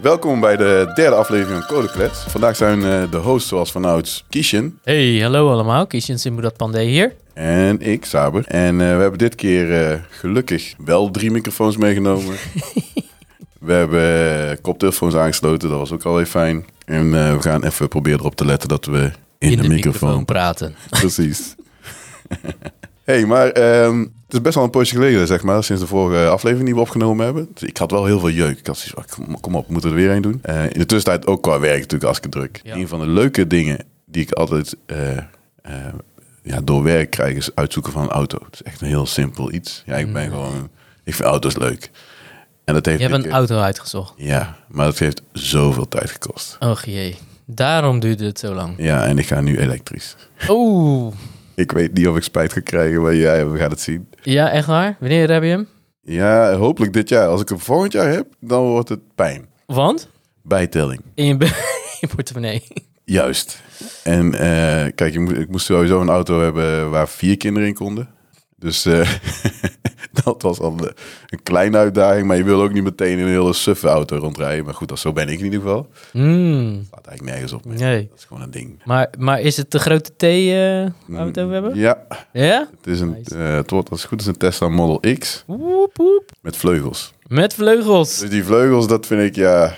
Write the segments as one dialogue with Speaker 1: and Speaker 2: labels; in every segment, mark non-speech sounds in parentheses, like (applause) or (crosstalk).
Speaker 1: Welkom bij de derde aflevering van Code Klets. Vandaag zijn eh, de hosts zoals vanouds Kishin
Speaker 2: Hey, hallo allemaal. Kishin Simbudat Pandey hier.
Speaker 1: en ik, Saber. En eh, we hebben dit keer eh, gelukkig wel drie microfoons (laughs) meegenomen. we hebben eh, koptelefoons aangesloten, dat was ook alweer fijn. En eh, we gaan even proberen erop te letten dat we in, de, microfoon
Speaker 2: praten.
Speaker 1: Precies. hey, maar ehm, het is best wel een poosje geleden, zeg maar, sinds de vorige aflevering die we opgenomen hebben. Dus ik had wel heel veel jeuk. Ik had zoiets van, kom- kom op, we moeten er weer een doen. Eh, in de tussentijd ook qua werk natuurlijk hartstikke druk.
Speaker 2: Ja.
Speaker 1: Een van de leuke dingen die ik altijd eh, eh, ja, door werk krijg, is uitzoeken van een auto. Het is echt een heel simpel iets. Ja, ik ben gewoon... Ik vind auto's leuk. En dat heeft...
Speaker 2: Mm. Je hebt
Speaker 1: ik-
Speaker 2: een auto uitgezocht.
Speaker 1: Ja, maar dat heeft zoveel tijd gekost.
Speaker 2: Och jee. Daarom duurde het zo lang.
Speaker 1: Ja, en ik ga nu elektrisch.
Speaker 2: Oeh.
Speaker 1: Ik weet niet of ik spijt ga krijgen, maar ja, we gaan het zien.
Speaker 2: Ja, echt waar? Wanneer heb je hem?
Speaker 1: Ja, hopelijk dit jaar. Als ik hem volgend jaar heb, dan wordt het pijn.
Speaker 2: Want?
Speaker 1: Bijtelling.
Speaker 2: In je, be- (laughs) in je portemonnee.
Speaker 1: Juist. En eh, kijk, ik moest, ik moest sowieso een auto hebben waar vier kinderen in konden. Dus eh, (laughs) dat was al een- een kleine uitdaging. Maar je wil ook niet meteen in een hele suffe auto rondrijden. Maar goed, dat, zo ben ik in ieder geval.
Speaker 2: Hmm.
Speaker 1: Laat eigenlijk nergens op. mee.
Speaker 2: Nee.
Speaker 1: Dat is gewoon een ding.
Speaker 2: Maar, maar is het de grote T eh, waar we het over hebben?
Speaker 1: Mm, Ja,
Speaker 2: Ja?
Speaker 1: het, is een,
Speaker 2: Nice.
Speaker 1: eh, het wordt als het goed is een Tesla Model X
Speaker 2: Woep, woep.
Speaker 1: met vleugels.
Speaker 2: Met vleugels.
Speaker 1: Dus die vleugels, dat vind ik, ja...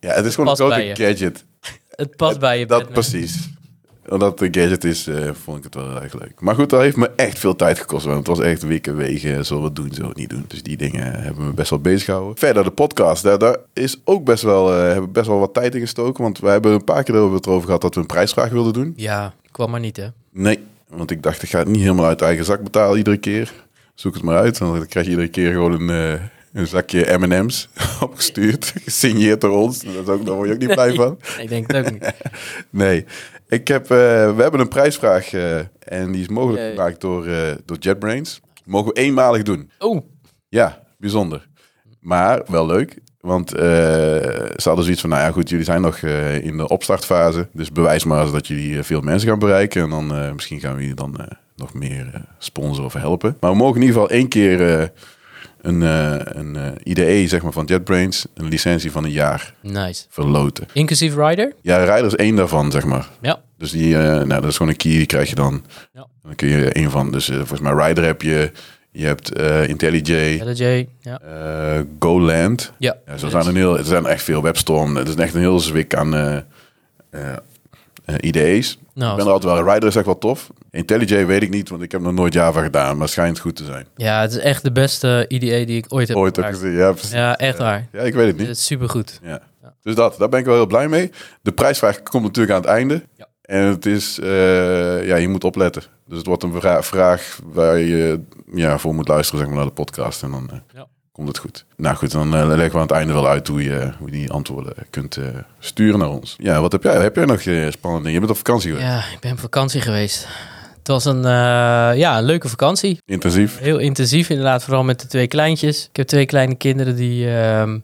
Speaker 1: Ja, het is gewoon een
Speaker 2: Past bij
Speaker 1: grote
Speaker 2: je.
Speaker 1: gadget.
Speaker 2: Het past bij je.
Speaker 1: Dat
Speaker 2: Batman.
Speaker 1: precies. Omdat de gadget is, eh, vond ik het wel erg leuk. Maar goed, dat heeft me echt veel tijd gekost. Want het was echt weken wegen, zullen we het doen, zullen we het niet doen. Dus die dingen hebben me best wel bezig gehouden. Verder, de podcast. Daar, daar is ook best wel, eh, hebben we best wel wat tijd in gestoken. Want we hebben een paar keer over het over gehad dat we een prijsvraag wilden doen.
Speaker 2: Ja, kwam maar niet hè.
Speaker 1: Nee, want ik dacht, ik ga het niet helemaal uit eigen zak betalen iedere keer. Zoek het maar uit, want dan krijg je iedere keer gewoon een, eh, een zakje M&M's (laughs) opgestuurd. (laughs) Gesigneerd door ons. Dat is ook, daar word je ook niet blij van.
Speaker 2: Ik denk het ook niet.
Speaker 1: Nee, ik heb, eh, we hebben een prijsvraag eh, en die is mogelijk
Speaker 2: Jee.
Speaker 1: gemaakt door, eh, door JetBrains. Mogen we eenmalig doen.
Speaker 2: Oeh.
Speaker 1: Ja, bijzonder. Maar wel leuk, want eh, ze hadden zoiets van, nou ja goed, jullie zijn nog eh, in de opstartfase. Dus bewijs maar eens dat jullie eh, veel mensen gaan bereiken. En dan eh, misschien gaan we jullie dan eh, nog meer eh, sponsoren of helpen. Maar we mogen in ieder geval één keer eh, een, eh, een eh, IDE zeg maar, van JetBrains, een licentie van een jaar,
Speaker 2: Nice.
Speaker 1: verloten.
Speaker 2: Inclusief Rider?
Speaker 1: Ja, Rijder is één daarvan, zeg maar.
Speaker 2: Ja.
Speaker 1: Dus die, eh, nou, dat is gewoon een key, die krijg je dan.
Speaker 2: Ja.
Speaker 1: Dan kun je een van, dus eh, volgens mij Rider heb je, je hebt eh, IntelliJ,
Speaker 2: LJ. Ja.
Speaker 1: eh GoLand.
Speaker 2: Ja.
Speaker 1: Ja, zo zijn er, heel, er zijn echt veel webstorm. Het is echt een heel zwik aan eh eh, eh, IDE's.
Speaker 2: Nou,
Speaker 1: ik ben er altijd wel, Rider is echt wel tof. IntelliJ weet ik niet, want ik heb nog nooit Java gedaan, maar het schijnt goed te zijn.
Speaker 2: Ja, het is echt de beste IDE die ik ooit heb
Speaker 1: Ooit heb ik
Speaker 2: gemaakt.
Speaker 1: gezien, ja, precies.
Speaker 2: Ja, echt waar.
Speaker 1: Ja, ik weet het niet.
Speaker 2: Het is supergoed.
Speaker 1: Ja.
Speaker 2: Ja.
Speaker 1: Dus dat, daar ben ik wel heel blij mee. De prijsvraag komt natuurlijk aan het einde.
Speaker 2: Ja.
Speaker 1: En het is, eh, ja, je moet opletten. Dus het wordt een vra- vraag waar je ja, voor moet luisteren zeg maar, naar de podcast. En dan eh,
Speaker 2: Ja.
Speaker 1: komt het goed. Nou goed, dan eh, leggen we aan het einde wel uit hoe je, hoe je die antwoorden kunt eh, sturen naar ons. Ja, wat heb jij? Heb jij nog eh, spannende dingen? Je bent op vakantie geweest.
Speaker 2: Ja, ik ben op vakantie geweest. Het was een, eh, ja, een leuke vakantie.
Speaker 1: Intensief.
Speaker 2: Heel intensief inderdaad, vooral met de twee kleintjes. Ik heb twee kleine kinderen die... ehm,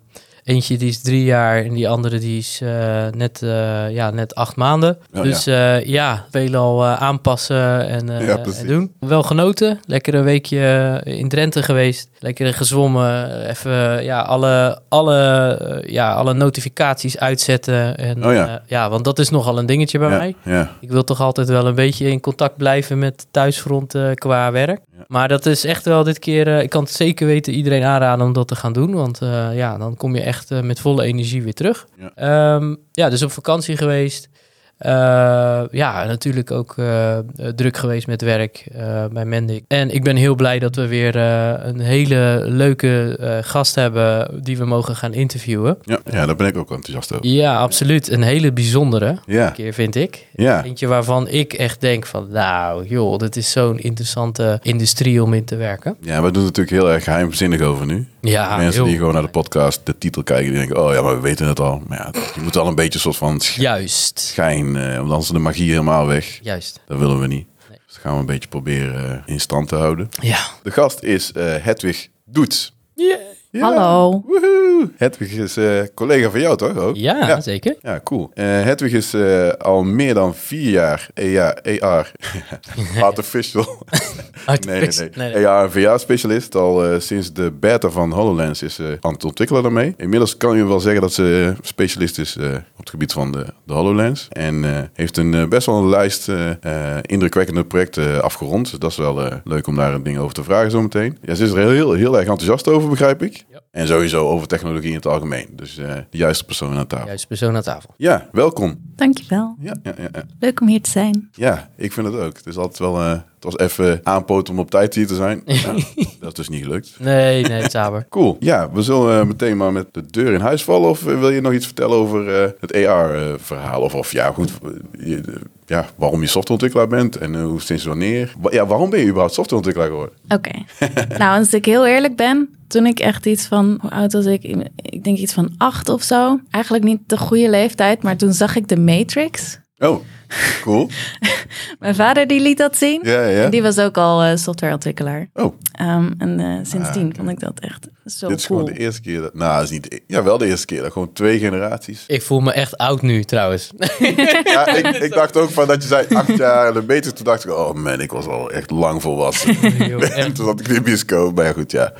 Speaker 2: eentje die is drie jaar en die andere die is eh, net, eh, ja, net acht maanden.
Speaker 1: Oh,
Speaker 2: dus eh, ja, veel al eh, aanpassen en, eh,
Speaker 1: Ja, precies.
Speaker 2: en doen. Wel genoten. Lekker een weekje in Drenthe geweest. Lekker gezwommen. Even ja, alle, alle, eh, ja, alle notificaties uitzetten. En,
Speaker 1: Oh ja.
Speaker 2: eh, ja, want dat is nogal een dingetje bij
Speaker 1: ja,
Speaker 2: mij.
Speaker 1: Ja.
Speaker 2: Ik wil toch altijd wel een beetje in contact blijven met thuisfront eh, qua werk.
Speaker 1: Ja.
Speaker 2: Maar dat is echt wel dit keer. eh, ik kan het zeker weten iedereen aanraden om dat te gaan doen. Want eh, ja, dan kom je echt eh, met volle energie weer terug.
Speaker 1: Ja.
Speaker 2: Ja, ja dus op vakantie geweest. Eh, ja, natuurlijk ook eh, eh, druk geweest met werk eh, bij Mendik. En ik ben heel blij dat we weer eh, een hele leuke eh, gast hebben die we mogen gaan interviewen.
Speaker 1: Ja, ja, daar ben ik ook enthousiast over.
Speaker 2: Ja, absoluut. Een hele bijzondere
Speaker 1: Ja,
Speaker 2: keer, vind ik.
Speaker 1: ja.
Speaker 2: Eentje waarvan ik echt denk van, nou joh, dat is zo'n interessante industrie om in te werken.
Speaker 1: Ja, we doen het natuurlijk heel erg geheimzinnig over nu.
Speaker 2: Ja,
Speaker 1: Mensen
Speaker 2: Ah, heel-
Speaker 1: die gewoon naar de podcast de titel kijken, die denken, oh ja, maar we weten het al. Maar ja, je moet wel een beetje een soort van sch-
Speaker 2: Juist,
Speaker 1: schijn, eh, want anders is de magie helemaal weg.
Speaker 2: juist.
Speaker 1: Dat willen we niet.
Speaker 2: Nee.
Speaker 1: Dus dat gaan we een beetje proberen eh, in stand te houden.
Speaker 2: Ja.
Speaker 1: De gast is eh Hedwig Doets.
Speaker 2: Yeah.
Speaker 1: Ja.
Speaker 3: Hallo.
Speaker 1: Woehoe. Hedwig is eh, collega van jou, toch? Ook?
Speaker 2: Ja,
Speaker 1: Ja.
Speaker 2: zeker.
Speaker 1: Ja, cool. Eh, Hedwig is eh, al meer dan vier jaar E EA,
Speaker 2: (laughs)
Speaker 1: AR, (laughs) artificial Nee, nee, nee. Ja, een VR-specialist. Al eh, sinds de beta van HoloLens is ze aan het ontwikkelen daarmee. Inmiddels kan je wel zeggen dat ze eh, specialist is eh, op het gebied van de, de HoloLens. En eh, heeft een eh, best wel een lijst eh, eh, indrukwekkende projecten afgerond. Dus dat is wel eh, leuk om daar een ding over te vragen zometeen. Ja, ze is er heel, heel, heel erg enthousiast over, begrijp ik.
Speaker 2: Ja.
Speaker 1: En sowieso over technologie in het algemeen. Dus eh, de juiste persoon aan tafel. Ja,
Speaker 2: Juist persoon aan tafel.
Speaker 1: welkom.
Speaker 3: Dankjewel.
Speaker 1: Ja, ja, ja, ja.
Speaker 3: Leuk om hier te zijn.
Speaker 1: Ja, ik vind het ook. Het is altijd wel... eh, het was even aanpoten om op tijd hier te zijn. Ja, dat is dus niet gelukt.
Speaker 2: Nee, nee, het Saber.
Speaker 1: Cool. Ja, we zullen eh, meteen maar met de deur in huis vallen. Of eh, wil je nog iets vertellen over eh, het AR-verhaal? of, of ja, goed, eh, je, eh, ja, waarom je softwareontwikkelaar bent en eh, hoe sinds wanneer? Wa- ja, waarom ben je überhaupt softwareontwikkelaar geworden?
Speaker 3: Oké. (laughs) nou, als ik heel eerlijk ben, toen ik echt iets van, hoe oud was ik? Ik denk iets van acht of zo. Eigenlijk niet de goede leeftijd, maar toen zag ik de Matrix.
Speaker 1: Oh, cool.
Speaker 3: Mijn vader die liet dat zien.
Speaker 1: Ja, ja.
Speaker 3: Die was ook al eh, softwareontwikkelaar.
Speaker 1: Oh,
Speaker 3: Ehm, en eh, sindsdien
Speaker 1: Ah, oké.
Speaker 3: vond ik dat echt zo
Speaker 1: dit is
Speaker 3: cool.
Speaker 1: gewoon de eerste keer. Dat, nou, dat is niet. de e- Ja, wel de eerste keer. Dat gewoon twee generaties.
Speaker 2: Ik voel me echt oud nu trouwens. (laughs)
Speaker 3: (laughs)
Speaker 1: Ja, ik, ik dacht ook van dat je zei acht jaar en een beetje. Toen dacht ik, oh man, ik was al echt lang
Speaker 3: (laughs)
Speaker 1: volwassen. (laughs)
Speaker 2: Joh,
Speaker 1: En
Speaker 2: echt.
Speaker 1: toen zat ik in de bioscoop. Maar ja, goed, ja.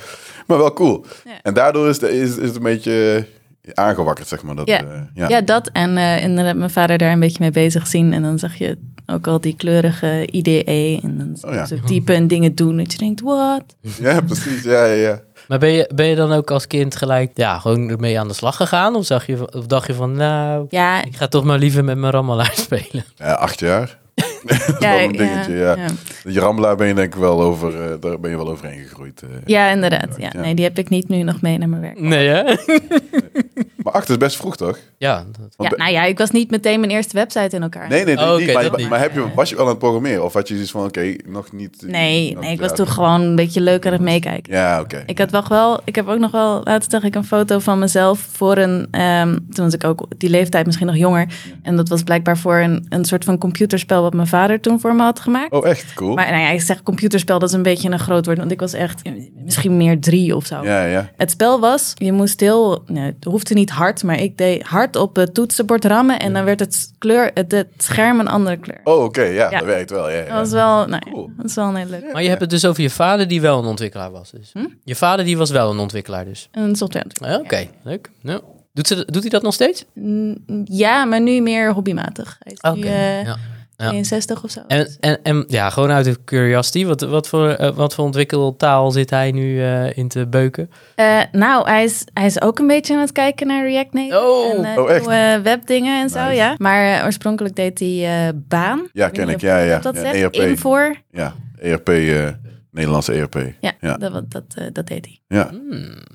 Speaker 1: Maar wel cool.
Speaker 3: Ja.
Speaker 1: En daardoor is, de, is, is het een beetje eh, aangewakkerd, zeg maar. Dat,
Speaker 3: Ja.
Speaker 1: eh,
Speaker 3: Ja. dat en eh, inderdaad mijn vader daar een beetje mee bezig zien. En dan zag je ook al die kleurige IDE en dan
Speaker 1: Oh ja.
Speaker 3: zo typen en dingen doen. Dat je denkt, wat?
Speaker 1: Ja, precies. Ja, ja, ja.
Speaker 2: Maar ben je, ben je dan ook als kind gelijk ja, gewoon ermee aan de slag gegaan? Of, zag je, of dacht je van, nou,
Speaker 3: Ja,
Speaker 2: ik ga toch maar liever met mijn rammelaar (laughs) spelen?
Speaker 1: Ja, acht jaar. (laughs) dat is
Speaker 3: ja,
Speaker 1: wel een dingetje, ja.
Speaker 3: ja.
Speaker 1: Je rammelaar ben je denk ik wel over, eh, daar ben je wel overheen gegroeid. eh.
Speaker 3: Ja, inderdaad. Ja.
Speaker 1: Ja.
Speaker 3: Nee, die heb ik niet nu nog mee naar mijn werk.
Speaker 2: Nee, hè? (laughs)
Speaker 1: Maar acht is best vroeg, toch?
Speaker 2: Ja, dat-
Speaker 3: Ja,
Speaker 1: Want-
Speaker 3: nou ja, ik was niet meteen mijn eerste website in elkaar.
Speaker 1: Nee, nee,
Speaker 2: Oh, oké,
Speaker 1: niet, maar,
Speaker 2: dat
Speaker 1: maar,
Speaker 2: niet.
Speaker 1: heb je, was je wel aan het programmeren? Of had je zoiets van, oké, nog niet... eh,
Speaker 3: nee,
Speaker 1: nog-
Speaker 3: nee, ik
Speaker 1: ja.
Speaker 3: was toen gewoon een beetje leuk aan het meekijken.
Speaker 1: Ja, oké.
Speaker 3: Ik had wel wel, ik heb ook nog wel, laatst zag ik een foto van mezelf voor een, ehm, toen was ik ook die leeftijd misschien nog jonger. En dat was blijkbaar voor een, een soort van computerspel wat mijn vader toen voor me had gemaakt.
Speaker 1: Oh, echt? Cool.
Speaker 3: Maar nou ja, ik zeg computerspel, dat is een beetje een groot woord, want ik was echt eh, misschien meer drie of zo.
Speaker 1: Ja, ja.
Speaker 3: Het spel was, je moest heel, nou, het hoefde niet hard, maar ik deed hard op het toetsenbord rammen en dan werd het, kleur, het, het scherm een andere kleur.
Speaker 1: Oh, oké, ja,
Speaker 3: Ja.
Speaker 1: dat werkt wel. Ja, ja.
Speaker 3: Dat was wel, nou ja,
Speaker 1: Cool.
Speaker 3: dat is wel een hele leuke.
Speaker 2: Maar je hebt het dus over je vader die wel een ontwikkelaar was. Dus. Je vader die was wel een ontwikkelaar dus.
Speaker 3: Een software.
Speaker 2: Ah, Oké, leuk. Ja. Doet, ze, dat- doet hij dat nog steeds?
Speaker 3: Mm, Ja, maar nu meer hobbymatig. Hij is
Speaker 2: Oké.
Speaker 3: nu, eh,
Speaker 2: ja.
Speaker 3: 62 of zo.
Speaker 2: En, en, en ja, gewoon uit de curiosity, wat, wat, voor, eh, wat voor ontwikkeltaal zit hij nu eh, in te beuken?
Speaker 3: Eh, nou, hij is, hij is ook een beetje aan het kijken naar React Native.
Speaker 2: Oh.
Speaker 3: en, eh,
Speaker 1: Oh, echt?
Speaker 3: nieuwe webdingen en zo,
Speaker 1: Nice.
Speaker 3: ja. Maar eh, oorspronkelijk deed hij eh, baan.
Speaker 1: ja ken ik. Ja, ja.
Speaker 3: Dat
Speaker 1: ja, E
Speaker 3: zegt
Speaker 1: ERP.
Speaker 3: Invoer.
Speaker 1: Ja, ERP, eh, Nederlandse ERP.
Speaker 3: Ja,
Speaker 1: Ja.
Speaker 3: Dat, Hmm. dat, eh, dat deed hij.
Speaker 1: Ja.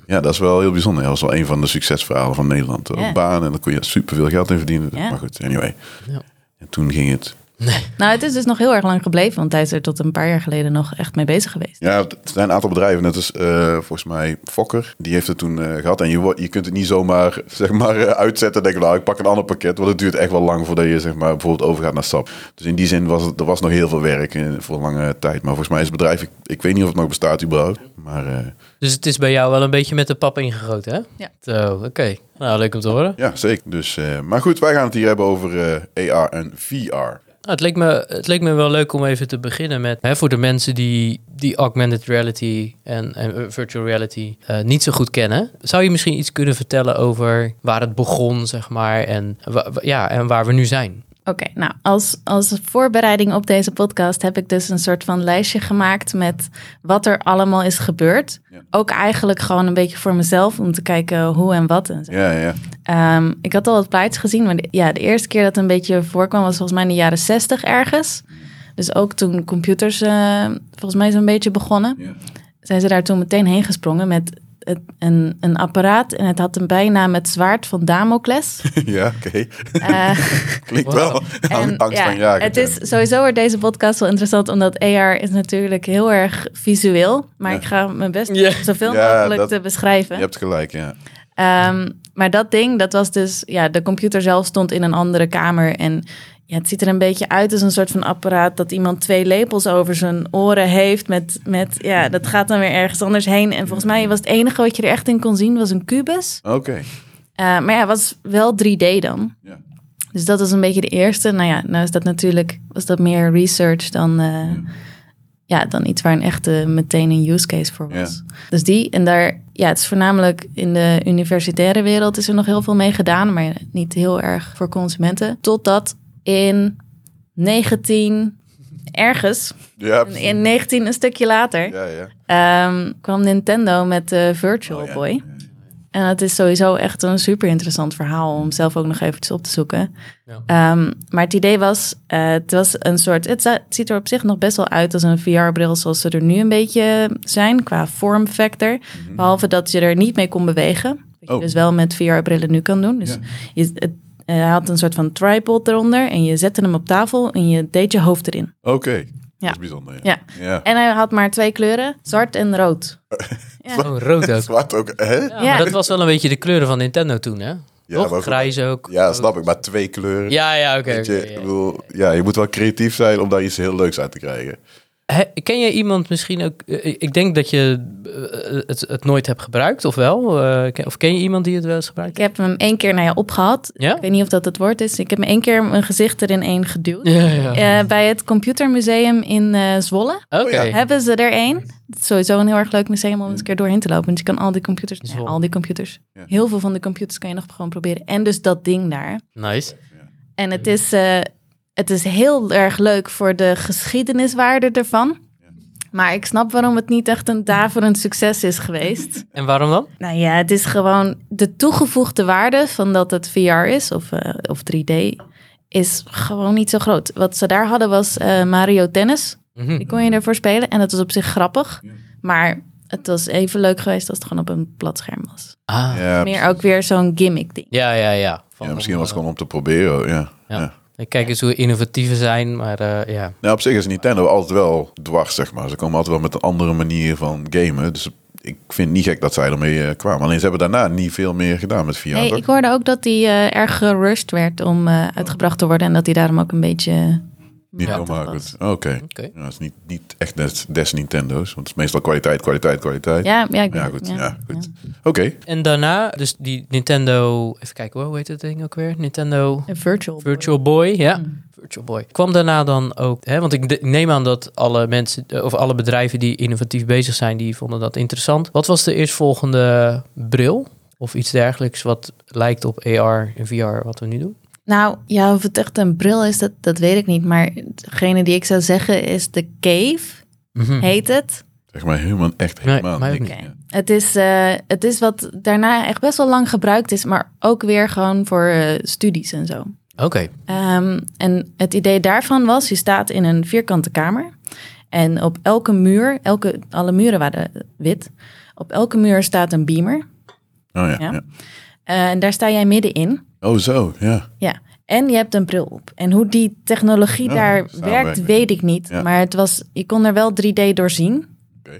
Speaker 1: ja, dat is wel heel bijzonder. Dat was wel een van de succesverhalen van Nederland. Ook
Speaker 3: Ja.
Speaker 1: Baan en dan kon je superveel geld in verdienen.
Speaker 3: Ja.
Speaker 1: Maar goed, anyway.
Speaker 2: Ja.
Speaker 1: En toen ging het.
Speaker 3: Nou, het is dus nog heel erg lang gebleven, want hij is er tot een paar jaar geleden nog echt mee bezig geweest.
Speaker 1: Ja, er zijn een aantal bedrijven. Net als eh, volgens mij Fokker. Die heeft het toen eh, gehad. En je, wo- je kunt het niet zomaar (laughs) zeg maar, eh, uitzetten. Denk ik, nou, ik pak een ander pakket. Want het duurt echt wel lang voordat je zeg maar, bijvoorbeeld overgaat naar SAP. Dus in die zin was het, er was nog heel veel werk eh, voor lange tijd. Maar volgens mij is het bedrijf, ik, ik weet niet of het nog bestaat überhaupt. Maar eh,
Speaker 2: Dus het is bij jou wel een beetje met de pap ingegoten, hè?
Speaker 3: Ja.
Speaker 2: Zo, oké. Nou, leuk om te horen.
Speaker 1: ja, zeker. Dus, eh, maar goed, wij gaan het hier hebben over eh AR en VR.
Speaker 2: Nou, het, leek me, het leek me wel leuk om even te beginnen met, hè, voor de mensen die, die augmented reality en, en eh, virtual reality eh, niet zo goed kennen, zou je misschien iets kunnen vertellen over waar het begon, zeg maar, en, wa- wa- ja, en waar we nu zijn?
Speaker 3: Oké, nou, als, als voorbereiding op deze podcast heb ik dus een soort van lijstje gemaakt met wat er allemaal is gebeurd.
Speaker 1: Ja.
Speaker 3: Ook eigenlijk gewoon een beetje voor mezelf om te kijken hoe en wat en zo.
Speaker 1: Ja, ja. (laughs)
Speaker 3: Ehm, ik had al wat plaatjes gezien, maar de, ja, de eerste keer dat het een beetje voorkwam was volgens mij in de jaren 60 ergens. Dus ook toen computers eh, volgens mij zo'n beetje begonnen,
Speaker 1: ja.
Speaker 3: zijn ze daar toen meteen heen gesprongen met het, een, een apparaat en het had een bijnaam het zwaard
Speaker 1: (laughs)
Speaker 3: van Damocles.
Speaker 1: Ja, oké.
Speaker 3: Eh,
Speaker 1: (laughs) Klinkt
Speaker 2: Wauw.
Speaker 1: wel
Speaker 3: en
Speaker 1: aan angst
Speaker 3: ja,
Speaker 1: van jagen.
Speaker 3: Het is sowieso wordt deze podcast wel interessant, omdat AR is natuurlijk heel erg visueel. Maar
Speaker 1: Ja.
Speaker 3: ik ga mijn best
Speaker 2: Ja.
Speaker 3: doen om zoveel
Speaker 1: Ja,
Speaker 3: mogelijk
Speaker 1: dat-
Speaker 3: te
Speaker 1: Je
Speaker 3: beschrijven.
Speaker 1: hebt gelijk, ja.
Speaker 3: Ehm, maar dat ding, dat was dus, ja, de computer zelf stond in een andere kamer en Ja, het ziet er een beetje uit als een soort van apparaat dat iemand twee lepels over zijn oren heeft. Met, met, ja, dat gaat dan weer ergens anders heen. En volgens mij was het enige wat je er echt in kon zien, was een kubus.
Speaker 1: Oké.
Speaker 3: Eh, maar ja, het was wel 3D dan.
Speaker 1: Ja.
Speaker 3: Dus dat was een beetje de eerste. Nou ja, nou is dat natuurlijk was dat meer research dan, eh, ja. dan iets waar een echte meteen een use case voor was. Dus die en daar, ja, het is voornamelijk in de universitaire wereld is er nog heel veel mee gedaan, maar niet heel erg voor consumenten. Totdat in 19 ergens,
Speaker 1: Ja,
Speaker 3: in 19 een stukje later,
Speaker 1: ja, ja.
Speaker 3: ehm, kwam Nintendo met de
Speaker 1: Oh,
Speaker 3: Virtual Boy. En dat is sowieso echt een super interessant verhaal om zelf ook nog eventjes op te zoeken.
Speaker 2: Ja.
Speaker 3: Ehm, maar het idee was, eh, het was een soort, het, za- het ziet er op zich nog best wel uit als een VR-bril zoals ze er nu een beetje zijn qua form factor. Behalve dat je er niet mee kon bewegen. Wat
Speaker 1: Mhm. Oh.
Speaker 3: je dus wel met VR-brillen nu kan doen. Dus
Speaker 1: Ja.
Speaker 3: je het, eh, had een soort van tripod eronder en je zette hem op tafel en je deed je hoofd erin.
Speaker 1: Oké.
Speaker 3: Ja.
Speaker 1: Dat is bijzonder. Ja.
Speaker 3: Ja.
Speaker 1: ja.
Speaker 3: En hij had maar twee kleuren, zwart en rood.
Speaker 2: Oh, rood ook.
Speaker 1: Zwart ook, hè? Ja,
Speaker 2: Ja, maar dat was wel een beetje de kleuren van Nintendo toen, hè? Toch?
Speaker 1: maar-
Speaker 2: Grijs ook.
Speaker 1: Ja, snap ik. Maar twee kleuren.
Speaker 2: Ja, ja, oké.
Speaker 1: Weet je,
Speaker 2: oké, ja.
Speaker 1: ik bedoel, ja, je moet wel creatief zijn om daar iets heel leuks uit te krijgen.
Speaker 2: He- Ken je iemand misschien ook... eh, Ik ik denk dat je eh, het, het nooit hebt gebruikt, of wel? Eh, ken- Of ken je iemand die het wel eens gebruikt?
Speaker 3: Ik heb hem één keer naar je opgehad.
Speaker 2: Ja?
Speaker 3: Ik weet niet of dat het woord is. Ik heb me één keer mijn gezicht erin één geduwd.
Speaker 2: Ja, ja.
Speaker 3: Eh, bij het Computermuseum in eh, Zwolle
Speaker 2: Oké.
Speaker 1: Oh, ja.
Speaker 3: hebben ze er één. Het is sowieso een heel erg leuk museum om eens een keer doorheen te lopen. Want je kan al die computers, nou ja,
Speaker 2: Zwolle.
Speaker 3: al die computers,
Speaker 1: Ja.
Speaker 3: heel veel van de computers kan je nog gewoon proberen. En dus dat ding daar.
Speaker 2: Nice.
Speaker 3: En het is, eh, het is heel erg leuk voor de geschiedeniswaarde ervan. Maar ik snap waarom het niet echt een daverend succes is geweest.
Speaker 2: En waarom dan?
Speaker 3: Nou ja, het is gewoon de toegevoegde waarde van dat het VR is of, eh, of 3D is gewoon niet zo groot. Wat ze daar hadden was eh, Mario Tennis.
Speaker 2: Mhm.
Speaker 3: Die kon je ervoor spelen en dat was op zich grappig. Maar het was even leuk geweest als het gewoon op een plat scherm was.
Speaker 2: Ah. Ja,
Speaker 1: Ja,
Speaker 3: Meer ook weer zo'n gimmick ding.
Speaker 2: ja, ja. Van-
Speaker 1: ja, misschien was het gewoon om te proberen. oh, Ja.
Speaker 2: Ja.
Speaker 1: Ja.
Speaker 2: Kijk eens hoe innovatief we zijn, maar eh, ja.
Speaker 1: Nou, op zich is Nintendo altijd wel dwars, zeg maar. Ze komen altijd wel met een andere manier van gamen. Dus ik vind het niet gek dat zij ermee eh, kwamen. Alleen ze hebben daarna niet veel meer gedaan met VR.
Speaker 3: Nee,
Speaker 1: toch?
Speaker 3: ik hoorde ook dat hij eh, erg gerushed werd om eh, uitgebracht te worden en dat hij daarom ook een beetje.
Speaker 1: Niet
Speaker 3: matig
Speaker 1: helemaal
Speaker 3: was.
Speaker 1: goed. Oké.
Speaker 2: Oké.
Speaker 1: Ja, het is niet, niet echt des, des Nintendo's. Want het is meestal kwaliteit, kwaliteit, kwaliteit.
Speaker 3: Ja, ja, ik
Speaker 1: Ja,
Speaker 3: weet
Speaker 1: goed.
Speaker 3: het,
Speaker 1: Ja, goed. Oké.
Speaker 2: En daarna, dus die Nintendo... Even kijken, hoor, hoe heet dat ding ook weer? Nintendo...
Speaker 3: Een virtual.
Speaker 2: Virtual Boy, ja.
Speaker 3: Mm.
Speaker 2: Virtual Boy. Kwam daarna dan ook, hè, want ik de- neem aan dat alle mensen eh, of alle bedrijven die innovatief bezig zijn, die vonden dat interessant. Wat was de eerstvolgende bril of iets dergelijks wat lijkt op AR en VR wat we nu doen?
Speaker 3: Nou, ja, of het echt een bril is, dat, dat weet ik niet. Maar degene die ik zou zeggen is de Cave, heet het.
Speaker 1: Zeg maar helemaal echt helemaal
Speaker 2: mij ook
Speaker 1: niks.
Speaker 2: niet.
Speaker 1: Ja.
Speaker 3: Het is, eh, het is wat daarna echt best wel lang gebruikt is, maar ook weer gewoon voor eh, studies en zo.
Speaker 2: Oké.
Speaker 3: Ehm, en het idee daarvan was, je staat in een vierkante kamer. En op elke muur, elke, alle muren waren wit. Op elke muur staat een beamer.
Speaker 1: Oh ja,
Speaker 3: Ja.
Speaker 1: ja.
Speaker 3: Eh, en daar sta jij middenin.
Speaker 1: Oh zo, ja.
Speaker 3: Ja, en je hebt een bril op. En hoe die technologie
Speaker 1: Ja,
Speaker 3: daar
Speaker 1: Oh, samenwerking.
Speaker 3: werkt, weet ik niet.
Speaker 1: Ja.
Speaker 3: Maar het was, je kon er wel 3D doorzien.
Speaker 1: Oké.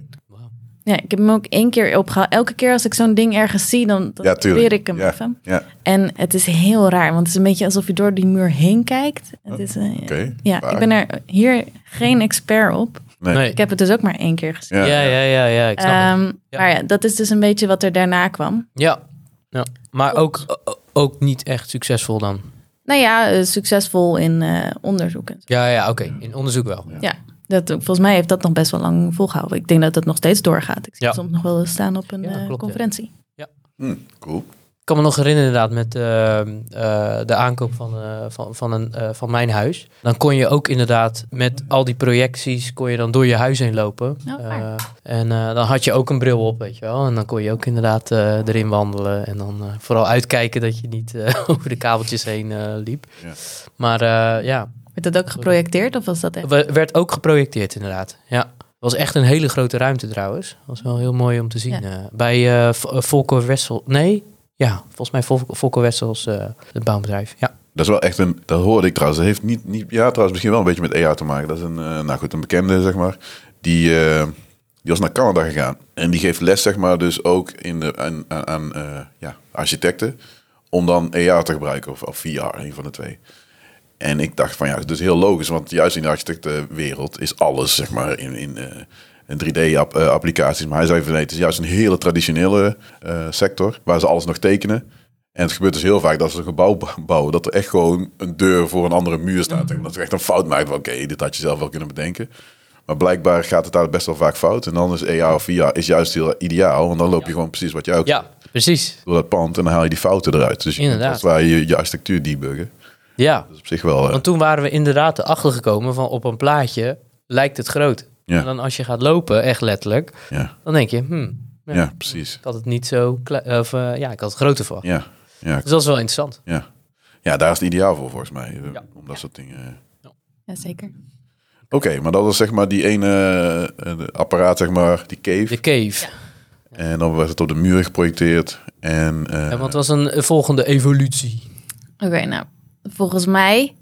Speaker 3: Ja, ik heb hem ook één keer opgehaald. Elke keer als ik zo'n ding ergens zie, dan, dan
Speaker 1: Ja, tuurlijk.
Speaker 3: probeer ik hem
Speaker 1: ja.
Speaker 3: even.
Speaker 1: Ja,
Speaker 3: En het is heel raar, want het is een beetje alsof je door die muur heen kijkt. Het is, eh,
Speaker 1: Oh, oké.
Speaker 3: Ja,
Speaker 1: Waar?
Speaker 3: ik ben er hier geen expert op.
Speaker 1: Nee.
Speaker 2: Nee.
Speaker 3: Ik heb het dus ook maar één keer gezien.
Speaker 2: Ja, ja, ja, ja, ik snap het.
Speaker 3: Ehm,
Speaker 2: Ja.
Speaker 3: Maar ja, dat is dus een beetje wat er daarna kwam.
Speaker 2: Ja. ja. Maar ook, o- ook niet echt succesvol dan.
Speaker 3: Nou ja, eh, succesvol in eh onderzoek en zo.
Speaker 2: Ja, ja, oké. In onderzoek wel. Ja.
Speaker 3: Ja, dat, volgens mij heeft dat nog best wel lang volgehouden. Ik denk dat dat nog steeds doorgaat. Ik zie
Speaker 2: Ja.
Speaker 3: het soms nog wel eens staan op een
Speaker 2: Ja, dat
Speaker 3: eh,
Speaker 2: klopt, ja.
Speaker 3: conferentie.
Speaker 1: Hm, cool.
Speaker 2: Ik kan me nog herinneren inderdaad met eh, eh, de aankoop van, eh, van, van, een, eh, van mijn huis. Dan kon je ook inderdaad met al die projecties kon je dan door je huis heen lopen.
Speaker 3: Oh,
Speaker 2: Eh,
Speaker 3: waar.
Speaker 2: en eh, dan had je ook een bril op, weet je wel. En dan kon je ook inderdaad eh, erin wandelen. En dan eh, vooral uitkijken dat je niet eh, (laughs) over de kabeltjes heen eh, liep.
Speaker 1: Ja.
Speaker 2: Maar eh, ja,
Speaker 3: Werd dat ook geprojecteerd of was dat
Speaker 2: Eh,
Speaker 3: echt?
Speaker 2: we- werd ook geprojecteerd inderdaad. Ja. Was echt een hele grote ruimte trouwens. Was wel heel mooi om te zien.
Speaker 3: Ja.
Speaker 2: eh. bij eh V- eh, Volker Wessel. Nee, ja, volgens mij Vol- Volker Wessels, eh, het bouwbedrijf. Ja.
Speaker 1: Dat is wel echt een, dat hoorde ik trouwens. Dat heeft niet, niet, ja trouwens misschien wel een beetje met AR te maken. Dat is een, eh, nou goed, een bekende zeg maar. Die, eh, die was naar Canada gegaan. En die geeft les zeg maar dus ook in de, aan, aan, aan, eh, ja, architecten. Om dan AR te gebruiken of, of VR, een van de twee. En ik dacht van ja, het is heel logisch, want juist in de architectenwereld is alles zeg maar in, in, eh, in 3D-applicaties. eh, maar hij zei van nee, het is juist een hele traditionele eh, sector waar ze alles nog tekenen. En het gebeurt dus heel vaak dat ze een gebouw b- bouwen, dat er echt gewoon een deur voor een andere muur staat.
Speaker 2: Mhm.
Speaker 1: En dat ze echt een fout maken van oké, dit had je zelf wel kunnen bedenken. Maar blijkbaar gaat het daar best wel vaak fout. En dan is EA of VR is juist heel ideaal, want dan loop je gewoon precies wat jij ook
Speaker 2: Ja, precies.
Speaker 1: door dat pand en dan haal je die fouten eruit. Dus je kunt
Speaker 2: Inderdaad.
Speaker 1: als het ware je, je architectuur debuggen.
Speaker 2: Ja.
Speaker 1: Dat is op zich wel... eh,
Speaker 2: Want toen waren we inderdaad erachter gekomen van op een plaatje lijkt het groot.
Speaker 1: Ja.
Speaker 2: En dan als je gaat lopen, echt letterlijk,
Speaker 1: ja,
Speaker 2: dan denk je, hmm,
Speaker 1: ja.
Speaker 2: Ja.
Speaker 1: precies.
Speaker 2: ik had het niet zo kle- of eh, ja, ik had het groter verwacht.
Speaker 1: Ja, ja,
Speaker 2: Dus dat is wel interessant.
Speaker 1: ja. Ja, daar is het ideaal voor volgens mij. eh,
Speaker 2: Ja.
Speaker 1: Om dat soort dingen... eh.
Speaker 3: Ja, zeker.
Speaker 1: Oké, maar dat was zeg maar die ene eh, eh, apparaat, zeg maar, die cave.
Speaker 2: De cave.
Speaker 1: En dan werd het op de muur geprojecteerd. En, eh,
Speaker 2: En wat was een eh, volgende evolutie?
Speaker 3: Oké, nou, volgens mij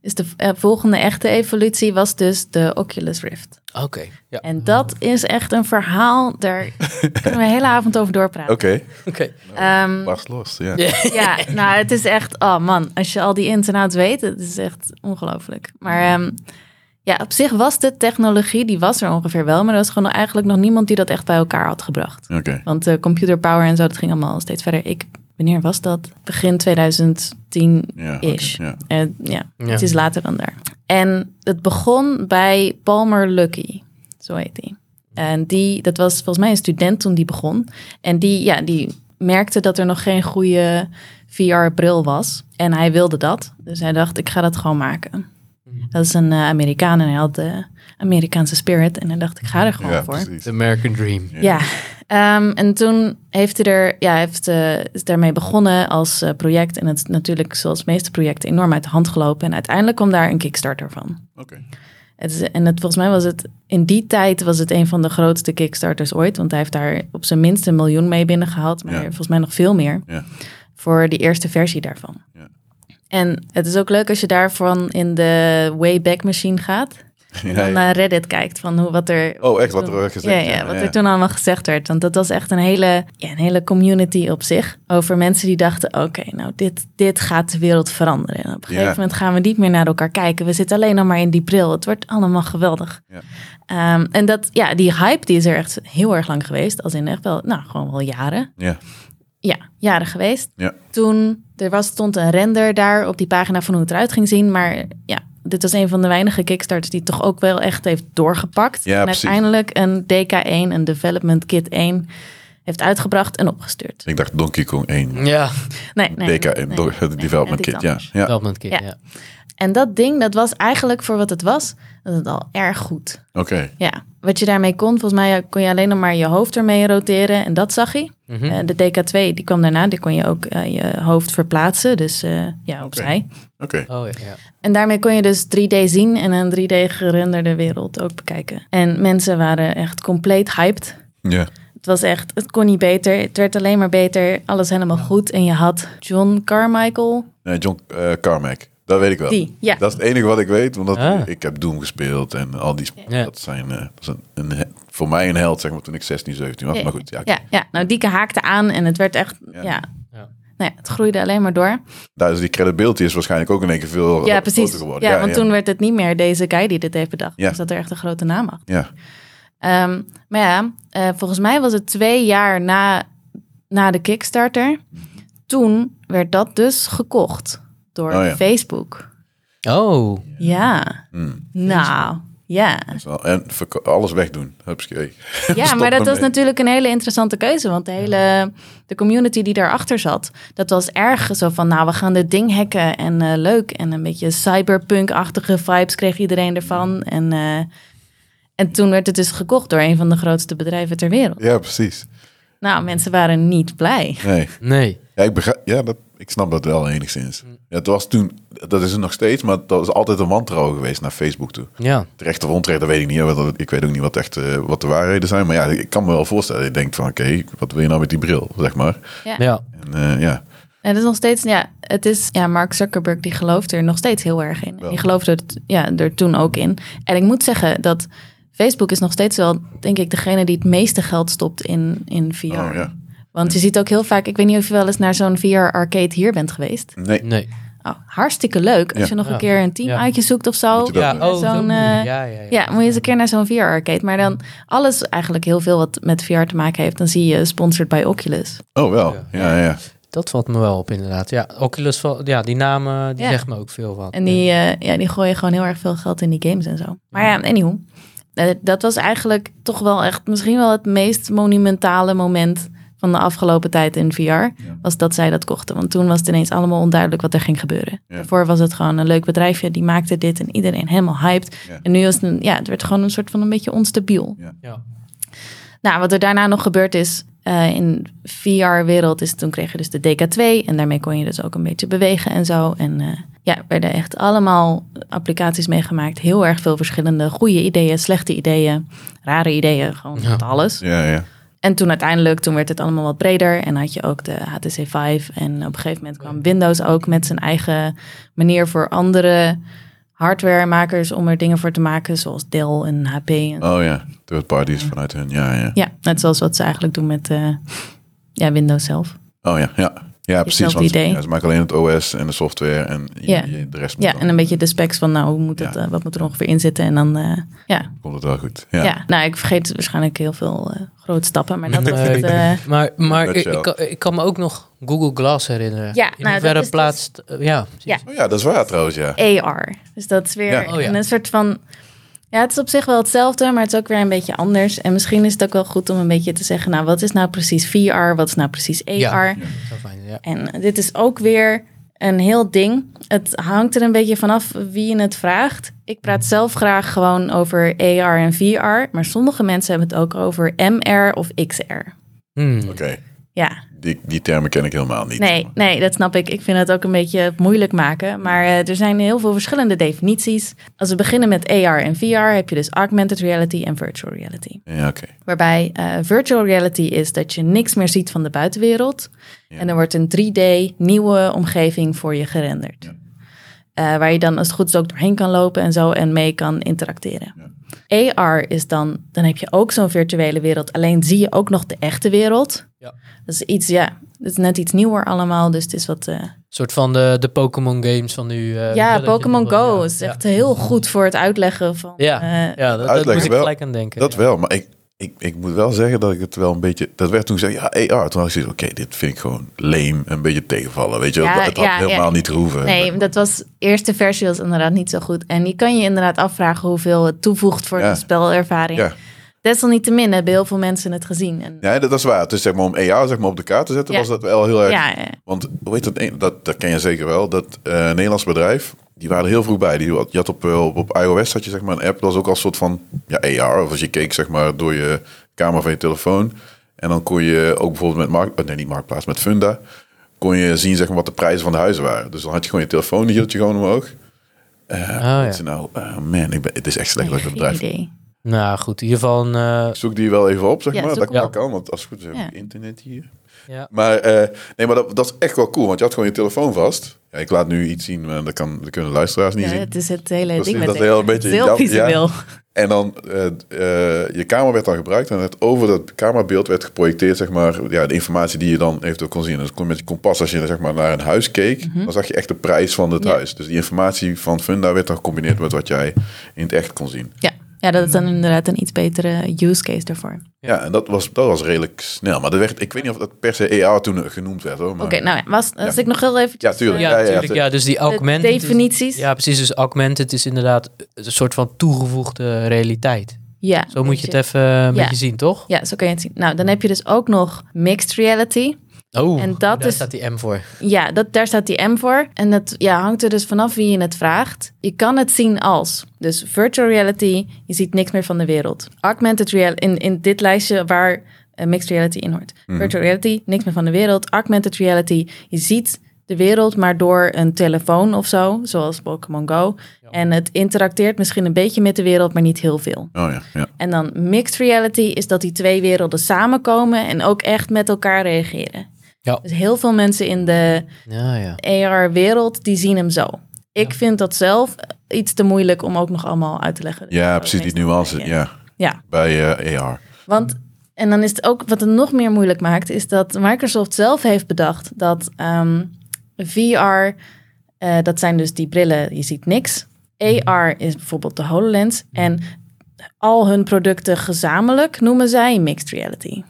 Speaker 3: is de eh, volgende echte evolutie was dus de Oculus Rift.
Speaker 2: Oké. Ja. (laughs) Oké.
Speaker 3: En dat is echt een verhaal,
Speaker 2: (laughs)
Speaker 3: daar kunnen we een hele avond over doorpraten.
Speaker 1: Oké,
Speaker 3: Ehm,
Speaker 1: barst los. Ja.
Speaker 2: Ja.
Speaker 3: (laughs) ja, nou, het is echt, oh man, als je al die ins en outs weet, het is echt ongelooflijk. Maar ehm, ja, op zich was de technologie, die was er ongeveer wel, maar er was gewoon eigenlijk nog niemand die dat echt bij elkaar had gebracht.
Speaker 1: Oké,
Speaker 3: Want eh, computer power en zo, dat ging allemaal steeds verder. Ik, wanneer was dat? Begin 2010
Speaker 1: ja. oké,
Speaker 3: Ish.
Speaker 1: ja.
Speaker 3: Eh, ja,
Speaker 2: Ja.
Speaker 3: het is later dan daar. En het begon bij Palmer Lucky, zo heet hij. En die, dat was volgens mij een student toen die begon. En die, ja, die merkte dat er nog geen goede VR-bril was. En hij wilde dat. Dus hij dacht, ik ga dat gewoon maken. Dat is een eh, Amerikaan en hij had de Amerikaanse spirit. En hij dacht, ik ga er gewoon
Speaker 1: Ja,
Speaker 3: voor.
Speaker 1: precies.
Speaker 2: The American Dream.
Speaker 3: Ja, Ehm, en toen heeft hij er, ja, hij heeft, eh, is daarmee begonnen als eh, project. En het is natuurlijk, zoals de meeste projecten, enorm uit de hand gelopen. En uiteindelijk kwam daar een Kickstarter van.
Speaker 1: Oké.
Speaker 3: Het is, en het, volgens mij was het, in die tijd was het een van de grootste Kickstarters ooit. Want hij heeft daar op zijn minst een miljoen mee binnengehaald. Maar
Speaker 1: Ja.
Speaker 3: volgens mij nog veel meer
Speaker 1: Ja.
Speaker 3: voor die eerste versie daarvan.
Speaker 1: Ja.
Speaker 3: En het is ook leuk als je daarvan in de Wayback Machine gaat. En
Speaker 1: Ja,
Speaker 3: dan
Speaker 1: ja.
Speaker 3: naar Reddit kijkt van hoe, wat er
Speaker 1: Oh, echt wat er eh, gezegd
Speaker 3: ja, ja,
Speaker 1: werd,
Speaker 3: wat er toen allemaal gezegd werd. Want dat was echt een hele, ja, een hele community op zich. Over mensen die dachten, oké, nou dit, dit gaat de wereld veranderen. En op een
Speaker 1: Ja.
Speaker 3: gegeven moment gaan we niet meer naar elkaar kijken. We zitten alleen nog maar in die bril. Het wordt allemaal geweldig.
Speaker 1: Ja.
Speaker 3: Ehm, en dat, ja, die hype die is er echt heel erg lang geweest. Als in echt wel, nou gewoon wel jaren.
Speaker 1: Ja.
Speaker 3: Ja, jaren geweest.
Speaker 1: Ja.
Speaker 3: Toen er was, stond een render daar op die pagina van hoe het eruit ging zien. Maar ja, dit was een van de weinige Kickstarters die het toch ook wel echt heeft doorgepakt.
Speaker 1: Ja,
Speaker 3: en
Speaker 1: precies.
Speaker 3: uiteindelijk een DK1, een Development Kit 1, heeft uitgebracht en opgestuurd.
Speaker 1: Ik dacht Donkey Kong 1.
Speaker 2: Ja.
Speaker 3: Nee, nee.
Speaker 1: DK en
Speaker 3: nee,
Speaker 1: door het Development
Speaker 3: net
Speaker 1: Kit.
Speaker 3: iets
Speaker 1: Ja.
Speaker 3: anders.
Speaker 1: ja.
Speaker 2: Development Kit,
Speaker 3: Ja.
Speaker 2: ja.
Speaker 3: En dat ding, dat was eigenlijk voor wat het was, dat het al erg goed.
Speaker 1: Oké.
Speaker 3: Ja, wat je daarmee kon, volgens mij kon je alleen nog maar je hoofd ermee roteren en dat zag hij.
Speaker 2: Mhm.
Speaker 3: Eh, de DK2, die kwam daarna, die kon je ook eh, je hoofd verplaatsen, dus eh, ja, opzij.
Speaker 1: Oké.
Speaker 2: Oh ja. ja.
Speaker 3: En daarmee kon je dus 3D zien en een 3D gerenderde wereld ook bekijken. En mensen waren echt compleet hyped.
Speaker 1: Ja.
Speaker 3: Het was echt, het kon niet beter. Het werd alleen maar beter. Alles helemaal goed. En je had John Carmichael.
Speaker 1: Nee, John eh, Carmack. Dat weet ik wel.
Speaker 3: Die, ja.
Speaker 1: Dat is het enige wat ik weet, want dat,
Speaker 2: Ah.
Speaker 1: ik heb Doom gespeeld en al die... sp-
Speaker 2: Ja.
Speaker 1: Dat, zijn, eh, dat is een, een he- voor mij een held, zeg maar, toen ik 16, 17 was. Oh, Maar goed, ja,
Speaker 3: ja, ja. Nou, Dieke haakte aan en het werd echt,
Speaker 1: Ja.
Speaker 3: ja.
Speaker 2: Ja.
Speaker 3: Nou ja, het groeide alleen maar door.
Speaker 1: daar is die credibility is waarschijnlijk ook in één keer veel
Speaker 3: ja,
Speaker 1: groter
Speaker 3: precies. Ja,
Speaker 1: geworden.
Speaker 3: want toen werd het niet meer deze guy die dit heeft bedacht.
Speaker 1: Ja.
Speaker 3: Dus dat er echt een grote naam achter.
Speaker 1: Ja,
Speaker 3: Ehm, maar ja, eh, volgens mij was het twee jaar na, na de Kickstarter. Toen werd dat dus gekocht door
Speaker 1: Oh ja.
Speaker 3: Facebook.
Speaker 2: Oh.
Speaker 3: Ja,
Speaker 1: Hmm.
Speaker 3: nou, ja.
Speaker 1: Dus al- En verko- alles wegdoen. (laughs) Hupske.
Speaker 3: Ja,
Speaker 1: Stop
Speaker 3: maar dat was
Speaker 1: ermee.
Speaker 3: natuurlijk een hele interessante keuze. Want de hele de community die daarachter zat, dat was erg zo van... nou, we gaan dit ding hacken en eh, leuk. En een beetje cyberpunk-achtige vibes kreeg iedereen ervan. En, eh, en toen werd het dus gekocht door een van de grootste bedrijven ter wereld.
Speaker 1: Ja, precies.
Speaker 3: Nou, mensen waren niet blij.
Speaker 1: Nee.
Speaker 2: Nee.
Speaker 1: Ja, ik, begrijp, ja dat, ik snap dat wel enigszins.
Speaker 2: Mm.
Speaker 1: Ja, het was toen, dat is het nog steeds, maar dat is altijd een wantrouwen geweest naar Facebook toe.
Speaker 2: Ja.
Speaker 1: Terecht of onterecht, dat weet ik niet. hè, want Ik weet ook niet wat, echt, eh, wat de waarheden zijn. Maar ja, ik kan me wel voorstellen. Ik denk van, oké, wat wil je nou met die bril, zeg maar.
Speaker 2: Ja.
Speaker 1: En eh, ja,
Speaker 3: En het is nog steeds, ja, het is, ja, Mark Zuckerberg die gelooft er nog steeds heel erg in.
Speaker 1: Wel.
Speaker 3: Die geloofde het, ja, er toen ook in. En ik moet zeggen dat Facebook is nog steeds wel, denk ik, degene die het meeste geld stopt in, in VR.
Speaker 1: Oh, ja.
Speaker 3: Want je ziet ook heel vaak, ik weet niet of je wel eens naar zo'n VR-arcade hier bent geweest.
Speaker 1: Nee,
Speaker 2: Nee.
Speaker 3: oh, hartstikke leuk. Als
Speaker 1: Ja.
Speaker 3: je nog
Speaker 2: Ja.
Speaker 3: een keer een team
Speaker 2: Ja.
Speaker 3: uitje zoekt of zo.
Speaker 1: Moet je dat
Speaker 2: Ja,
Speaker 1: doen.
Speaker 2: oh,
Speaker 3: Zo'n,
Speaker 2: zo bedoel je.
Speaker 3: eh,
Speaker 2: ja, ja, ja.
Speaker 3: Ja, moet je eens een keer naar zo'n VR-arcade. Maar dan alles eigenlijk heel veel wat met VR te maken heeft. Dan zie je sponsored bij Oculus.
Speaker 1: Oh, wel.
Speaker 2: Ja.
Speaker 1: Ja, ja. ja.
Speaker 2: Dat valt me wel op, inderdaad. Ja, Oculus, val- ja, die naam eh, die
Speaker 3: Ja.
Speaker 2: zegt me ook veel wat.
Speaker 3: En die, eh, ja, die gooien gewoon heel erg veel geld in die games en zo. Maar ja, anyhow. Eh, Dat was eigenlijk toch wel echt misschien wel het meest monumentale moment van de afgelopen tijd in VR. Was dat zij dat kochten. Want toen was het ineens allemaal onduidelijk wat er ging gebeuren.
Speaker 1: Ja.
Speaker 3: Daarvoor was het gewoon een leuk bedrijfje. Die maakte dit en iedereen helemaal hyped.
Speaker 1: Ja.
Speaker 3: En nu was het, een- ja, het werd gewoon een soort van een beetje onstabiel.
Speaker 2: Ja.
Speaker 3: Nou, wat er daarna nog gebeurd is eh, in VR-wereld is toen kreeg je dus de DK2 en daarmee kon je dus ook een beetje bewegen en zo. En eh, ja, er werden echt allemaal applicaties meegemaakt. Heel erg veel verschillende goede ideeën, slechte ideeën, rare ideeën, gewoon
Speaker 2: Ja.
Speaker 3: van alles.
Speaker 1: ja, ja.
Speaker 3: En toen uiteindelijk, toen werd het allemaal wat breder en had je ook de HTC 5. En op een gegeven moment kwam Windows ook met zijn eigen manier voor andere hardwaremakers om er dingen voor te maken, zoals Dell en HP en
Speaker 1: Oh ja, third parties vanuit hun. Ja, ja.
Speaker 3: ja, net zoals wat ze eigenlijk doen met eh, ja, Windows zelf.
Speaker 1: Oh ja, ja. Ja, precies.
Speaker 3: Hetzelfde
Speaker 1: Want
Speaker 3: idee.
Speaker 1: ja, ze maken alleen het OS en de software en je-
Speaker 3: Ja.
Speaker 1: je- de rest moet
Speaker 3: Ja,
Speaker 1: dan-
Speaker 3: en een beetje de specs van nou, hoe moet het,
Speaker 1: Ja.
Speaker 3: eh, wat moet er ongeveer in zitten? En dan, eh, ja.
Speaker 1: komt het wel goed.
Speaker 3: Ja.
Speaker 1: Ja.
Speaker 3: nou, ik vergeet waarschijnlijk heel veel eh, grote stappen,
Speaker 1: (laughs)
Speaker 3: maar dat is
Speaker 2: Nee.
Speaker 3: het. eh,
Speaker 2: Maar, maar ik,
Speaker 1: Nutshell.
Speaker 2: ik, kan- ik kan me ook nog Google Glass herinneren.
Speaker 3: Ja,
Speaker 2: In
Speaker 3: nou,
Speaker 2: hoeverre
Speaker 3: dat is dus-
Speaker 2: plaatst... eh, ja,
Speaker 3: Ja.
Speaker 1: Oh ja, dat is waar trouwens, ja.
Speaker 3: AR. Dus dat is weer
Speaker 1: Ja.
Speaker 2: Oh, ja.
Speaker 3: een soort van. Ja, het is op zich wel hetzelfde, maar het is ook weer een beetje anders. En misschien is het ook wel goed om een beetje te zeggen, nou, wat is nou precies VR? Wat is nou precies AR?
Speaker 2: Ja. zo fijn. Ja.
Speaker 3: En dit is ook weer een heel ding. Het hangt er een beetje vanaf wie je het vraagt. Ik praat zelf graag gewoon over AR en VR. Maar sommige mensen hebben het ook over MR of XR.
Speaker 2: Hmm.
Speaker 1: Oké,
Speaker 3: Ja,
Speaker 1: die, die termen ken ik helemaal niet.
Speaker 3: nee, nee, dat snap ik. Ik vind het ook een beetje moeilijk maken. Maar eh, er zijn heel veel verschillende definities. Als we beginnen met AR en VR, heb je dus augmented reality en virtual reality.
Speaker 1: Ja, oké.
Speaker 3: Waarbij eh, virtual reality is dat je niks meer ziet van de buitenwereld. En er wordt een 3D nieuwe omgeving voor je gerenderd. Eh, waar je dan als het goed is ook doorheen kan lopen en zo en mee kan interacteren. AR is dan, dan heb je ook zo'n virtuele wereld. Alleen zie je ook nog de echte wereld.
Speaker 2: Ja.
Speaker 3: Dat is iets, ja, dat is net iets nieuwer allemaal. Dus het is wat... eh,
Speaker 2: Een soort van de, de Pokémon games van nu. eh, weet je wel,
Speaker 3: ja,
Speaker 2: dat je
Speaker 3: Pokémon
Speaker 2: nog wel-
Speaker 3: Go
Speaker 2: ja,
Speaker 3: is
Speaker 2: ja.
Speaker 3: echt heel goed voor het uitleggen van...
Speaker 2: Ja,
Speaker 3: eh,
Speaker 2: ja, dat, dat
Speaker 1: Uitleggen
Speaker 2: moest ik
Speaker 1: wel.
Speaker 2: gelijk aan denken.
Speaker 1: Dat
Speaker 2: ja.
Speaker 1: wel, maar ik, ik, ik moet wel zeggen dat ik het wel een beetje... Dat werd toen gezegd, ja, AR. Toen had ik zoiets oké, dit vind ik gewoon leem, een beetje tegenvallen. Weet je, wel.
Speaker 3: Ja,
Speaker 1: het had
Speaker 3: ja, ja.
Speaker 1: helemaal niet gehoeven.
Speaker 3: Nee, dat was eerste versie was inderdaad niet zo goed. En je kan je inderdaad afvragen hoeveel het toevoegt voor
Speaker 1: Ja.
Speaker 3: de spelervaring.
Speaker 1: Ja.
Speaker 3: Desalniettemin hebben heel veel mensen het gezien. En,
Speaker 1: Ja, dat, dat is waar. Dus zeg maar om AR zeg maar, op de kaart te zetten
Speaker 3: Ja.
Speaker 1: was dat wel heel erg...
Speaker 3: ja, eh,
Speaker 1: Want hoe heet dat, een- dat? Dat ken je zeker wel. Dat eh, Nederlands bedrijf, die waren er heel vroeg bij. Die had, je had op, eh, op, op iOS had je zeg maar een app. Dat was ook als soort van ja, AR. Of als je keek zeg maar door je camera van je telefoon. En dan kon je ook bijvoorbeeld met markt, eh, nee niet marktplaats, met Funda, kon je zien zeg maar wat de prijzen van de huizen waren. Dus dan had je gewoon je telefoon, die hield je gewoon omhoog.
Speaker 2: Oh,
Speaker 1: Ik
Speaker 2: ja.
Speaker 1: zei, nou, eh, man, ik ben, het is echt slecht dat ik dat
Speaker 3: geen
Speaker 1: bedrijf.
Speaker 3: idee.
Speaker 2: Nou goed, in ieder geval een... eh,
Speaker 1: Ik zoek die wel even op, zeg
Speaker 3: Ja,
Speaker 1: maar.
Speaker 3: zoek
Speaker 1: Dat,
Speaker 3: hem
Speaker 1: dat
Speaker 2: op.
Speaker 1: kan, want als het goed is, heb ik
Speaker 3: Ja.
Speaker 1: internet hier.
Speaker 2: ja.
Speaker 1: Maar, eh, nee, maar dat, dat is echt wel cool, want je had gewoon je telefoon vast. Ja, ik laat nu iets zien, maar dat, kan, dat kunnen de luisteraars niet
Speaker 3: Ja,
Speaker 1: zien.
Speaker 3: het is het hele
Speaker 1: Precies,
Speaker 3: ding met
Speaker 1: dat is heel een beetje
Speaker 3: heel
Speaker 1: jam-
Speaker 3: visueel.
Speaker 1: En dan, eh, eh, je camera werd dan gebruikt en het, over dat camerabeeld werd geprojecteerd, zeg maar, ja, de informatie die je dan eventueel kon zien. Dus kon met je kompas, als je zeg maar, naar een huis keek, dan zag je echt de prijs van het
Speaker 3: Mhm. Ja.
Speaker 1: huis. Dus die informatie van Funda werd dan gecombineerd met wat jij in het echt kon zien.
Speaker 3: Ja. ja, dat is dan
Speaker 1: Mm.
Speaker 3: inderdaad een iets betere use case daarvoor. Oké,
Speaker 1: Ja, en dat was, dat was redelijk snel. Maar dat werd, ik weet niet of dat per se AR toen genoemd werd, hoor. Maar,
Speaker 3: nou ja, was, als
Speaker 1: Ja.
Speaker 3: ik nog heel even...
Speaker 1: Ja, tuurlijk.
Speaker 2: Ja,
Speaker 1: Ja, ja,
Speaker 2: natuurlijk. Ja, dus die augmented... is-
Speaker 3: definities.
Speaker 2: ja, precies. Dus augmented is inderdaad een soort van toegevoegde realiteit.
Speaker 3: Ja,
Speaker 2: Zo moet je het
Speaker 3: beetje.
Speaker 2: even eh, een
Speaker 3: Ja.
Speaker 2: beetje zien, toch?
Speaker 3: Ja, zo kun je het zien. Nou, dan heb je dus ook nog mixed reality.
Speaker 2: Oh,
Speaker 3: En dat
Speaker 2: daar
Speaker 3: is-
Speaker 2: staat die M voor.
Speaker 3: Ja, dat, daar staat die M voor. En dat ja, hangt er dus vanaf wie je het vraagt. Je kan het zien als. Dus virtual reality, je ziet niks meer van de wereld. Augmented reality, in, in dit lijstje waar eh, mixed reality in hoort. Virtual reality, niks meer van de wereld. Augmented reality, je ziet de wereld maar door een telefoon of zo, zoals Pokémon Go. En het interacteert misschien een beetje met de wereld, maar niet heel veel.
Speaker 1: Oh ja, ja.
Speaker 3: En dan mixed reality is dat die twee werelden samenkomen en ook echt met elkaar reageren.
Speaker 2: Ja.
Speaker 3: Dus heel veel mensen in de
Speaker 2: Ja, ja.
Speaker 3: AR-wereld, die zien hem zo. Ik vind dat zelf iets te moeilijk om ook nog allemaal uit te leggen.
Speaker 1: Ja, precies, die nuance,
Speaker 3: Ja.
Speaker 1: ja.
Speaker 3: Ja,
Speaker 1: Bij eh AR.
Speaker 3: want en dan is het ook wat het nog meer moeilijk maakt, is dat Microsoft zelf heeft bedacht dat ehm, VR Eh, dat zijn dus die brillen, je ziet niks. AR is bijvoorbeeld de HoloLens. En al hun producten gezamenlijk noemen zij mixed reality.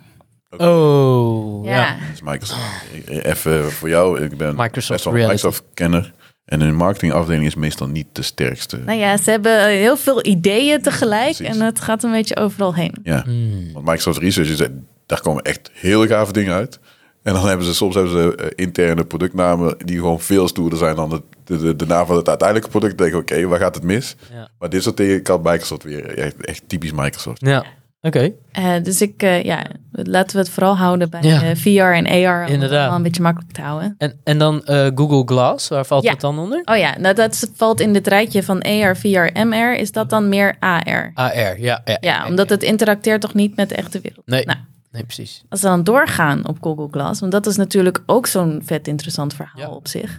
Speaker 2: Oh, ja.
Speaker 1: Dus Microsoft,
Speaker 3: Ah.
Speaker 1: eh, even voor jou, ik ben
Speaker 2: Microsoft
Speaker 1: best wel een
Speaker 2: Reality.
Speaker 1: Microsoft-kenner. En hun marketingafdeling is meestal niet de sterkste.
Speaker 3: Nou ja, ze hebben heel veel ideeën tegelijk
Speaker 1: Precies.
Speaker 3: en het gaat een beetje overal heen.
Speaker 1: Ja,
Speaker 3: Hmm.
Speaker 1: want Microsoft Research, is, eh, daar komen echt hele gave dingen uit. En dan hebben ze soms hebben ze eh, interne productnamen die gewoon veel stoerder zijn dan de, de, de, de naam van het uiteindelijke product. Dan denk ik, oké, waar gaat het mis?
Speaker 2: Ja.
Speaker 1: Maar dit soort dingen kan Microsoft weer. Echt, echt typisch Microsoft.
Speaker 2: Ja, oké.
Speaker 3: Eh, dus ik, eh, ja, laten we het vooral houden bij
Speaker 2: Ja.
Speaker 3: eh, VR en AR. Om het
Speaker 2: Inderdaad.
Speaker 3: allemaal een beetje makkelijk te houden.
Speaker 2: En, en dan eh, Google Glass, waar valt
Speaker 3: Ja.
Speaker 2: dat dan onder?
Speaker 3: Oh ja, nou dat valt in dit rijtje van AR, VR, MR. Is dat dan meer AR?
Speaker 2: AR, ja. Ja,
Speaker 3: Ja, omdat het interacteert toch niet met de echte wereld.
Speaker 2: Nee,
Speaker 3: Nou.
Speaker 2: nee precies.
Speaker 3: Als we dan doorgaan op Google Glass, want dat is natuurlijk ook zo'n vet interessant verhaal
Speaker 2: Ja.
Speaker 3: op zich.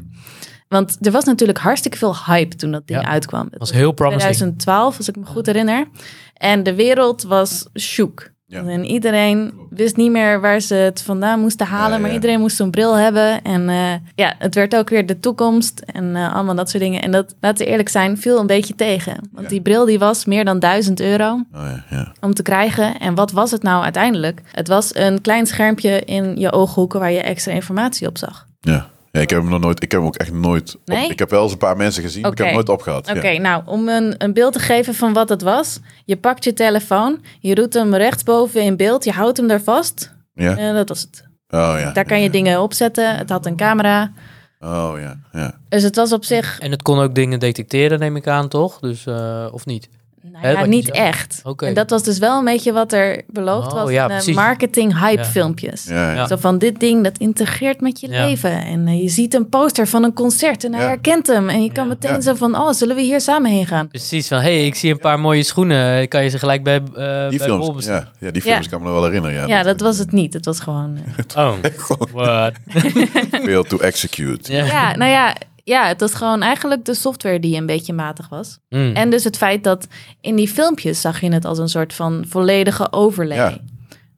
Speaker 3: Want er was natuurlijk hartstikke veel hype toen dat ding
Speaker 2: Ja.
Speaker 3: uitkwam. Het
Speaker 2: was heel promising.
Speaker 3: 2012, als ik me goed herinner. En de wereld was shook.
Speaker 1: Ja.
Speaker 3: En iedereen wist niet meer waar ze het vandaan moesten halen,
Speaker 1: Ja, ja.
Speaker 3: maar iedereen moest zo'n bril hebben. En eh, ja, het werd ook weer de toekomst en eh, allemaal dat soort dingen. En dat, laten we eerlijk zijn, viel een beetje tegen. Want
Speaker 1: Ja.
Speaker 3: die bril die was meer dan 1000 euro
Speaker 1: Oh, ja, ja.
Speaker 3: om te krijgen. En wat was het nou uiteindelijk? Het was een klein schermpje in je ooghoeken waar je extra informatie op zag.
Speaker 1: ja. Ja, ik heb hem nog nooit. Ik heb hem ook echt nooit. op-
Speaker 3: Nee?
Speaker 1: ik heb wel eens een paar mensen gezien. maar Ik heb hem
Speaker 3: Oké.
Speaker 1: nooit opgehaald.
Speaker 3: Oké,
Speaker 1: Ja.
Speaker 3: nou, om een, een beeld te geven van wat het was. Je pakt je telefoon, je doet hem rechtsboven in beeld, je houdt hem daar vast.
Speaker 1: Ja?
Speaker 3: Eh, dat was het.
Speaker 1: Oh ja.
Speaker 3: Daar kan je dingen opzetten. Het had een camera.
Speaker 1: Oh ja. ja.
Speaker 3: Dus het was op zich
Speaker 2: En het kon ook dingen detecteren, neem ik aan, toch? Dus, eh, of niet?
Speaker 3: nou
Speaker 2: Hè,
Speaker 3: ja,
Speaker 2: wat je
Speaker 3: niet
Speaker 2: zegt.
Speaker 3: echt.
Speaker 2: Oké.
Speaker 3: En dat was dus wel een beetje wat er beloofd
Speaker 2: Oh,
Speaker 3: was
Speaker 2: ja,
Speaker 3: in de
Speaker 2: precies.
Speaker 3: marketing hype
Speaker 2: Ja.
Speaker 3: filmpjes.
Speaker 1: Ja, ja.
Speaker 2: Ja.
Speaker 3: Zo van dit ding, dat integreert met je
Speaker 2: Ja.
Speaker 3: leven. En eh, je ziet een poster van een concert en hij
Speaker 1: Ja.
Speaker 3: herkent hem. En je kan
Speaker 2: Ja.
Speaker 3: meteen
Speaker 1: Ja.
Speaker 3: zo van, oh, zullen we hier samen heen gaan?
Speaker 2: Precies, van hey, ik zie een paar mooie schoenen. Kan je ze gelijk bij, eh
Speaker 1: Die
Speaker 2: bij Bol
Speaker 1: films.
Speaker 2: bestellen?
Speaker 1: Ja, ja, die films
Speaker 3: Ja.
Speaker 1: kan ik me nog wel herinneren. Ja,
Speaker 3: Ja, dat was het niet. Het was gewoon...
Speaker 1: (laughs)
Speaker 3: eh,
Speaker 2: Oh, (laughs) what?
Speaker 1: Fail to execute.
Speaker 2: (laughs) Ja.
Speaker 3: ja, nou ja, ja, het was gewoon eigenlijk de software die een beetje matig was.
Speaker 2: Hmm.
Speaker 3: En dus het feit dat in die filmpjes zag je het als een soort van volledige overlay. Dus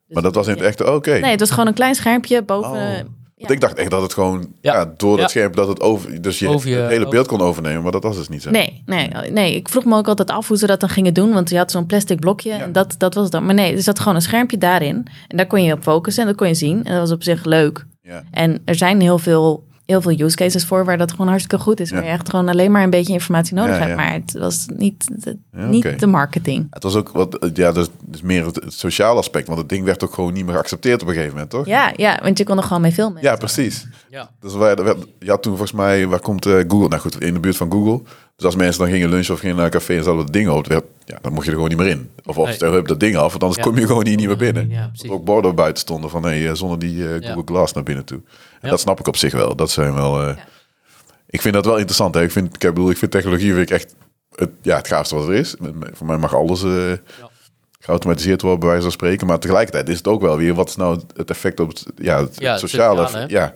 Speaker 1: Ja. Maar dat was in het echte. Oké.
Speaker 3: Nee, het was gewoon een klein schermpje boven...
Speaker 1: Oh.
Speaker 3: eh, ja.
Speaker 1: Want ik dacht echt dat het gewoon
Speaker 2: Ja.
Speaker 1: ja. door dat
Speaker 2: Ja.
Speaker 1: scherm dat het over dus je,
Speaker 2: Over je-
Speaker 1: het hele
Speaker 2: over-
Speaker 1: beeld kon overnemen, maar dat was dus niet zo.
Speaker 3: Nee, nee, nee, ik vroeg me ook altijd af hoe ze dat dan gingen doen. Want je had zo'n plastic blokje en dat, dat was het dan. Maar nee, er zat gewoon een schermpje daarin. En daar kon je op focussen en dat kon je zien. En dat was op zich leuk.
Speaker 1: Ja.
Speaker 3: En er zijn heel veel, heel veel use cases voor waar dat gewoon hartstikke goed is.
Speaker 1: Ja.
Speaker 3: Waar je echt gewoon alleen maar een beetje informatie nodig
Speaker 1: Ja,
Speaker 3: hebt.
Speaker 1: ja.
Speaker 3: Maar het was niet, het-
Speaker 1: Ja,
Speaker 3: niet
Speaker 1: oké.
Speaker 3: de marketing.
Speaker 1: Het was ook wat ja, dus, dus meer het, het sociale aspect, want het ding werd ook gewoon niet meer geaccepteerd op een gegeven moment, toch?
Speaker 3: Ja, ja, want je kon er gewoon mee filmen.
Speaker 1: Ja, precies.
Speaker 2: Ja.
Speaker 1: Dus wij, wij- je had toen volgens mij, waar komt eh, Google? Nou goed, in de buurt van Google. Dus als mensen dan gingen lunchen of gingen naar een café en ze hadden dat ding op, werd- ja, dan mocht je er gewoon niet meer in. Of, of
Speaker 2: Nee.
Speaker 1: stel, heb dat ding af, want anders
Speaker 2: Ja.
Speaker 1: kom je gewoon hier niet meer binnen.
Speaker 2: Ja,
Speaker 1: Dat
Speaker 2: precies.
Speaker 1: er ook borden buiten stonden van, hé, hey, zonder die eh, Google Glass naar binnen toe. En
Speaker 2: Ja.
Speaker 1: dat snap ik op zich wel. Dat zijn wel... eh, Ik vind dat wel interessant. Hè? Ik, vind, ik bedoel, ik vind technologie vind ik echt het, ja, het gaafste wat er is. Met- met- Voor mij mag alles eh, geautomatiseerd worden, bij wijze van spreken. Maar tegelijkertijd is het ook wel weer, wat is nou het effect op het, ja, het,
Speaker 2: Ja, het
Speaker 1: sociale?
Speaker 2: sociale,
Speaker 1: ja,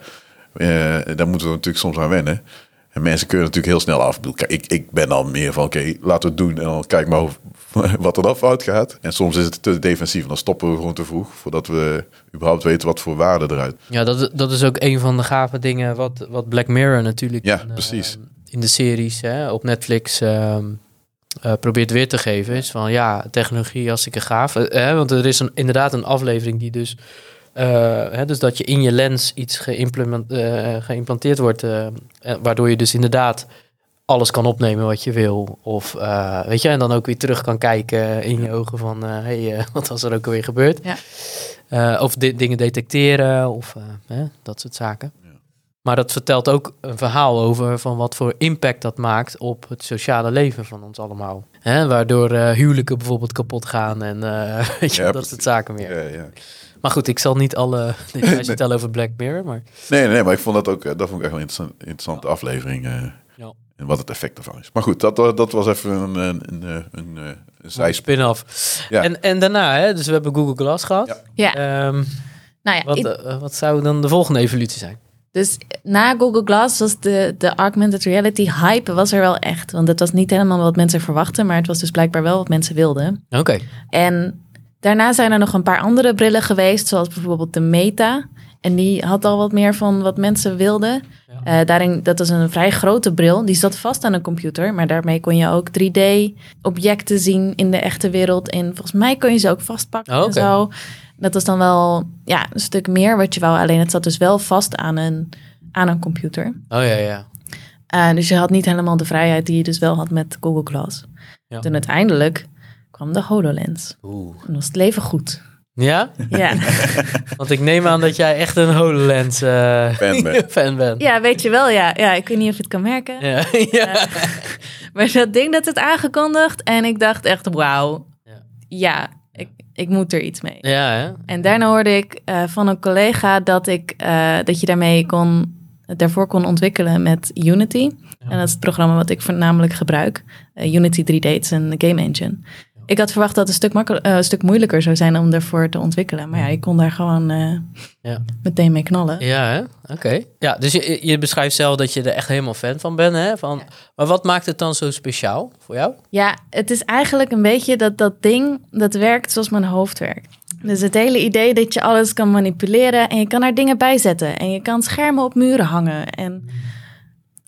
Speaker 1: Eh, daar moeten we natuurlijk soms aan wennen. En mensen kunnen natuurlijk heel snel af. Ik, bedoel, kijk, ik, ik ben al meer van, oké, laten we het doen. En dan kijk maar hoe- (laughs) wat er dan fout gaat. En soms is het te defensief. En dan stoppen we gewoon te vroeg, voordat we überhaupt weten wat voor waarde eruit.
Speaker 2: Ja, dat, dat is ook een van de gave dingen wat, wat Black Mirror natuurlijk
Speaker 1: Ja,
Speaker 2: in, eh,
Speaker 1: precies.
Speaker 2: in de series hè, op Netflix ehm, eh, probeert weer te geven. Is van ja, technologie hartstikke gaaf. Eh, hè, want er is een, inderdaad een aflevering die dus... eh, hè, dus dat je in je lens iets geïmplement- eh, geïmplanteerd wordt... eh, eh, waardoor je dus inderdaad alles kan opnemen wat je wil. Of eh, weet je, en dan ook weer terug kan kijken in je ogen van... eh, hey, eh, (laughs) wat was er ook alweer gebeurd?
Speaker 3: Ja.
Speaker 2: Eh, of di- dingen detecteren of eh, hè, dat soort zaken. Maar dat vertelt ook een verhaal over van wat voor impact dat maakt op het sociale leven van ons allemaal. Hè, waardoor eh, huwelijken bijvoorbeeld kapot gaan en eh, (laughs) weet je,
Speaker 1: Ja,
Speaker 2: dat soort
Speaker 1: precies.
Speaker 2: zaken meer.
Speaker 1: Ja, ja.
Speaker 2: Maar goed, ik zal niet
Speaker 1: (laughs)
Speaker 2: alle (laughs) details vertellen over Black Mirror, maar
Speaker 1: Nee, nee, nee, maar ik vond dat ook, eh, dat vond ik echt wel een interessant- interessante aflevering. eh,
Speaker 2: Ja.
Speaker 1: En wat het effect ervan is. Maar goed, dat, wa- dat was even een, een, een, eh, een, eh, een zijsp-
Speaker 2: spin-off.
Speaker 1: Ja.
Speaker 2: En, en daarna, hè, dus we hebben Google Glass gehad.
Speaker 1: Ja.
Speaker 3: Ja,
Speaker 2: Ehm,
Speaker 3: nou ja,
Speaker 2: wat,
Speaker 3: ik-
Speaker 2: eh, wat zou dan de volgende evolutie zijn?
Speaker 3: dus na Google Glass was de, de augmented reality hype was er wel echt. Want het was niet helemaal wat mensen verwachten, maar het was dus blijkbaar wel wat mensen wilden.
Speaker 2: Oké.
Speaker 3: En daarna zijn er nog een paar andere brillen geweest, zoals bijvoorbeeld de Meta En die had al wat meer van wat mensen wilden. Eh, daarin, dat is een vrij grote bril. Die zat vast aan een computer. Maar daarmee kon je ook 3D-objecten zien in de echte wereld. En volgens mij kon je ze ook vastpakken
Speaker 2: Oh,
Speaker 3: en
Speaker 2: oké.
Speaker 3: zo. Dat was dan wel ja, een stuk meer wat je wou. Alleen het zat dus wel vast aan een, aan een computer.
Speaker 2: Oh ja, ja.
Speaker 3: Eh, dus je had niet helemaal de vrijheid die je dus wel had met Google Glass.
Speaker 2: Ja.
Speaker 3: Toen uiteindelijk kwam de HoloLens.
Speaker 2: Oeh.
Speaker 3: Toen was het leven goed.
Speaker 2: Ja?
Speaker 3: (laughs) Ja,
Speaker 2: Want ik neem aan dat jij echt een HoloLens eh,
Speaker 1: Fan ben.
Speaker 2: (laughs) fan bent.
Speaker 3: ja weet je wel, ja. ja. Ik weet niet of je het kan merken.
Speaker 2: Ja. (laughs) ja.
Speaker 3: Maar dat ding dat het aangekondigd en ik dacht echt, wauw,
Speaker 2: Ja.
Speaker 3: ja, ik, ik moet er iets mee.
Speaker 2: Ja, hè?
Speaker 3: En daarna hoorde ik eh, van een collega dat, ik, eh, dat je daarmee kon, daarvoor kon ontwikkelen met Unity. En dat is het programma wat ik voornamelijk gebruik. Eh, Unity 3D het is een game engine. Ik had verwacht dat het een stuk, makkel- eh, een stuk moeilijker zou zijn om daarvoor te ontwikkelen. Maar ja, ik kon daar gewoon eh,
Speaker 2: Ja.
Speaker 3: meteen mee knallen.
Speaker 2: Ja, hè? Oké. Ja, dus je, je beschrijft zelf dat je er echt helemaal fan van bent, hè? Van, Maar wat maakt het dan zo speciaal voor jou?
Speaker 3: Ja, het is eigenlijk een beetje dat dat ding dat werkt zoals mijn hoofd werkt. Dus het hele idee dat je alles kan manipuleren en je kan er dingen bij zetten en je kan schermen op muren hangen en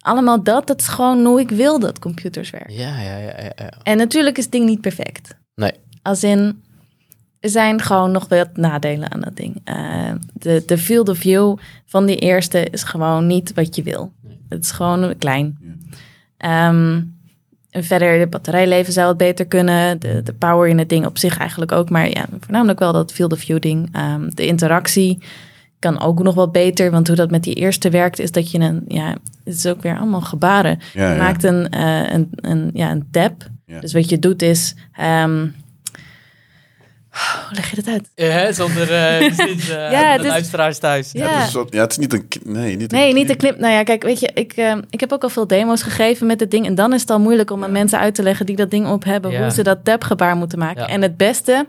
Speaker 3: allemaal dat, dat is gewoon hoe ik wil dat computers werken.
Speaker 2: Ja, ja, ja, ja. ja.
Speaker 3: En natuurlijk is het ding niet perfect.
Speaker 2: Nee.
Speaker 3: Als in, er zijn gewoon nog wat nadelen aan dat ding. Eh, de, de field of view van die eerste is gewoon niet wat je wil. Het is gewoon klein. Ehm, en verder, de batterijleven zou het beter kunnen. De, de power in het ding op zich eigenlijk ook. Maar ja, voornamelijk wel dat field of view ding. Ehm, de interactie kan ook nog wat beter. Want hoe dat met die eerste werkt, is dat je een... Ja, het is ook weer allemaal gebaren.
Speaker 1: Ja,
Speaker 3: je
Speaker 1: ja.
Speaker 3: maakt een, eh, een, een, ja, een tab.
Speaker 1: Ja.
Speaker 3: Dus wat je doet is... ehm, hoe leg je dat uit?
Speaker 2: hè? Zonder (laughs) eh precies, eh,
Speaker 3: Ja,
Speaker 2: de
Speaker 3: dus-
Speaker 2: luisteraars thuis.
Speaker 1: Ja,
Speaker 3: Ja.
Speaker 1: het is een soort- ja, het is niet een... k- Nee, niet een
Speaker 3: Nee, niet de
Speaker 1: knip.
Speaker 3: knip. Nou ja, kijk, weet je, ik, eh, ik heb ook al veel demo's gegeven met dit ding. En dan is het al moeilijk om aan mensen uit te leggen die dat ding op hebben,
Speaker 2: Ja.
Speaker 3: hoe ze dat tabgebaar moeten maken.
Speaker 2: Ja.
Speaker 3: En het beste,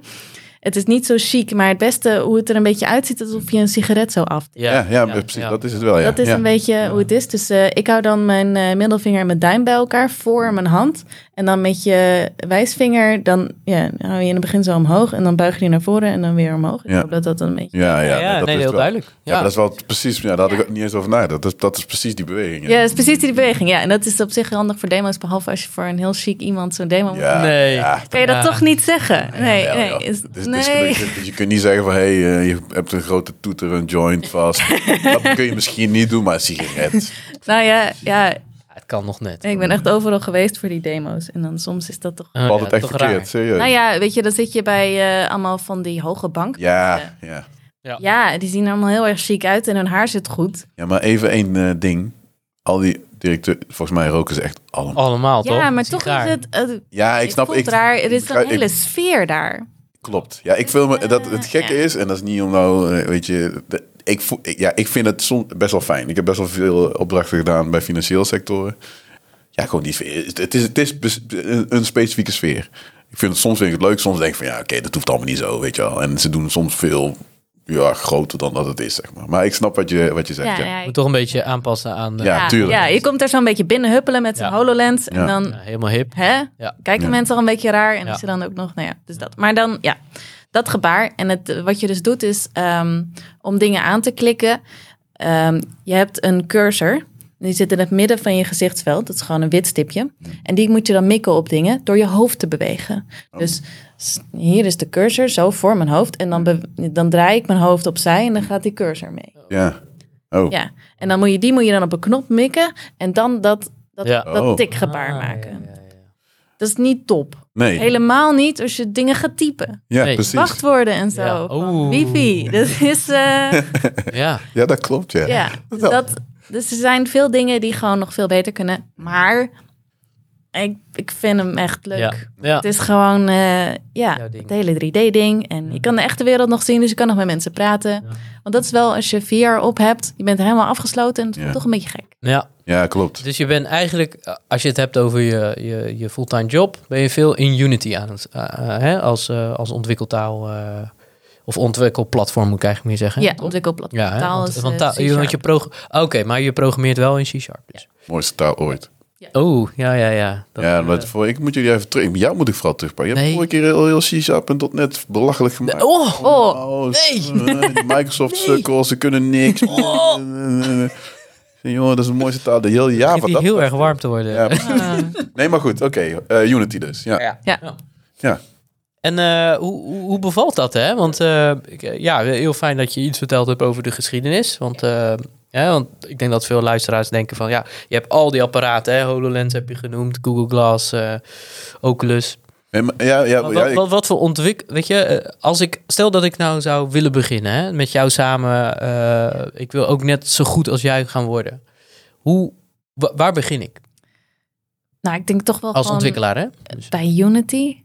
Speaker 3: het is niet zo chic, maar het beste hoe het er een beetje uitziet, is alsof je een sigaret zo af.
Speaker 1: Ja, ja, precies.
Speaker 2: ja.
Speaker 1: Dat is het wel, ja.
Speaker 3: Dat is
Speaker 1: ja.
Speaker 3: een beetje hoe het is. Dus eh, ik hou dan mijn eh, middelvinger en mijn duim bij elkaar voor mijn hand. En dan met je wijsvinger, dan ja, dan hou je in het begin zo omhoog. En dan buig je die naar voren en dan weer omhoog. Ik
Speaker 1: Ja.
Speaker 3: hoop dat dat een beetje...
Speaker 1: Ja,
Speaker 2: Ja,
Speaker 1: ja,
Speaker 2: nee,
Speaker 1: dat is
Speaker 2: heel
Speaker 1: wel-
Speaker 2: duidelijk.
Speaker 1: Ja,
Speaker 2: Ja.
Speaker 1: maar dat is wel precies... Ja, daar had ik ook niet eens over nagedacht. Dat is, dat is precies die beweging.
Speaker 3: Ja, dat is precies die beweging. Ja, en dat is op zich handig voor demo's, behalve als je voor een heel chic iemand zo'n demo moet.
Speaker 1: Ja,
Speaker 2: Nee.
Speaker 1: ja.
Speaker 3: Kan je dat
Speaker 2: Ja.
Speaker 3: toch niet zeggen? Nee,
Speaker 1: Ja,
Speaker 3: nee.
Speaker 1: ja.
Speaker 3: Is,
Speaker 1: Het is- het is
Speaker 3: nee.
Speaker 1: gelukkig. Dus je kunt niet zeggen van, hé, hey, eh, je hebt een grote toeter, een joint vast.
Speaker 3: (laughs)
Speaker 1: dat kun je misschien niet doen, maar een sigaret.
Speaker 3: Nou ja, ja,
Speaker 2: Het kan nog net.
Speaker 3: ik ben echt overal geweest voor die demo's. En dan soms is dat toch...
Speaker 2: Oh,
Speaker 1: Valt
Speaker 2: ja,
Speaker 1: het echt
Speaker 2: toch
Speaker 1: verkeerd,
Speaker 2: raar.
Speaker 1: serieus.
Speaker 3: Nou ja, weet je, dan zit je bij eh, allemaal van die hoge bank.
Speaker 1: Ja, ja.
Speaker 3: Ja, die zien er allemaal heel erg chic uit en hun haar zit goed.
Speaker 1: Ja, maar even één eh, ding. Al die directeur, volgens mij roken ze echt allemaal.
Speaker 2: Allemaal, toch?
Speaker 3: ja, maar toch is
Speaker 2: Sigaar.
Speaker 3: het... eh,
Speaker 1: Ja, ik
Speaker 3: Oh, het
Speaker 1: snap.
Speaker 3: voelt
Speaker 1: Ik,
Speaker 3: raar. Er is een
Speaker 1: begrijp- ik-
Speaker 3: hele sfeer daar.
Speaker 1: klopt. Ja, ik wil me dat het gekke is en dat is niet om nou, eh, weet je, de- ik, voel, ik- ja, ik vind het soms best wel fijn. Ik heb best wel veel opdrachten gedaan bij financiële sectoren. Ja, gewoon die sfeer. Het is, het is bes- een- een specifieke sfeer. Ik vind het soms vind ik het leuk, soms denk ik van ja, oké, dat hoeft allemaal niet zo, weet je wel. En ze doen soms veel ja, groter dan dat het is, zeg maar. Maar ik snap wat je, wat je zegt. Ja,
Speaker 2: Moet toch een beetje aanpassen aan... eh,
Speaker 1: Ja,
Speaker 3: ja,
Speaker 1: tuurlijk.
Speaker 3: ja, je komt er zo'n beetje binnen huppelen met zijn
Speaker 2: Ja.
Speaker 3: HoloLens. En
Speaker 1: Ja.
Speaker 3: dan
Speaker 2: ja, eh, helemaal hip.
Speaker 3: hè?
Speaker 2: Ja.
Speaker 3: Kijken
Speaker 1: Ja.
Speaker 3: mensen al een beetje raar en
Speaker 2: Ja.
Speaker 3: als je dan ook nog, nou ja, dus dat. Maar dan, ja, dat gebaar. En het, wat je dus doet is ehm, om dingen aan te klikken. ehm, je hebt een cursor. Die zit in het midden van je gezichtsveld. Dat is gewoon een wit stipje. En die moet je dan mikken op dingen door je hoofd te bewegen. Dus s- hier is de cursor, zo voor mijn hoofd. En dan, be- dan draai ik mijn hoofd opzij en dan gaat die cursor mee.
Speaker 1: ja. Oh,
Speaker 3: Ja. En dan moet je, die moet je dan op een knop mikken. En dan dat, dat,
Speaker 2: Ja.
Speaker 1: Oh.
Speaker 3: dat tikgebaar
Speaker 2: Ah,
Speaker 3: maken.
Speaker 2: ja, ja, ja.
Speaker 3: Dat is niet top.
Speaker 1: nee.
Speaker 3: Helemaal niet als je dingen gaat typen.
Speaker 1: Ja,
Speaker 2: Nee.
Speaker 1: precies.
Speaker 3: Wachtwoorden en zo.
Speaker 2: Ja.
Speaker 3: van
Speaker 2: Oeh.
Speaker 3: Wifi. Dat is. eh,
Speaker 2: Ja.
Speaker 1: Ja, dat klopt, (laughs) ja.
Speaker 3: ja. Dus, dat, dus er zijn veel dingen die gewoon nog veel beter kunnen. Maar ik, ik vind hem echt leuk.
Speaker 2: Ja. Ja.
Speaker 3: Het is gewoon. eh, ja,
Speaker 2: Jouw ding.
Speaker 3: het hele 3D-ding. En je kan de echte wereld nog zien, dus je kan nog met mensen praten. Want dat is wel als je VR op hebt. Je bent helemaal afgesloten. En het voelt
Speaker 1: Ja.
Speaker 3: toch een beetje gek.
Speaker 2: ja.
Speaker 1: Ja, klopt.
Speaker 2: Dus je bent eigenlijk, eh, als je het hebt over je, je, je fulltime job, ben je veel in Unity aan het, eh, eh, hè, als, eh, als ontwikkeltaal eh, of ontwikkelplatform moet ik eigenlijk meer zeggen.
Speaker 3: Ja,
Speaker 2: toch?
Speaker 3: ontwikkelplatform.
Speaker 2: Ja, hè,
Speaker 3: taal
Speaker 2: want,
Speaker 3: is,
Speaker 2: want
Speaker 3: eh,
Speaker 2: taal- je- want je
Speaker 3: C-sharp.
Speaker 2: pro- Oké, maar je programmeert wel in C-sharp. Dus.
Speaker 1: Mooiste taal ooit.
Speaker 2: Oh, ja, ja, ja. Dat,
Speaker 1: ja,
Speaker 2: eh,
Speaker 1: maar voor, ik moet jullie even terug. Jou moet ik vooral terugpakken. Je
Speaker 2: Nee.
Speaker 1: hebt vorige keer heel, heel C-Sharp en net belachelijk gemaakt.
Speaker 2: oh,
Speaker 3: Oh,
Speaker 2: nee.
Speaker 1: s- eh,
Speaker 2: (laughs)
Speaker 1: die Microsoft sukkel, ze kunnen niks. (laughs)
Speaker 2: Oh.
Speaker 1: Eh, eh, eh. Jongen, dat is de mooiste taal. De hele Java.
Speaker 2: begint
Speaker 1: dat-
Speaker 2: hier heel Ah. erg warm te worden.
Speaker 1: Ja, precies. nee, maar goed. Oké, eh, Unity dus. Ja.
Speaker 3: Ja.
Speaker 1: Ja.
Speaker 2: En eh, hoe, hoe hoe bevalt dat, hè? Want eh, ik, eh, ja, heel fijn dat je iets verteld hebt over de geschiedenis. Want, eh, hè, want ik denk dat veel luisteraars denken van... ja, je hebt al die apparaten, hè? HoloLens heb je genoemd, Google Glass, eh, Oculus.
Speaker 1: Nee, maar- ja, ja,
Speaker 2: Maar
Speaker 1: ja,
Speaker 2: wat,
Speaker 1: ik-
Speaker 2: wat, wat voor ontwik... Weet je, eh, als ik... Stel dat ik nou zou willen beginnen, hè? Met jou samen. eh, ik wil ook net zo goed als jij gaan worden. Hoe... wa- waar begin ik?
Speaker 3: Nou, ik denk toch wel
Speaker 2: Als
Speaker 3: gewoon
Speaker 2: ontwikkelaar, hè? Dus, Oké.
Speaker 3: bij Unity.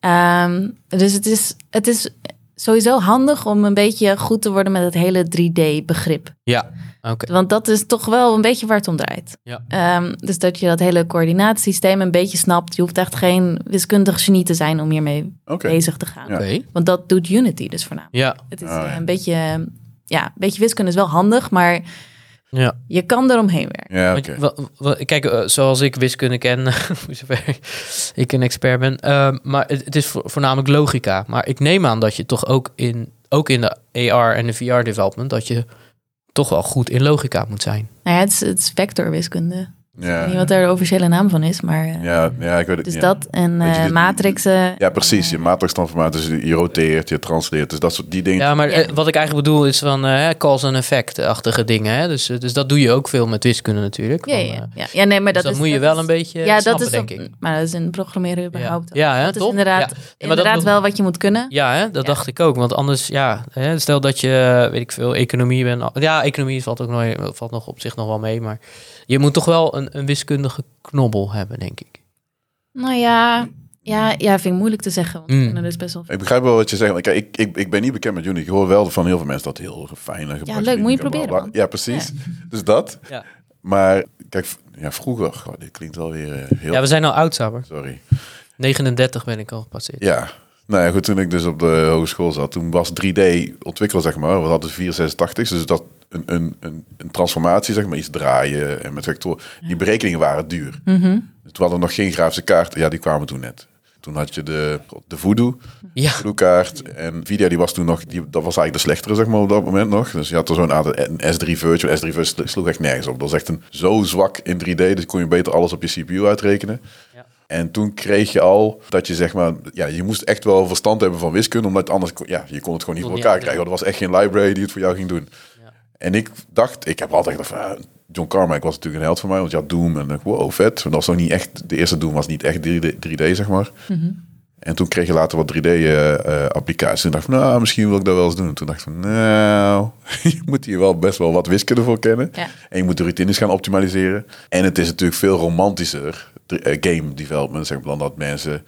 Speaker 3: Ehm, dus het is, het is sowieso handig om een beetje goed te worden met het hele 3D-begrip.
Speaker 2: Ja. Oké.
Speaker 3: Want dat is toch wel een beetje waar het om draait.
Speaker 2: Ja.
Speaker 3: Ehm, dus dat je dat hele coördinatiesysteem een beetje snapt. Je hoeft echt geen wiskundig genie te zijn om hiermee
Speaker 1: Oké.
Speaker 3: bezig te gaan.
Speaker 1: Ja.
Speaker 2: Oké.
Speaker 3: Want dat doet Unity dus voornamelijk.
Speaker 2: Ja.
Speaker 3: Het is
Speaker 1: Oh, ja.
Speaker 3: eh, een beetje... eh, Ja, een beetje wiskunde is wel handig, maar
Speaker 2: Ja.
Speaker 3: je kan eromheen werken.
Speaker 1: Ja,
Speaker 2: Want
Speaker 1: oké.
Speaker 2: wa- wa- kijk, eh, zoals ik wiskunde ken, (laughs) voor zover ik een expert ben. eh, maar het, het is vo- voornamelijk logica. Maar ik neem aan dat je toch ook in, ook in de AR en de VR development, dat je toch wel goed in logica moet zijn.
Speaker 3: Nou ja, het is, het is vectorwiskunde. Ik weet niet
Speaker 1: Ja.
Speaker 3: wat daar de officiële naam van is, maar... eh,
Speaker 1: Ja, ja, ik weet het.
Speaker 3: Dus
Speaker 1: ja.
Speaker 3: dat en
Speaker 1: Weet je,
Speaker 3: eh,
Speaker 1: dit-
Speaker 3: matrixen.
Speaker 1: Ja, precies. Je matrixtransformaat, dus je roteert, je transleert. Dus dat soort die dingen.
Speaker 2: Ja, maar
Speaker 3: Ja.
Speaker 2: eh, wat ik eigenlijk bedoel is van eh, cause and effect-achtige dingen. Hè? Dus, eh, dus dat doe je ook veel met wiskunde natuurlijk.
Speaker 3: Ja,
Speaker 2: Van,
Speaker 3: ja,
Speaker 2: eh,
Speaker 3: ja. ja nee, maar
Speaker 2: dus
Speaker 3: dat,
Speaker 2: dat
Speaker 3: is,
Speaker 2: moet je wel een beetje
Speaker 3: Ja,
Speaker 2: snappen,
Speaker 3: dat is
Speaker 2: denk
Speaker 3: dat-
Speaker 2: ik.
Speaker 3: Maar dat is in programmeren überhaupt. al.
Speaker 2: Ja, hè,
Speaker 3: dat is
Speaker 2: toch?
Speaker 3: inderdaad,
Speaker 2: Ja. Ja, maar dat
Speaker 3: inderdaad
Speaker 2: wil-
Speaker 3: wel wat je moet kunnen.
Speaker 2: Ja, hè? dat
Speaker 3: Ja.
Speaker 2: dacht ik ook. Want anders, ja, hè, stel dat je, weet ik veel, economie bent. Ja, economie valt ook nooit, valt nog op zich nog wel mee. Maar je moet toch wel een, een wiskundige knobbel hebben, denk ik.
Speaker 3: Nou ja, ja, ja, vind ik moeilijk te zeggen. Want we
Speaker 2: Mm.
Speaker 3: kunnen dus best wel.
Speaker 1: Ik begrijp wel wat je zegt. want Kijk, ik, ik, ik ben niet bekend met Unity. Ik hoor wel van heel veel mensen dat heel fijn en
Speaker 3: Ja, leuk, moet je proberen, man.
Speaker 1: Ja, precies. Dus dat.
Speaker 2: Ja.
Speaker 1: Maar kijk, v- ja, vroeger. Goh, dit klinkt wel weer eh, heel.
Speaker 2: Ja, we zijn al oud, Saber.
Speaker 1: Sorry.
Speaker 2: 39 ben ik al gepasseerd.
Speaker 1: Ja. Nou ja, goed. Toen ik dus op de hogeschool zat, toen was 3D ontwikkelen, zeg maar. We hadden 486, dus dat een, een, een, een transformatie, zeg maar, iets draaien en met vectoren. Die berekeningen waren duur.
Speaker 3: Mhm.
Speaker 1: Toen hadden we nog geen grafische kaart. Ja, die kwamen toen net. Toen had je de, de Voodoo,
Speaker 2: Ja.
Speaker 1: Voodoo kaart. En Nvidia die was toen nog, die, dat was eigenlijk de slechtere zeg maar op dat moment nog. Dus je had er zo'n aantal, een S3 Virtual. S3 Virtual slo- sloeg echt nergens op. Dat was echt een, zo zwak in 3D, dus kon je beter alles op je CPU uitrekenen.
Speaker 2: Ja.
Speaker 1: En toen kreeg je al dat je zeg maar, ja, je moest echt wel verstand hebben van wiskunde, omdat anders, kon- ja, je kon het gewoon niet
Speaker 2: Kon
Speaker 1: voor
Speaker 2: niet
Speaker 1: elkaar
Speaker 2: uitrekenen.
Speaker 1: krijgen. Want Er was echt geen library die het voor jou ging doen. En ik dacht, ik heb altijd gedacht, van, ah, John Carmack was natuurlijk een held voor mij, want je had Doom en ik dacht, wow, vet. Maar dat was nog niet echt, de eerste Doom was niet echt 3D, 3D, zeg maar. En toen kreeg je later wat 3D-applicaties. eh, en dacht ik, nou, misschien wil ik dat wel eens doen. En toen dacht ik van, nou, (laughs) je moet hier wel best wel wat wiskunde voor kennen.
Speaker 3: Ja.
Speaker 1: En je moet de routines gaan optimaliseren. En het is natuurlijk veel romantischer, dr- eh, game development, zeg maar, dan dat mensen...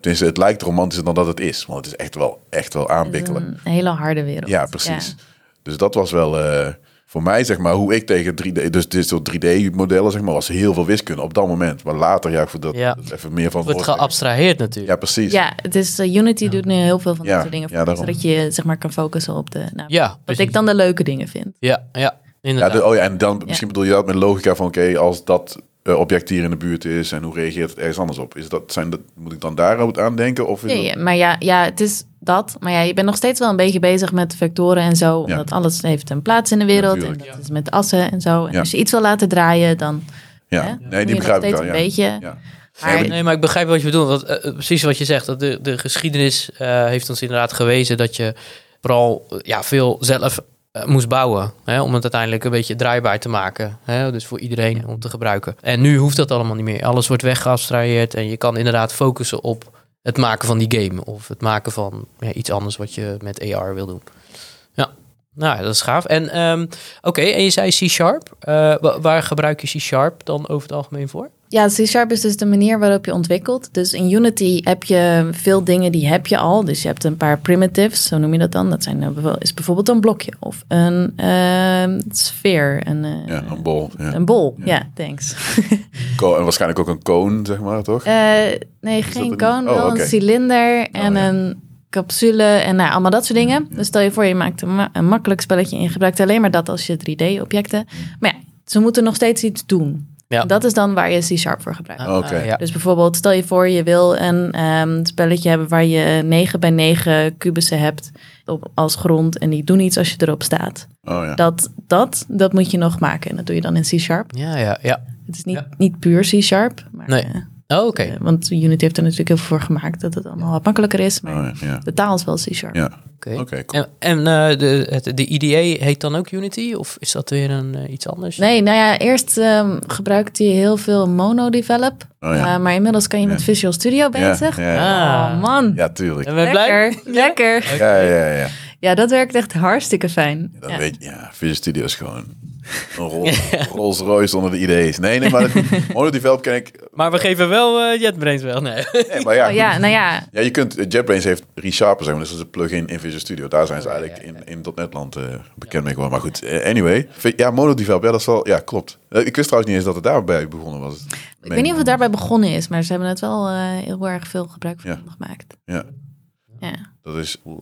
Speaker 1: Tenminste, het lijkt romantischer dan dat het is. Want het is echt wel, echt wel
Speaker 3: Dat is
Speaker 1: aanbikkelen.
Speaker 3: een hele harde wereld.
Speaker 1: Ja, precies. Dus dat was wel eh, voor mij, zeg maar, hoe ik tegen 3D, dus dit soort 3D-modellen, zeg maar, was heel veel wiskunde op dat moment. Maar later, ja, voor dat,
Speaker 2: Ja.
Speaker 1: dat is even meer van.
Speaker 2: Het wordt
Speaker 1: woord-
Speaker 2: geabstraheerd natuurlijk.
Speaker 1: Ja, precies.
Speaker 3: Ja, het is, eh, Unity doet nu heel veel van
Speaker 1: Ja,
Speaker 3: dat soort dingen.
Speaker 1: ja,
Speaker 3: voor je,
Speaker 1: daarom.
Speaker 3: zodat je zeg maar kan focussen op de. Nou,
Speaker 2: Ja,
Speaker 3: wat
Speaker 2: precies.
Speaker 3: ik dan de leuke dingen vind.
Speaker 2: ja, ja,
Speaker 1: Ja,
Speaker 2: inderdaad.
Speaker 1: de- oh ja, en dan misschien bedoel je dat met logica van, oké, als dat eh, object hier in de buurt is en hoe reageert het ergens anders op? Is dat, zijn dat, moet ik dan daarop aan denken? Of is
Speaker 3: Ja,
Speaker 1: dat-
Speaker 3: ja, maar ja, ja, het is dat. Maar ja, je bent nog steeds wel een beetje bezig met vectoren en zo.
Speaker 1: Ja.
Speaker 3: Omdat alles heeft een plaats in de wereld. en
Speaker 1: Natuurlijk.
Speaker 3: dat is met assen en zo. En
Speaker 1: Ja.
Speaker 3: als je iets wil laten draaien, dan
Speaker 1: ja.
Speaker 3: hè,
Speaker 1: nee,
Speaker 3: moet
Speaker 1: die
Speaker 3: je nog
Speaker 1: begrijp ik wel.
Speaker 3: steeds een
Speaker 1: Ja.
Speaker 3: beetje.
Speaker 1: Ja.
Speaker 3: Maar-
Speaker 1: Nee,
Speaker 2: Nee, maar ik begrijp wat je bedoelt. Want, eh, eh, precies wat je zegt. Dat de, de geschiedenis eh, heeft ons inderdaad gewezen dat je vooral eh, ja, veel zelf eh, moest bouwen. Hè, om het uiteindelijk een beetje draaibaar te maken. Hè, dus voor iedereen om te gebruiken. En nu hoeft dat allemaal niet meer. Alles wordt weggeabstraheerd en je kan inderdaad focussen op het maken van die game. Of het maken van ja, iets anders wat je met AR wil doen. Ja, nou, dat is gaaf. En ehm, oké, en je zei C-Sharp. Eh, wa- waar gebruik je C-Sharp dan over het algemeen voor?
Speaker 3: Ja, C-Sharp is dus de manier waarop je ontwikkelt. Dus in Unity heb je veel dingen die heb je al. Dus je hebt een paar primitives, zo noem je dat dan. Dat zijn, eh, bijvo- is bijvoorbeeld een blokje of een ehm, sfeer, een, eh,
Speaker 1: Ja, een bol. Ja.
Speaker 3: een bol. Ja, thanks.
Speaker 1: Ko- en waarschijnlijk ook een koon, zeg maar, toch?
Speaker 3: Eh, nee,
Speaker 1: dat
Speaker 3: geen
Speaker 1: een-
Speaker 3: koon,
Speaker 1: oh,
Speaker 3: wel
Speaker 1: oké. Oh,
Speaker 3: een cilinder en
Speaker 1: ja.
Speaker 3: een capsule en nou, allemaal dat soort dingen. Dus stel je voor, je maakt een, ma- een makkelijk spelletje en je gebruikt alleen maar dat als je 3D-objecten. Maar ja, ze moeten nog steeds iets doen.
Speaker 2: Ja.
Speaker 3: Dat is dan waar je C-sharp voor gebruikt.
Speaker 1: Oké.
Speaker 2: Ah, ja.
Speaker 3: Dus bijvoorbeeld, stel je voor, je wil een ehm, spelletje hebben waar je 9 bij 9 kubussen hebt op, als grond en die doen iets als je erop staat.
Speaker 1: Oh ja.
Speaker 3: Dat, dat, dat moet je nog maken en dat doe je dan in C-sharp.
Speaker 2: ja, ja, ja.
Speaker 3: Het is niet,
Speaker 2: Ja.
Speaker 3: niet puur C-sharp, maar,
Speaker 2: Nee.
Speaker 3: eh,
Speaker 2: Oh, Oké.
Speaker 3: eh, want Unity heeft er natuurlijk heel veel voor gemaakt dat het allemaal wat makkelijker is, maar
Speaker 1: Oh, ja. Ja.
Speaker 3: de taal is wel C-sharp.
Speaker 1: ja.
Speaker 2: Oké.
Speaker 1: Oké, cool.
Speaker 2: En, en eh, de, het, de IDA heet dan ook Unity? Of is dat weer een, eh, iets anders?
Speaker 3: Nee, nou ja, eerst ehm, gebruikte je heel veel mono-develop,
Speaker 1: Oh ja.
Speaker 3: eh, maar inmiddels kan je met
Speaker 1: Ja.
Speaker 3: Visual Studio bezig.
Speaker 1: Ja, ja, ja.
Speaker 3: Oh man,
Speaker 1: Ja, tuurlijk.
Speaker 2: En ben je blij?
Speaker 3: lekker, lekker.
Speaker 1: Ja, ja, ja.
Speaker 3: Ja, dat werkt echt hartstikke fijn.
Speaker 1: Dat
Speaker 3: Ja.
Speaker 1: weet je. Ja, Visual Studio is
Speaker 3: (laughs)
Speaker 1: gewoon een Rolls, Rolls Royce onder de ID's. Nee, nee,
Speaker 3: (laughs)
Speaker 1: maar dat- Mono Develop ken ik.
Speaker 2: Maar we geven wel eh, JetBrains wel. Nee.
Speaker 1: Nee, eh, maar (laughs) ja,
Speaker 3: Oh, ja, nou ja.
Speaker 1: Ja, je kunt, eh, JetBrains heeft ReSharper, zeg maar, dus dat is een plugin in Visual Studio. Daar
Speaker 3: Oh,
Speaker 1: zijn ze eigenlijk in, in .NET land eh, bekend mee geworden. Maar goed, eh, anyway. V- Ja, monodevelop, ja, dat is wel, ja, klopt. Eh, Ik wist trouwens niet eens dat het daarbij begonnen was.
Speaker 3: Ik weet niet of het daarbij begonnen is, maar ze hebben het wel eh, heel erg veel gebruik van
Speaker 1: Ja.
Speaker 3: gemaakt.
Speaker 1: Ja,
Speaker 3: Ja.
Speaker 1: dat is, eh,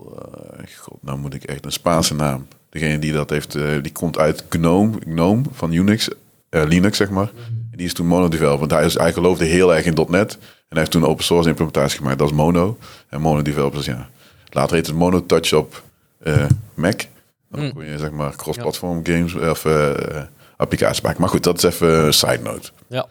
Speaker 1: god, nou moet ik echt een Spaanse naam. Degene die dat heeft, eh, die komt uit GNOME, GNOME van Unix, eh, Linux, zeg maar. En die is toen monodevelop, want hij, is, hij geloofde heel erg in .NET. En hij heeft toen een open source implementatie gemaakt, dat is mono. En monodevelopers, ja. Later heet het mono touch op eh, Mac. Dan
Speaker 2: Mm.
Speaker 1: kon je zeg maar cross-platform games of eh, eh, applicaties maken. Maar goed, dat is even een side note.
Speaker 2: Ja.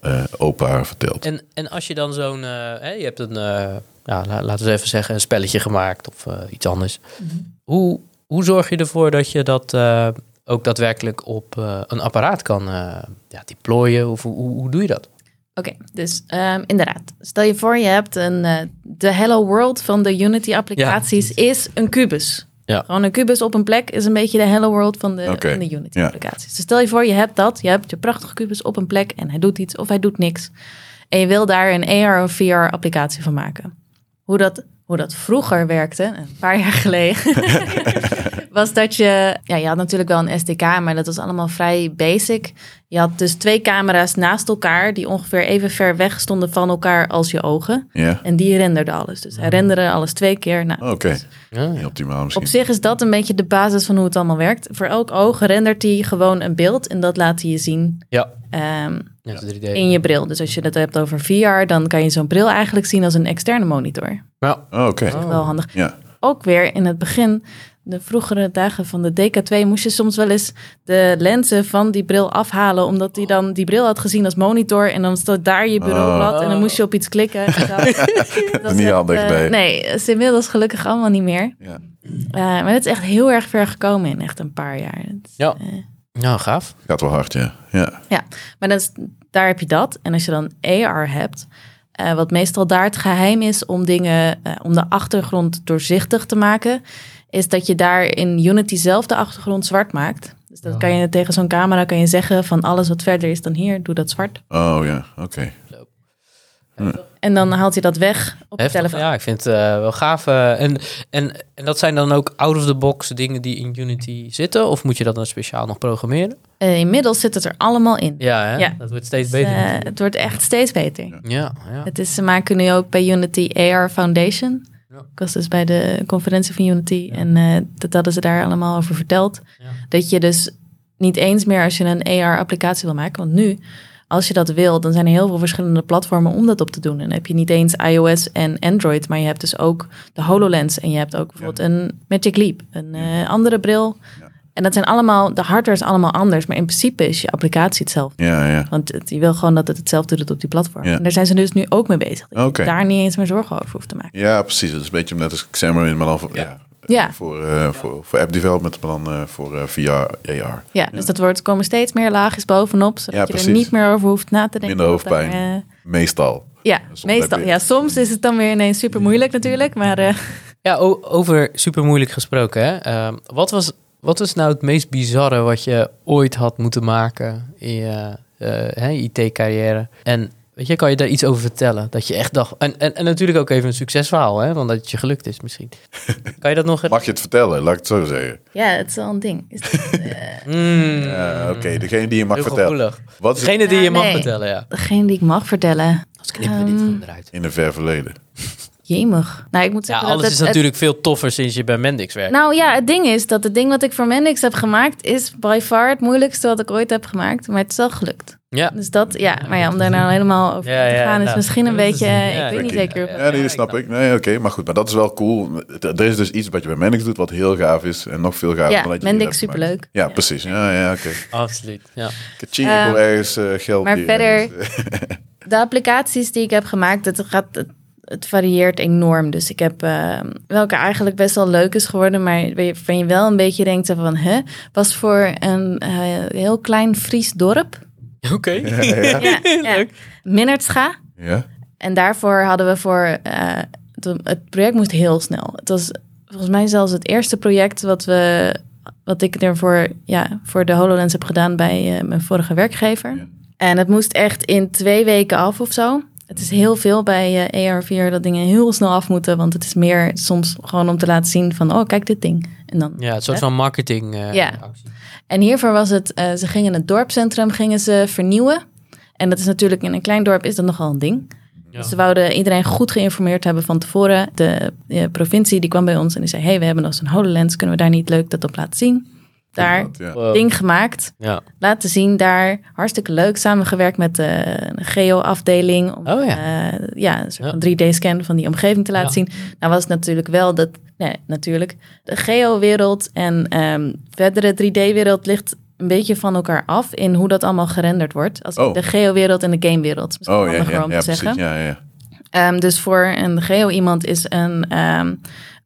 Speaker 1: Eh, opa vertelt.
Speaker 2: En, en als je dan zo'n... eh, hè, je hebt een, eh, ja, la- laten we even zeggen, een spelletje gemaakt of eh, iets anders.
Speaker 3: Mhm.
Speaker 2: Hoe, hoe zorg je ervoor dat je dat eh, ook daadwerkelijk op eh, een apparaat kan eh, ja, deployen? Of hoe, hoe, hoe doe je dat?
Speaker 3: Oké, dus ehm, inderdaad. Stel je voor, je hebt een. eh, de Hello World van de Unity-applicaties is een kubus.
Speaker 2: Ja.
Speaker 3: Gewoon een kubus op een plek is een beetje de Hello World van de,
Speaker 1: Oké,
Speaker 3: van de Unity-applicaties. Dus stel je voor, je hebt dat. Je hebt je prachtige kubus op een plek en hij doet iets of hij doet niks. En je wil daar een AR of VR-applicatie van maken. Hoe dat, hoe dat vroeger werkte, een paar jaar
Speaker 1: (laughs)
Speaker 3: geleden. was dat je... Ja, je had natuurlijk wel een SDK, maar dat was allemaal vrij basic. Je had dus twee camera's naast elkaar... die ongeveer even ver weg stonden van elkaar als je ogen.
Speaker 1: Ja, Oh.
Speaker 3: En die renderden alles. Dus hij renderde alles twee keer. Nou,
Speaker 1: oké.
Speaker 2: Ja,
Speaker 1: Niet optimaal misschien.
Speaker 3: op zich is dat een beetje de basis van hoe het allemaal werkt. Voor elk oog rendert hij gewoon een beeld... en dat laat hij je zien
Speaker 2: ja.
Speaker 3: ehm,
Speaker 2: ja. 3D.
Speaker 3: in je bril. Dus als je het hebt over VR... dan kan je zo'n bril eigenlijk zien als een externe monitor.
Speaker 2: Ja.
Speaker 1: Oh, oké.
Speaker 2: Oh.
Speaker 3: Wel handig.
Speaker 1: Ja.
Speaker 3: ook weer in het begin, de vroegere dagen van de DK2, moest je soms wel eens de lenzen van die bril afhalen, omdat die dan die bril had gezien als monitor en dan stond daar je bureaublad en dan moest je op iets klikken.
Speaker 1: (laughs)
Speaker 3: En zo. dat is
Speaker 1: Oh. Niet
Speaker 3: echt,
Speaker 1: handig,
Speaker 3: eh,
Speaker 1: nee.
Speaker 3: Nee, is inmiddels gelukkig allemaal niet meer.
Speaker 1: Ja.
Speaker 3: Eh, maar het is echt heel erg ver gekomen in echt een paar jaar. Het is,
Speaker 2: Ja.
Speaker 3: eh,
Speaker 2: Ja, gaaf.
Speaker 1: Gaat wel hard, ja. Ja,
Speaker 3: maar dat is, daar heb je dat. En als je dan AR hebt, eh, wat meestal daar het geheim is om dingen, eh, om de achtergrond doorzichtig te maken, is dat je daar in Unity zelf de achtergrond zwart maakt. Dus dat
Speaker 2: Ja.
Speaker 3: kan je tegen zo'n camera kan je zeggen van alles wat verder is dan hier, doe dat zwart.
Speaker 1: oh ja, oké.
Speaker 3: En dan haalt hij dat weg op je
Speaker 2: Heftig.
Speaker 3: telefoon.
Speaker 2: Ja, ik vind het eh, wel gaaf. eh, en, en, en dat zijn dan ook out-of-the-box dingen die in Unity zitten? Of moet je dat dan speciaal nog programmeren?
Speaker 3: Eh, inmiddels zit het er allemaal in.
Speaker 2: Ja, hè?
Speaker 3: Ja.
Speaker 2: dat wordt steeds
Speaker 3: Dus,
Speaker 2: beter.
Speaker 3: eh,
Speaker 2: natuurlijk.
Speaker 3: het wordt echt steeds beter.
Speaker 2: ja, ja.
Speaker 3: Het is, ze maken nu ook bij Unity AR Foundation.
Speaker 2: Ja.
Speaker 3: Ik was dus bij de conferentie van Unity en eh, dat hadden ze daar allemaal over verteld.
Speaker 2: Ja.
Speaker 3: Dat je dus niet eens meer als je een AR-applicatie wil maken, want nu, als je dat wil, dan zijn er heel veel verschillende platformen om dat op te doen. En dan heb je niet eens iOS en Android, maar je hebt dus ook de HoloLens en je hebt ook bijvoorbeeld een Magic Leap, een eh, andere bril.
Speaker 1: Ja.
Speaker 3: En dat zijn allemaal, de hardware is allemaal anders, maar in principe is je applicatie hetzelfde.
Speaker 1: Ja, ja.
Speaker 3: Want het- je wil gewoon dat het hetzelfde doet op die platform.
Speaker 1: Ja.
Speaker 3: En daar zijn ze dus nu ook mee bezig. Dat je
Speaker 1: Oké.
Speaker 3: daar niet eens meer zorgen over hoeft te maken.
Speaker 1: Ja, precies. Het is een beetje net als Xamarin, maar dan voor, ja.
Speaker 3: Ja.
Speaker 1: voor, eh, voor, voor app development, maar dan eh, voor eh, VR, AR.
Speaker 3: Ja, dus dat wordt, komen steeds meer laagjes bovenop. Zodat
Speaker 1: Ja,
Speaker 3: je
Speaker 1: precies.
Speaker 3: er niet meer over hoeft na te denken.
Speaker 1: Minder hoofdpijn.
Speaker 3: Daar, eh,
Speaker 1: Meestal.
Speaker 3: ja,
Speaker 1: Soms
Speaker 3: meestal.
Speaker 1: heb je-
Speaker 3: Ja, soms is het dan weer ineens super moeilijk natuurlijk. Maar eh, (laughs)
Speaker 2: Ja, o- over super moeilijk gesproken. Hè? Ehm, wat, was, wat was nou het meest bizarre wat je ooit had moeten maken in je eh, hè, IT-carrière? En weet je, kan je daar iets over vertellen? Dat je echt dacht. En, en, en natuurlijk ook even een succesverhaal, hè? want dat het je gelukt is (laughs) misschien. Kan je dat nog.
Speaker 1: Mag je het vertellen? Laat ik het zo zeggen.
Speaker 3: ja, het is wel een ding. Is het
Speaker 2: Mm,
Speaker 1: Eh,
Speaker 3: Hmm.
Speaker 1: oké, degene die je mag
Speaker 2: heel
Speaker 1: vertellen.
Speaker 2: gevoelig.
Speaker 1: Wat is het
Speaker 2: Degene die je
Speaker 3: Ja,
Speaker 2: mag
Speaker 3: nee.
Speaker 2: vertellen, ja.
Speaker 3: degene die ik mag vertellen?
Speaker 2: Als knippen we dit
Speaker 3: Ehm,
Speaker 2: gewoon eruit.
Speaker 1: in een ver verleden?
Speaker 3: Jemig. Nou, ik moet
Speaker 2: Ja,
Speaker 3: zeggen
Speaker 2: alles
Speaker 3: dat
Speaker 2: is
Speaker 3: het- het-
Speaker 2: natuurlijk veel toffer sinds je bij Mendix werkt.
Speaker 3: Nou ja, het ding is dat het ding wat ik voor Mendix heb gemaakt... is by far het moeilijkste wat ik ooit heb gemaakt. Maar het is wel gelukt.
Speaker 2: Ja.
Speaker 3: Dus dat, ja, maar ja, om daar nou helemaal over
Speaker 2: Ja,
Speaker 3: te
Speaker 2: ja,
Speaker 3: gaan is
Speaker 2: nou,
Speaker 3: misschien een
Speaker 2: dat is
Speaker 3: beetje,
Speaker 2: een-
Speaker 3: eh,
Speaker 2: ja,
Speaker 3: ik weet niet
Speaker 1: tricky.
Speaker 3: zeker.
Speaker 2: Ja,
Speaker 1: Ja, nee, dat
Speaker 2: ik
Speaker 1: snap
Speaker 2: snap
Speaker 1: ik. Nee, oké, maar goed. Maar dat is wel cool. Er er is dus iets wat je bij Mendix doet wat heel gaaf is en nog veel gaaf.
Speaker 3: Ja,
Speaker 1: dan dat je
Speaker 3: Mendix,
Speaker 1: hier hebt gemaakt.
Speaker 3: superleuk.
Speaker 1: Ja, precies. Ja, ja, oké.
Speaker 2: Absoluut.
Speaker 3: (laughs)
Speaker 2: Ja.
Speaker 1: Kaching,
Speaker 3: Ehm,
Speaker 1: ik wil ergens eh, geld
Speaker 3: maar
Speaker 1: hier.
Speaker 3: verder- De applicaties die ik heb gemaakt, het, gaat, het, het varieert enorm. Dus ik heb eh, welke eigenlijk best wel leuk is geworden, maar waarvan je wel een beetje denkt van, hè, was voor een eh, heel klein Fries dorp.
Speaker 2: Oké.
Speaker 1: ja.
Speaker 3: Ja,
Speaker 2: (laughs)
Speaker 3: ja. Minnertscha.
Speaker 1: eh. Ja?
Speaker 3: En daarvoor hadden we voor. eh, toen- het project moest heel snel. Het was volgens mij zelfs het eerste project wat we. Wat ik ervoor ja, voor de HoloLens heb gedaan bij eh, mijn vorige werkgever.
Speaker 1: Ja.
Speaker 3: En het moest echt in twee weken af of zo. Het is heel veel bij eh AR4 dat dingen heel snel af moeten. Want het is meer soms gewoon om te laten zien van... oh, kijk dit ding. En dan
Speaker 2: Ja, het soort van marketing eh,
Speaker 3: Ja.
Speaker 2: actie.
Speaker 3: en hiervoor was het, eh, ze gingen het dorpscentrum gingen ze vernieuwen. En dat is natuurlijk in een klein dorp is dat nogal een ding.
Speaker 2: Ja.
Speaker 3: Dus Ze wouden iedereen goed geïnformeerd hebben van tevoren. De eh, provincie die kwam bij ons en die zei: hey, we hebben nog zo'n HoloLens, kunnen we daar niet leuk dat op laten zien? Daar
Speaker 1: Inderdaad, Ja.
Speaker 2: Wow.
Speaker 3: ding gemaakt,
Speaker 2: Ja.
Speaker 3: laten zien daar. Hartstikke leuk, samengewerkt met de geo-afdeling. Om,
Speaker 2: Oh ja.
Speaker 3: eh, ja, een soort van 3D-scan van die omgeving te laten
Speaker 2: Ja.
Speaker 3: zien. Nou was het natuurlijk wel dat, nee, natuurlijk, de geo-wereld en ehm, verdere 3D-wereld ligt een beetje van elkaar af in hoe dat allemaal gerenderd wordt. Als
Speaker 1: Oh.
Speaker 3: de geo-wereld en de game-wereld. Misschien
Speaker 1: Oh ja, ja,
Speaker 3: handiger
Speaker 1: ja,
Speaker 3: om te
Speaker 1: precies.
Speaker 3: zeggen.
Speaker 1: Ja, ja.
Speaker 3: Ehm, dus voor een geo iemand is een, ehm,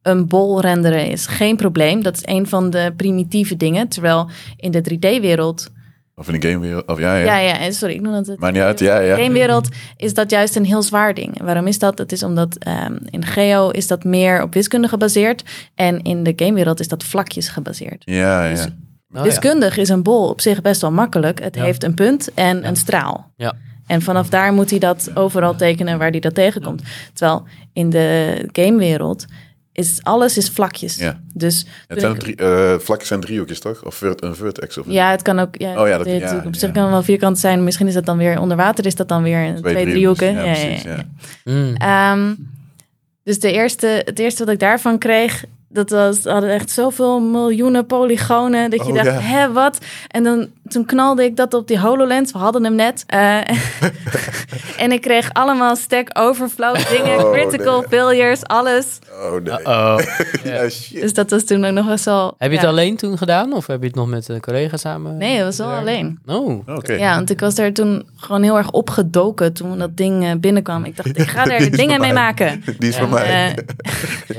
Speaker 3: een bol renderen is geen probleem. Dat is een van de primitieve dingen. Terwijl in de 3D-wereld.
Speaker 1: Of in de game weer. Of ja, ja.
Speaker 3: Ja, ja, eh, sorry, ik noem dat het.
Speaker 1: Maar niet uit. Ja, ja.
Speaker 3: In de wereld is dat juist een heel zwaar ding. Waarom is dat? Dat is omdat ehm, in geo is dat meer op wiskunde gebaseerd. En in de gamewereld is dat vlakjes gebaseerd.
Speaker 1: Ja,
Speaker 3: Dus
Speaker 1: ja.
Speaker 2: Oh, ja.
Speaker 3: Wiskundig is een bol op zich best wel makkelijk. Het
Speaker 2: Ja.
Speaker 3: heeft een punt en een straal. (laughs)
Speaker 2: Ja.
Speaker 3: En vanaf daar moet hij dat overal tekenen waar hij dat tegenkomt. Terwijl in de gamewereld is alles is vlakjes.
Speaker 1: Ja.
Speaker 3: Dus
Speaker 1: Het zijn drie, eh, vlakken zijn driehoekjes, toch? Of vert- een vertex of
Speaker 3: ja, het kan ook. Ja,
Speaker 1: Oh ja, dat-
Speaker 3: dit-
Speaker 1: ja,
Speaker 3: op zich
Speaker 1: ja.
Speaker 3: kan het wel vierkant zijn. Misschien is dat dan weer onder water. Is dat dan weer een- twee,
Speaker 1: driehoekjes.
Speaker 3: driehoeken?
Speaker 1: Ja, precies. Ja.
Speaker 2: Mm.
Speaker 3: Ehm, dus de eerste, het eerste wat ik daarvan kreeg, dat was, we hadden echt zoveel miljoenen polygonen, dat je
Speaker 1: Oh,
Speaker 3: dacht,
Speaker 1: ja.
Speaker 3: hè, wat? En dan, toen knalde ik dat op die HoloLens, we hadden hem net.
Speaker 1: (laughs)
Speaker 3: eh, en ik kreeg allemaal stack overflow dingen,
Speaker 1: Oh,
Speaker 3: critical
Speaker 1: nee.
Speaker 3: failures, alles.
Speaker 1: Oh nee.
Speaker 2: Uh-oh.
Speaker 1: Ja, shit.
Speaker 3: Dus dat was toen ook nog best wel...
Speaker 2: Heb je het
Speaker 3: ja.
Speaker 2: alleen toen gedaan of heb je het nog met een collega samen?
Speaker 3: Nee, het was wel
Speaker 2: gedaan?
Speaker 3: alleen.
Speaker 2: Oh,
Speaker 1: Oké.
Speaker 3: Ja, want ik was daar toen gewoon heel erg opgedoken toen dat ding eh, binnenkwam. Ik dacht,
Speaker 1: (laughs)
Speaker 3: ik ga
Speaker 1: Die
Speaker 3: er
Speaker 1: is
Speaker 3: dingen
Speaker 1: van
Speaker 3: mee
Speaker 1: mij.
Speaker 3: maken.
Speaker 1: Die is
Speaker 2: Ja.
Speaker 1: van mij.
Speaker 3: Eh,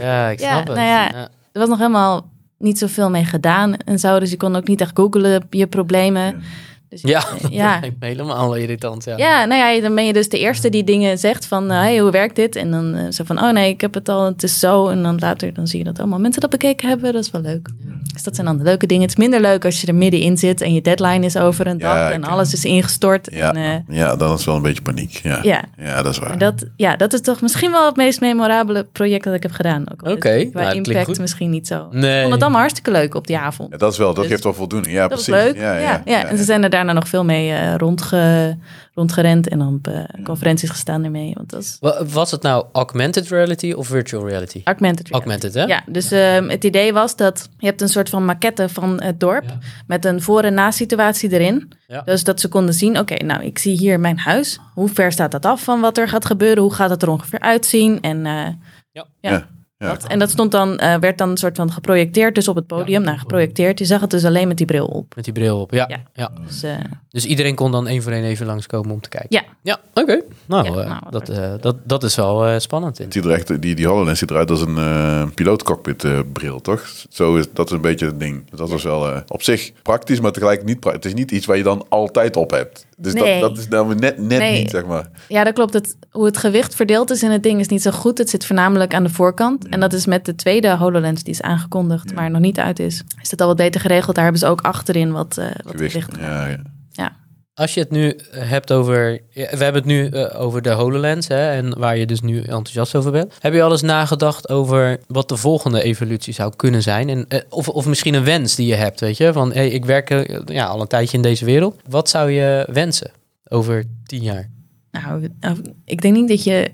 Speaker 2: ja, ik
Speaker 3: Ja,
Speaker 2: snap het.
Speaker 3: nou ja. er was nog helemaal niet zoveel mee gedaan en zo. Dus je kon ook niet echt googlen je problemen. Dus
Speaker 2: Ja,
Speaker 3: (laughs)
Speaker 2: (laughs)
Speaker 3: Ja.
Speaker 2: dat lijkt me helemaal irritant. Ja.
Speaker 3: ja, nou ja, dan ben je dus de eerste die dingen zegt van, hé, hey, hoe werkt dit? En dan eh, zo van, oh nee, ik heb het al, het is zo. En dan later dan zie je dat allemaal mensen dat bekeken hebben. Dat is wel leuk. Dus dat zijn dan de leuke dingen. Het is minder leuk als je er middenin zit en je deadline is over een
Speaker 1: Ja,
Speaker 3: dag en
Speaker 1: ik-
Speaker 3: alles is ingestort.
Speaker 1: Ja.
Speaker 3: En, eh,
Speaker 1: Ja, dan is wel een beetje paniek. Ja,
Speaker 3: Ja.
Speaker 1: ja dat is waar.
Speaker 3: maar dat, ja, dat is toch misschien wel het meest memorabele project dat ik heb gedaan. Ook al is
Speaker 2: Oké,
Speaker 3: het qua
Speaker 2: nou, dat klinkt
Speaker 3: impact
Speaker 2: goed.
Speaker 3: misschien niet zo. Ik
Speaker 2: Nee.
Speaker 3: vond het allemaal hartstikke leuk op die avond.
Speaker 1: Ja, dat is wel, dat geeft wel voldoening. Ja,
Speaker 3: dus Dat was
Speaker 1: precies.
Speaker 3: leuk.
Speaker 1: Ja, ja,
Speaker 3: en ze zijn er daarna nog veel mee eh, rondge, rondgerend en dan op eh,
Speaker 1: Mm.
Speaker 3: conferenties gestaan ermee. Want dat is
Speaker 2: Wa- Was het nou augmented reality of virtual reality?
Speaker 3: augmented reality.
Speaker 2: Augmented, hè?
Speaker 3: Ja, dus ehm, het idee was dat je hebt een soort van maquette van het dorp
Speaker 2: Ja.
Speaker 3: met een voor- en na-situatie erin.
Speaker 2: Ja.
Speaker 3: Dus dat ze konden zien, oké, nou, ik zie hier mijn huis. Hoe ver staat dat af van wat er gaat gebeuren? Hoe gaat het er ongeveer uitzien? En, eh, ja.
Speaker 1: Ja, ja.
Speaker 3: dat. en dat stond dan, eh, werd dan een soort van geprojecteerd dus op het podium. Nou, geprojecteerd. Je zag het dus alleen met die bril op.
Speaker 2: Met die bril op, ja.
Speaker 3: Ja.
Speaker 2: ja.
Speaker 3: Dus, eh,
Speaker 2: Dus iedereen kon dan één voor één even langskomen om te kijken?
Speaker 3: Ja.
Speaker 2: Ja, oké. Nou,
Speaker 3: Ja,
Speaker 2: eh,
Speaker 3: nou, wat
Speaker 2: dat, eh, dat, dat is wel eh, spannend. In.
Speaker 1: Het ziet er echt, die, die HoloLens ziet eruit als een eh pilootcockpit eh, bril, toch? Zo is, dat is een beetje het ding. Dus Dat is wel eh, op zich praktisch, maar tegelijk niet praktisch. Het is niet iets waar je dan altijd op hebt. Dus
Speaker 3: Nee.
Speaker 1: dat, dat is namelijk net, net
Speaker 3: Nee.
Speaker 1: niet, zeg maar.
Speaker 3: Ja, dat klopt. Het, hoe het gewicht verdeeld is in het ding is niet zo goed. Het zit voornamelijk aan de voorkant. En dat is met de tweede HoloLens die is aangekondigd, maar nog niet uit is. Is dat al wat beter geregeld? Daar hebben ze ook achterin wat, eh wat
Speaker 1: Gewicht.
Speaker 3: gewicht.
Speaker 1: Ja, ja.
Speaker 2: Als je het nu eh, hebt over... ja, We hebben het nu eh, over de HoloLens, hè, en waar je dus nu enthousiast over bent. Heb je al eens nagedacht over wat de volgende evolutie zou kunnen zijn? En, eh, of, of misschien een wens die je hebt, weet je? Van, hey, ik werk eh, ja, al een tijdje in deze wereld. Wat zou je wensen over tien jaar?
Speaker 3: Nou, nou, ik denk niet dat je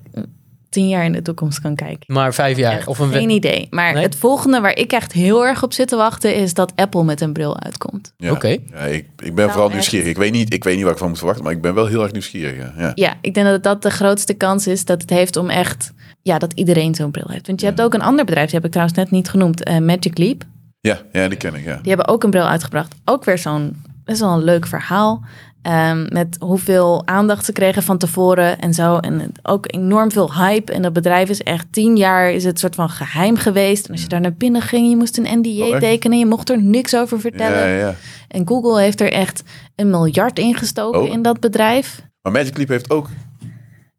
Speaker 3: tien jaar in de toekomst kan kijken.
Speaker 2: Maar vijf jaar.
Speaker 3: Echt
Speaker 2: of een
Speaker 3: geen
Speaker 2: wet.
Speaker 3: idee. Maar
Speaker 2: Nee?
Speaker 3: het volgende waar ik echt heel erg op zit te wachten is dat Apple met een bril uitkomt.
Speaker 1: Ja.
Speaker 2: Oké.
Speaker 1: Ja, ik, ik ben vooral
Speaker 3: echt.
Speaker 1: nieuwsgierig. Ik weet, niet, ik weet niet wat ik van moet verwachten, maar ik ben wel heel erg nieuwsgierig. Ja. Ja.
Speaker 3: Ja, ik denk dat dat de grootste kans is dat het heeft om echt, ja, dat iedereen zo'n bril heeft. Want je hebt ook een ander bedrijf, die heb ik trouwens net niet genoemd, eh, Magic Leap.
Speaker 1: Ja, ja, die ken ik. Ja.
Speaker 3: Die hebben ook een bril uitgebracht. Ook weer zo'n best wel een leuk verhaal. Ehm, met hoeveel aandacht ze kregen van tevoren en zo. En het- ook enorm veel hype. En dat bedrijf is echt tien jaar is het soort van geheim geweest. En als je daar naar binnen ging, je moest een NDA
Speaker 1: Mm. Oh, echt?
Speaker 3: tekenen. Je mocht er niks over vertellen.
Speaker 1: Ja, ja.
Speaker 3: En Google heeft er echt een miljard in gestoken
Speaker 1: Oh.
Speaker 3: in dat bedrijf.
Speaker 1: Maar Magic Leap heeft ook...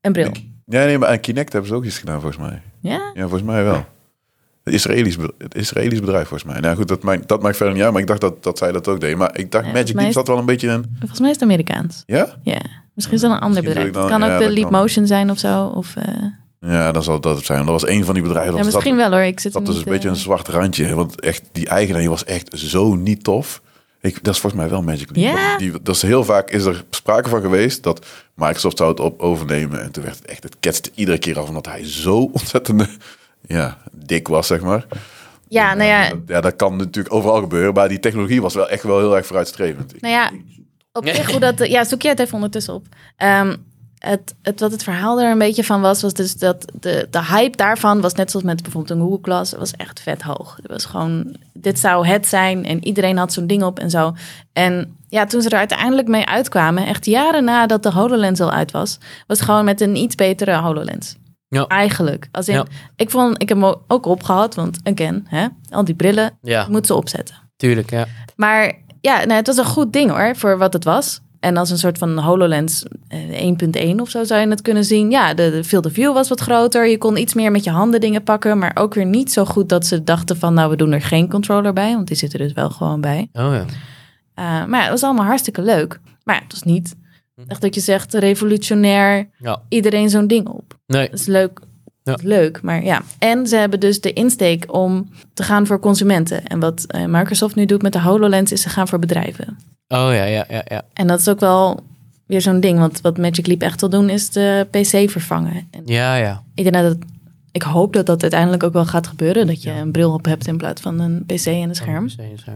Speaker 3: Een bril.
Speaker 1: Ja, nee, maar aan Kinect hebben ze ook iets gedaan, volgens mij.
Speaker 3: Ja?
Speaker 1: Ja, volgens mij wel. Het Israëlisch, be- het Israëlisch bedrijf, volgens mij. Nou goed, dat maakt, dat maakt verder niet uit, maar ik dacht dat, dat zij dat ook deden. Maar ik dacht,
Speaker 3: Ja, volgens
Speaker 1: Magic
Speaker 3: mij
Speaker 1: Leap
Speaker 3: is-
Speaker 1: zat wel een beetje in...
Speaker 3: Volgens mij is het Amerikaans.
Speaker 1: Ja?
Speaker 3: Ja. Misschien is dat een ander
Speaker 1: Misschien wil
Speaker 3: bedrijf.
Speaker 1: ik dan-
Speaker 3: het kan
Speaker 1: ja,
Speaker 3: ook de
Speaker 1: dat
Speaker 3: Leap
Speaker 1: kan.
Speaker 3: Motion zijn of zo. Of, eh,
Speaker 1: Ja, dan zal dat het zijn. Dat was één van die bedrijven.
Speaker 3: ja,
Speaker 1: dat zat-
Speaker 3: misschien wel hoor. Ik zit er
Speaker 1: Dat is
Speaker 3: niet,
Speaker 1: een beetje
Speaker 3: eh,
Speaker 1: een zwart randje. Want echt, die eigenaar die was echt zo niet tof. Ik, dat is volgens mij wel Magic Leap.
Speaker 3: Ja?
Speaker 1: Want Die, dat is heel vaak is er sprake van geweest dat Microsoft zou het op overnemen. En toen werd het echt, het ketste iedere keer af. Omdat hij zo ontzettend ja, dik was, zeg maar.
Speaker 3: Ja, nou ja,
Speaker 1: Dat- eh, ja, dat kan natuurlijk overal gebeuren. Maar die technologie was wel echt wel heel erg vooruitstrevend.
Speaker 3: Nou ja, op zich hoe dat... Ja, zoek jij het even ondertussen op. Ehm, het, het, wat het verhaal er een beetje van was, was dus dat de, de hype daarvan was net zoals met bijvoorbeeld een Google Class, was echt vet hoog. Het was gewoon, dit zou het zijn en iedereen had zo'n ding op en zo. En ja, toen ze er uiteindelijk mee uitkwamen, echt jaren nadat de HoloLens al uit was, was het gewoon met een iets betere HoloLens.
Speaker 2: Ja.
Speaker 3: Eigenlijk. Als in,
Speaker 2: Ja.
Speaker 3: ik, vond, ik heb hem ook opgehad, want again, hè, al die brillen,
Speaker 2: Ja,
Speaker 3: je moet ze opzetten.
Speaker 2: tuurlijk. Ja.
Speaker 3: Maar ja, nou, het was een goed ding hoor, voor wat het was. En als een soort van HoloLens eh, 1.1 of zo zou je het kunnen zien. Ja, de, de field of view was wat groter. Je kon iets meer met je handen dingen pakken. Maar ook weer niet zo goed dat ze dachten van... nou, we doen er geen controller bij. Want die zit er dus wel gewoon bij.
Speaker 2: Oh ja.
Speaker 3: Eh, maar ja, het was allemaal hartstikke leuk. Maar ja, het was niet echt dat je zegt revolutionair.
Speaker 2: Ja.
Speaker 3: Iedereen zo'n ding op.
Speaker 2: Nee. Oh
Speaker 3: Dat is leuk.
Speaker 2: Ja.
Speaker 3: Dat is Leuk, maar ja. En ze hebben dus de insteek om te gaan voor consumenten. En wat eh, Microsoft nu doet met de HoloLens is ze gaan voor bedrijven.
Speaker 2: Oh ja, ja, ja, ja.
Speaker 3: En dat is ook wel weer zo'n ding. Want wat Magic Leap echt wil doen is de PC vervangen. En
Speaker 2: Ja, ja.
Speaker 3: ik, denk dat het- ik hoop dat dat uiteindelijk ook wel gaat gebeuren. Dat je een bril op hebt in plaats van een PC en een scherm.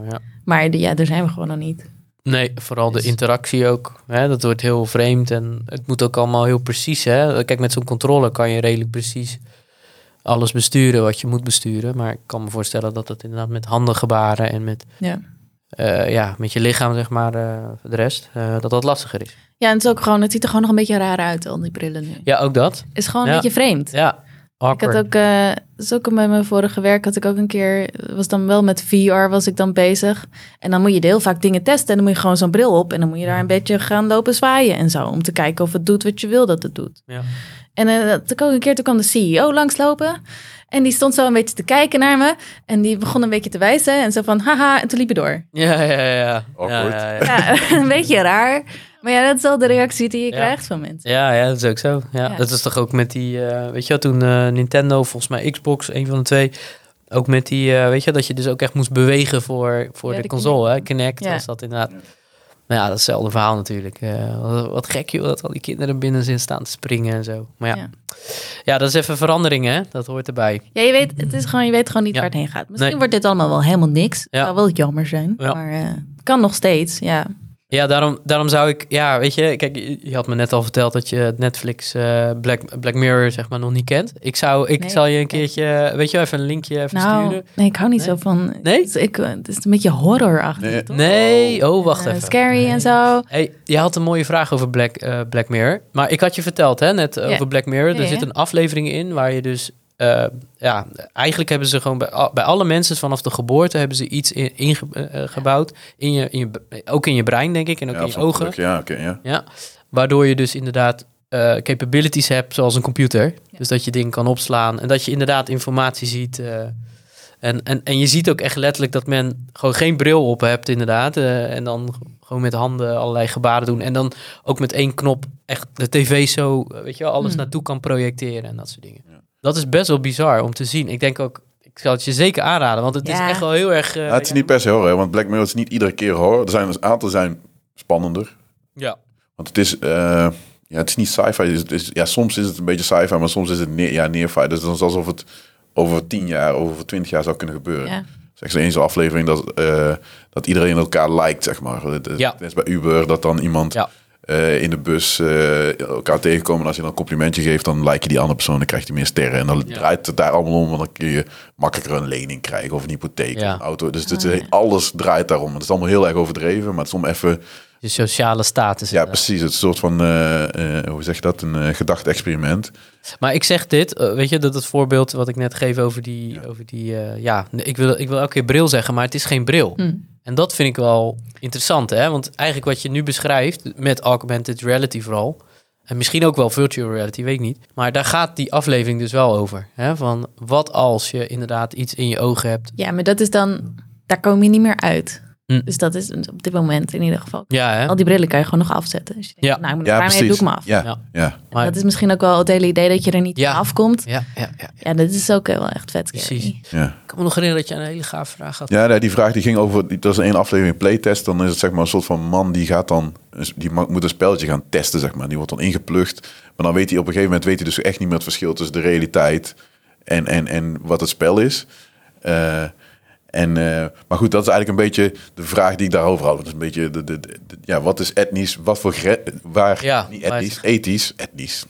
Speaker 2: Ja.
Speaker 3: Maar de- ja, daar zijn we gewoon nog niet.
Speaker 2: Nee, vooral de
Speaker 3: Dus-
Speaker 2: interactie ook. Hè? Dat wordt heel vreemd en het moet ook allemaal heel precies. Hè? Kijk, met zo'n controller kan je redelijk precies alles besturen wat je moet besturen. Maar ik kan me voorstellen dat dat inderdaad met handen gebaren en met,
Speaker 3: Ja.
Speaker 2: eh, ja, met je lichaam, zeg maar, eh, voor de rest, eh, dat dat lastiger is.
Speaker 3: Ja, en het, is ook gewoon, het ziet er gewoon nog een beetje raar uit, al die brillen nu.
Speaker 2: Ja, ook dat.
Speaker 3: is gewoon een
Speaker 2: Ja.
Speaker 3: beetje vreemd.
Speaker 2: Ja,
Speaker 3: Ik had
Speaker 2: awkward.
Speaker 3: ook, eh dat is ook bij mijn vorige werk, had ik ook een keer, was dan wel met VR was ik dan bezig. En dan moet je heel vaak dingen testen en dan moet je gewoon zo'n bril op. En dan moet je daar een beetje gaan lopen zwaaien en zo. Om te kijken of het doet wat je wil dat het doet.
Speaker 2: Ja.
Speaker 3: En eh, dat had ik ook een keer, toen kwam de CEO langslopen. En die stond zo een beetje te kijken naar me. En die begon een beetje te wijzen en zo van haha. En toen liep je door.
Speaker 2: Ja, ja, ja. ja.
Speaker 1: Awkward.
Speaker 2: Ja, ja, ja.
Speaker 3: Ja, (laughs) een beetje raar. Maar ja, dat is wel de reactie die je
Speaker 2: Ja.
Speaker 3: krijgt van mensen.
Speaker 2: Ja, ja, dat is ook zo. Ja,
Speaker 3: Ja.
Speaker 2: Dat is toch ook met die, eh, weet je wel, toen eh, Nintendo, volgens mij Xbox, een van de twee, ook met die, eh, weet je, dat je dus ook echt moest bewegen voor, voor
Speaker 3: Ja,
Speaker 2: de,
Speaker 3: de
Speaker 2: console, hè? Kinect
Speaker 3: Ja.
Speaker 2: was dat inderdaad. Nou ja, datzelfde verhaal natuurlijk. Eh, wat, wat gek joh, dat al die kinderen binnen zijn staan te springen en zo. Maar ja, ja.
Speaker 3: Ja.
Speaker 2: dat is even verandering hè, dat hoort erbij.
Speaker 3: Ja, je weet, het is gewoon, je weet gewoon niet
Speaker 2: Ja.
Speaker 3: waar het heen gaat. Misschien
Speaker 2: Nee.
Speaker 3: wordt dit allemaal wel helemaal niks.
Speaker 2: Ja.
Speaker 3: Zou wel jammer zijn.
Speaker 2: Ja.
Speaker 3: Maar eh, kan nog steeds. Ja.
Speaker 2: Ja, daarom, daarom zou ik, ja, weet je, kijk, je- je had me net al verteld dat je het Netflix eh, Black, Black Mirror, zeg maar, nog niet kent. Ik zou, ik
Speaker 3: Nee,
Speaker 2: zal je een
Speaker 3: ik ken het.
Speaker 2: keertje, weet je wel, even een linkje even
Speaker 3: Nou,
Speaker 2: sturen.
Speaker 3: nee, ik hou niet
Speaker 2: Nee?
Speaker 3: zo van.
Speaker 2: Nee?
Speaker 3: Het is, ik, eh, het is een beetje horrorachtig.
Speaker 1: Nee.
Speaker 3: toch?
Speaker 2: Nee, oh, wacht
Speaker 3: Eh,
Speaker 2: even.
Speaker 3: scary en zo.
Speaker 2: Hey, je had een mooie vraag over Black, eh, Black Mirror. Maar ik had je verteld hè, net eh,
Speaker 3: Ja.
Speaker 2: over Black Mirror.
Speaker 3: Ja,
Speaker 2: er
Speaker 3: ja.
Speaker 2: zit een aflevering in waar je dus... eh, ja, eigenlijk hebben ze gewoon bij, al- bij alle mensen vanaf de geboorte... hebben ze iets in- inge- eh, eh, gebouwd. In je, in je, b- ook in je brein, denk ik. En ook
Speaker 1: Ja,
Speaker 2: in
Speaker 1: of
Speaker 2: je
Speaker 1: zo'n
Speaker 2: ogen.
Speaker 1: druk. Ja, oké, ja.
Speaker 2: Ja, waardoor je dus inderdaad eh, capabilities hebt zoals een computer. Dus dat je dingen kan opslaan en dat je inderdaad informatie ziet. eh, en, en, en je ziet ook echt letterlijk dat men gewoon geen bril op hebt inderdaad. eh, en dan gewoon met handen allerlei gebaren doen. En dan ook met één knop echt de tv zo, eh, weet je wel, alles
Speaker 3: Hmm.
Speaker 2: naartoe kan projecteren en dat soort dingen.
Speaker 1: Ja.
Speaker 2: Dat is best wel bizar om te zien. Ik denk ook, ik zal het je zeker aanraden, want het is
Speaker 3: Ja.
Speaker 2: echt wel heel erg... eh,
Speaker 1: Nou, het is niet per se horror, hè, want Black Mirror is niet iedere keer horror. Er zijn een aantal zijn spannender.
Speaker 2: Ja.
Speaker 1: Want het is, eh, Ja, het is niet sci-fi. Het is, het is- ja, soms is het een beetje sci-fi, maar soms is het neer, ja, near-fi. Dus dan is alsof het over tien jaar, over twintig jaar zou kunnen gebeuren.
Speaker 3: Ja.
Speaker 1: Zeg ze eens een aflevering dat, eh, dat iedereen elkaar lijkt, zeg maar. Het, het-
Speaker 2: Ja.
Speaker 1: het is bij Uber dat dan iemand
Speaker 2: Ja.
Speaker 1: eh, in de bus eh, elkaar tegenkomen. En als je dan een complimentje geeft, dan like je die andere persoon. Dan krijgt hij meer sterren. En dan
Speaker 2: Ja.
Speaker 1: draait het daar allemaal om. Want dan kun je makkelijker een lening krijgen of een hypotheek.
Speaker 2: Ja.
Speaker 1: Of een auto. Dus het, alles draait daarom. Het is allemaal heel erg overdreven. Maar het is om even
Speaker 2: Je sociale status.
Speaker 1: ja,
Speaker 2: inderdaad.
Speaker 1: precies. Het soort van, eh, eh, hoe zeg je dat? Een eh gedachte-experiment.
Speaker 2: Maar ik zeg dit, eh, weet je, dat het voorbeeld wat ik net geef over die, over die eh, ja, nee, ik wil, ik wil elke keer bril zeggen, maar het is geen
Speaker 3: Hm.
Speaker 2: bril. En dat vind ik wel interessant, hè? Want eigenlijk wat je nu beschrijft, met augmented reality vooral, en misschien ook wel virtual reality, weet ik niet. Maar daar gaat die aflevering dus wel over. Hè? Van wat als je inderdaad iets in je ogen hebt.
Speaker 3: Ja, maar dat is dan, daar kom je niet meer uit.
Speaker 2: Hm.
Speaker 3: Dus dat is op dit moment in ieder geval.
Speaker 2: Ja, hè?
Speaker 3: Al die brillen kan je gewoon nog afzetten. Dus je denkt,
Speaker 2: Ja.
Speaker 3: nou, ik moet
Speaker 1: Ja,
Speaker 3: daarmee
Speaker 1: precies.
Speaker 3: doe ik me af.
Speaker 1: Ja,
Speaker 2: Ja.
Speaker 1: ja.
Speaker 2: Maar-
Speaker 3: Dat is misschien ook wel het hele idee dat je er niet
Speaker 2: Ja.
Speaker 3: van afkomt.
Speaker 2: ja, ja, ja.
Speaker 3: Ja, dat is ook wel echt vet. scary.
Speaker 2: Precies.
Speaker 1: ja.
Speaker 2: Ik kan me nog herinneren dat je een hele gave vraag had.
Speaker 1: Ja, nee, die vraag die ging over, die- dat is één aflevering playtest. Dan is het zeg maar een soort van man die gaat dan, die ma- moet een spelletje gaan testen, zeg maar. Die wordt dan ingeplucht. Maar dan weet hij op een gegeven moment, weet hij dus echt niet meer het verschil tussen de realiteit en, en, en wat het spel is. Eh, en, eh, maar goed, dat is eigenlijk een beetje de vraag die ik daarover had. Dat is een beetje, de, de, de- de- ja, wat is etnisch, wat voor, gre- waar,
Speaker 2: Ja,
Speaker 1: niet etnisch, ethisch, etnisch.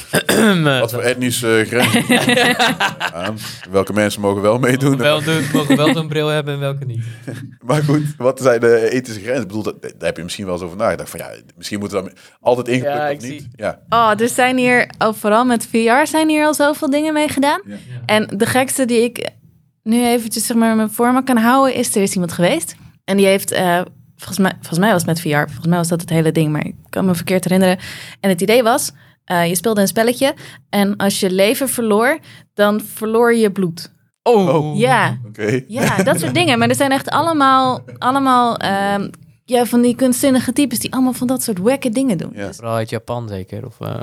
Speaker 2: (clears throat)
Speaker 1: wat voor etnische grenzen?
Speaker 2: (laughs)
Speaker 1: aan? welke mensen mogen wel meedoen?
Speaker 2: Wel, doen- mogen wel zo'n bril hebben en welke niet.
Speaker 1: Maar goed, wat zijn de ethische grenzen? Ik bedoel, dat- daar heb je misschien wel eens over nagedacht. Van, ja, misschien moeten we dan altijd ingeplukt
Speaker 2: Ja, ik
Speaker 1: of niet.
Speaker 2: zie.
Speaker 1: Ja.
Speaker 3: Oh, er zijn hier, oh, vooral met VR zijn hier al zoveel dingen mee gedaan.
Speaker 1: Ja.
Speaker 3: En de gekste die ik nu eventjes zeg maar in mijn voor me kan houden, is er is iemand geweest. En die heeft, eh, volgens, mij, volgens mij was het met VR, volgens mij was dat het hele ding, maar ik kan me verkeerd herinneren. En het idee was, eh, je speelde een spelletje en als je leven verloor, dan verloor je bloed.
Speaker 2: Oh,
Speaker 3: Ja.
Speaker 1: Oké.
Speaker 3: Ja, dat soort dingen. Maar er zijn echt allemaal, allemaal ehm, ja, van die kunstzinnige types die allemaal van dat soort wekke dingen doen.
Speaker 1: Ja.
Speaker 3: Dus-
Speaker 2: Vooral uit Japan zeker. Of, eh,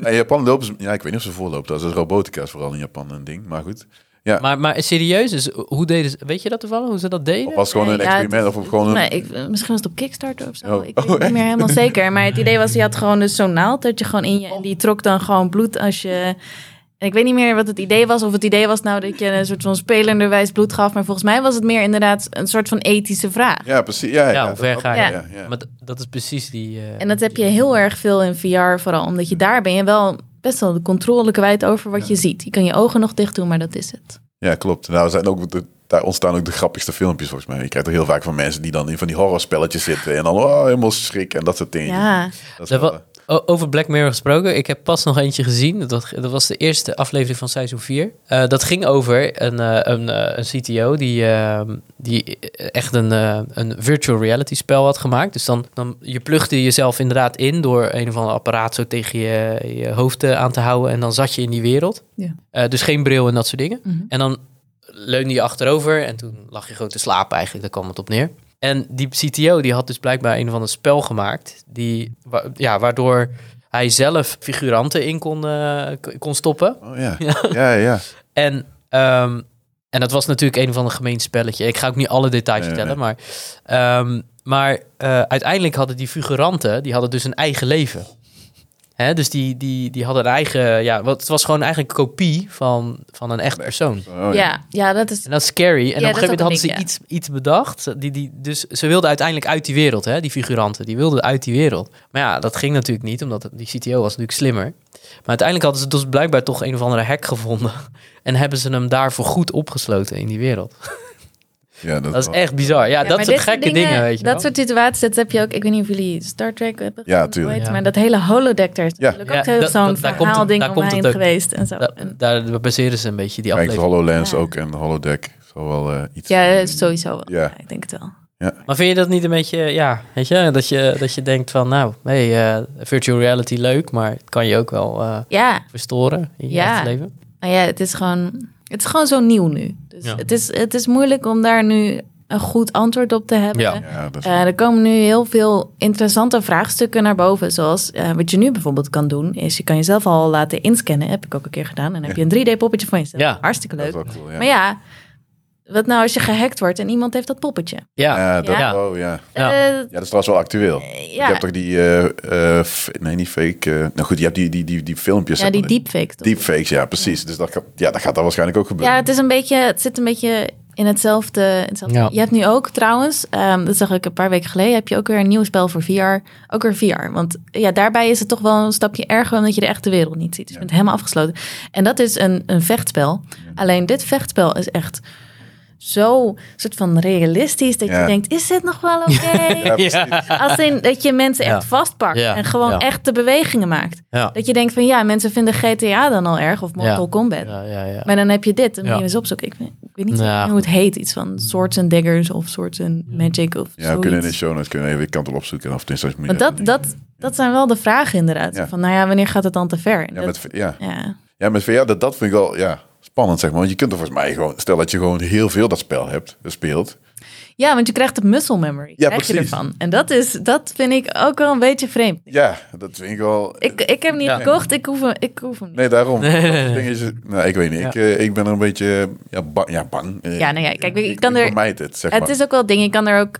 Speaker 1: En in Japan lopen ze... Ja, ik weet niet of ze voorlopen. Dat is dus robotica is vooral in Japan een ding. Maar goed. Ja.
Speaker 2: maar, maar serieus, dus hoe deden ze, weet je dat toevallig, hoe ze dat deden?
Speaker 1: Of was het gewoon een
Speaker 3: Nee, ja,
Speaker 1: experiment of gewoon een...
Speaker 3: Nee, ik, eh, misschien was het op Kickstarter of zo.
Speaker 1: Oh.
Speaker 3: Ik weet
Speaker 1: Oh,
Speaker 3: het niet
Speaker 1: echt? (laughs)
Speaker 3: meer helemaal zeker. Maar het idee was, je had gewoon dus zo'n naald dat je gewoon in je... En die trok dan gewoon bloed als je... En ik weet niet meer wat het idee was. Of het idee was nou dat je een soort van spelenderwijs bloed gaf. Maar volgens mij was het meer inderdaad een soort van ethische vraag.
Speaker 1: Ja, precies. Ja, ja,
Speaker 2: Ja, hoe ver
Speaker 1: dat-
Speaker 2: ga je?
Speaker 1: Ja, ja, ja.
Speaker 2: Maar d- dat is precies die... eh,
Speaker 3: En dat heb je heel erg veel in VR vooral. Omdat je daar ben je wel best wel de controle kwijt over wat je ziet. Je kan je ogen nog dicht doen, maar dat is het.
Speaker 1: Ja, klopt. Nou, er zijn ook de- daar ontstaan ook de grappigste filmpjes volgens mij. Je krijgt er heel vaak van mensen die dan in van die horrorspelletjes zitten. En dan oh, helemaal schrikken en dat soort dingen.
Speaker 3: Ja,
Speaker 1: Dat is
Speaker 2: Dat
Speaker 1: wel, eh,
Speaker 2: wa- o- over Black Mirror gesproken, ik heb pas nog eentje gezien. Dat, dat was de eerste aflevering van seizoen 4. Eh, dat ging over een, eh, een, eh, een CTO die, eh, die echt een, eh, een virtual reality spel had gemaakt. Dus dan, dan je plugde jezelf inderdaad in door een of ander apparaat zo tegen je, je hoofd eh, aan te houden. En dan zat je in die wereld.
Speaker 3: Ja.
Speaker 2: Eh, dus geen bril en dat soort dingen.
Speaker 3: Mhm.
Speaker 2: En dan leunde je achterover en toen lag je gewoon te slapen eigenlijk. Daar kwam het op neer. En die CTO die had dus blijkbaar een van de spel gemaakt. Die, wa- ja, waardoor hij zelf figuranten in kon, eh, k- kon stoppen.
Speaker 1: oh,
Speaker 2: (laughs)
Speaker 1: ja. ja, ja.
Speaker 2: En, ehm, en dat was natuurlijk een van de gemeen spelletje. Ik ga ook niet alle details
Speaker 1: Nee,
Speaker 2: vertellen, maar... ehm, maar eh, uiteindelijk hadden die figuranten, die hadden dus een eigen leven. Hè? Dus die, die, die hadden een eigen... Ja, wat, het was gewoon eigenlijk een kopie van, van een echt persoon.
Speaker 1: Oh, ja.
Speaker 3: ja, ja, dat is...
Speaker 2: En dat is scary. En
Speaker 3: Ja,
Speaker 2: op een gegeven moment
Speaker 3: dat
Speaker 2: hadden
Speaker 3: is
Speaker 2: ze
Speaker 3: ook
Speaker 2: iets, iets bedacht. Die, die, dus ze wilden uiteindelijk uit die wereld, hè, die figuranten. Die wilden uit die wereld. Maar ja, dat ging natuurlijk niet, omdat die CTO was natuurlijk slimmer. Maar uiteindelijk hadden ze dus blijkbaar toch een of andere hack gevonden. (laughs) En hebben ze hem daarvoor goed opgesloten in die wereld.
Speaker 1: Oh, Ja, dat,
Speaker 2: Dat is echt bizar. Ja,
Speaker 3: Ja,
Speaker 2: dat
Speaker 3: maar
Speaker 2: soort
Speaker 3: dit
Speaker 2: gekke dingen, weet je
Speaker 3: Dat
Speaker 2: wel.
Speaker 3: soort situaties, dat heb je ook... Ik weet niet of jullie Star Trek hebben
Speaker 1: Ja,
Speaker 3: gezien,
Speaker 1: tuurlijk.
Speaker 3: hoe heet het,
Speaker 2: Ja.
Speaker 3: Maar dat hele holodeck, daar is
Speaker 1: Ja.
Speaker 3: natuurlijk ook
Speaker 2: Ja,
Speaker 3: heel
Speaker 2: dat-
Speaker 3: zo'n
Speaker 2: dat- daar komt het-
Speaker 3: verhaalding
Speaker 2: daar komt het
Speaker 3: omheen
Speaker 2: ook.
Speaker 3: geweest. En zo.
Speaker 2: Da-
Speaker 3: En-
Speaker 2: daar baseren ze een beetje die
Speaker 1: Kijk, de
Speaker 2: aflevering.
Speaker 1: HoloLens
Speaker 3: Ja.
Speaker 1: ook en de holodeck. Zal wel eh, iets...
Speaker 3: ja, sowieso wel.
Speaker 1: Ja.
Speaker 3: Ja, ik denk het wel.
Speaker 2: Maar vind je dat niet een beetje, ja, weet je, dat je, dat je denkt van, nou, hey, eh, virtual reality leuk, maar het kan je ook wel eh,
Speaker 3: Ja,
Speaker 2: verstoren in je
Speaker 3: Ja.
Speaker 2: echt leven?
Speaker 3: nou ja, het is gewoon, het is gewoon zo nieuw nu. Dus
Speaker 2: Ja.
Speaker 3: het, is, het is moeilijk om daar nu een goed antwoord op te hebben.
Speaker 2: Ja.
Speaker 1: Ja, dat is-
Speaker 3: Eh, er komen nu heel veel interessante vraagstukken naar boven. Zoals eh, wat je nu bijvoorbeeld kan doen, is je kan jezelf al laten inscannen. Heb ik ook een keer gedaan. En dan heb je een 3D-poppetje van jezelf.
Speaker 2: Ja.
Speaker 3: Hartstikke
Speaker 1: dat
Speaker 3: leuk.
Speaker 1: is wel cool, ja.
Speaker 3: Maar ja, Wat nou als je gehackt wordt en iemand heeft dat poppetje?
Speaker 2: Ja,
Speaker 1: Ja, dat,
Speaker 2: Ja.
Speaker 1: Oh, ja.
Speaker 2: Ja.
Speaker 3: Eh,
Speaker 1: ja, dat is trouwens wel actueel.
Speaker 3: ja.
Speaker 1: Je hebt toch die, eh, eh, f- nee niet fake, eh, nou goed, je hebt die, die, die, die filmpjes.
Speaker 3: ja,
Speaker 1: zeg
Speaker 3: die
Speaker 1: maar.
Speaker 3: deepfake. toch?
Speaker 1: Deepfakes, ja precies. Dus dat, gaat- ja, dat gaat daar waarschijnlijk ook
Speaker 3: Ja,
Speaker 1: gebeuren.
Speaker 3: het, is een beetje, het zit een beetje in hetzelfde. hetzelfde.
Speaker 2: Ja.
Speaker 3: Je hebt nu ook trouwens, ehm, dat zag ik een paar weken geleden, heb je ook weer een nieuw spel voor VR. Ook weer VR. Want ja, daarbij is het toch wel een stapje erger omdat je de echte wereld niet ziet. Dus je bent helemaal afgesloten. En dat is een, een vechtspel. Alleen dit vechtspel is echt zo soort van realistisch dat
Speaker 1: Ja.
Speaker 3: je denkt, is dit nog wel oké?
Speaker 1: precies.
Speaker 3: Als in dat je mensen echt
Speaker 2: Ja.
Speaker 3: vastpakt
Speaker 2: Ja.
Speaker 3: en gewoon
Speaker 2: Ja.
Speaker 3: echt de bewegingen maakt.
Speaker 2: Ja.
Speaker 3: Dat je denkt van ja, mensen vinden GTA dan al erg of Mortal
Speaker 2: Ja.
Speaker 3: Kombat.
Speaker 2: Ja, ja, ja.
Speaker 3: Maar dan heb je dit, dan moet
Speaker 2: Ja.
Speaker 3: je eens opzoeken. Ik, weet- ik weet niet
Speaker 2: Ja.
Speaker 3: hoe het heet. Iets van Swords and Daggers of Swords and Magic of
Speaker 1: Ja, we kunnen in de
Speaker 3: zoiets.
Speaker 1: show notes kunnen we even de kant op opzoeken. Of tenminste, als je-
Speaker 3: Want dat, dat, dat zijn wel de vragen inderdaad.
Speaker 1: Ja.
Speaker 3: Van nou ja, wanneer gaat het dan te ver? En
Speaker 1: ja,
Speaker 3: dat-
Speaker 1: met, ja.
Speaker 3: ja.
Speaker 1: ja, met VR, dat, dat vind ik wel ja, spannend, zeg maar. Want je kunt er volgens mij gewoon... Stel dat je gewoon heel veel dat spel hebt, speelt.
Speaker 3: ja, want je krijgt de muscle memory.
Speaker 1: Ja,
Speaker 3: krijg je
Speaker 1: precies.
Speaker 3: ervan. En dat, is, dat vind ik ook wel een beetje vreemd.
Speaker 1: Ja, dat vind ik wel...
Speaker 3: Ik, ik heb hem niet
Speaker 2: Ja.
Speaker 3: gekocht, ik hoef hem, ik hoef hem niet.
Speaker 1: Nee, daarom.
Speaker 2: Nee, nee, nee.
Speaker 1: Dat ding is- nou, ik weet niet. Ik, eh, ik ben er een beetje ja, bang. Ja, bang. Eh,
Speaker 3: Ja, nou ja, kijk, ik kan er-
Speaker 1: vermijd het, zeg
Speaker 3: Het
Speaker 1: maar.
Speaker 3: is ook wel ding, je kan er ook...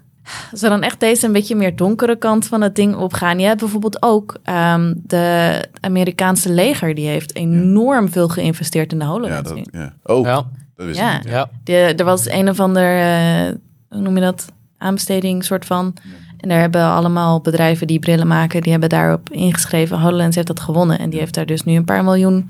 Speaker 3: Als we dan echt deze een beetje meer donkere kant van het ding opgaan. Je hebt bijvoorbeeld ook ehm, de het Amerikaanse leger. Die heeft enorm veel geïnvesteerd in de HoloLens
Speaker 1: ja,
Speaker 3: nu.
Speaker 1: dat, ja. Oh,
Speaker 2: Ja,
Speaker 1: dat is
Speaker 3: Ja.
Speaker 2: ja.
Speaker 3: De, er was een of ander, eh, hoe noem je dat? Aanbesteding soort van. En daar hebben allemaal bedrijven die brillen maken, die hebben daarop ingeschreven. HoloLens heeft dat gewonnen. En die heeft daar dus nu een paar miljoen,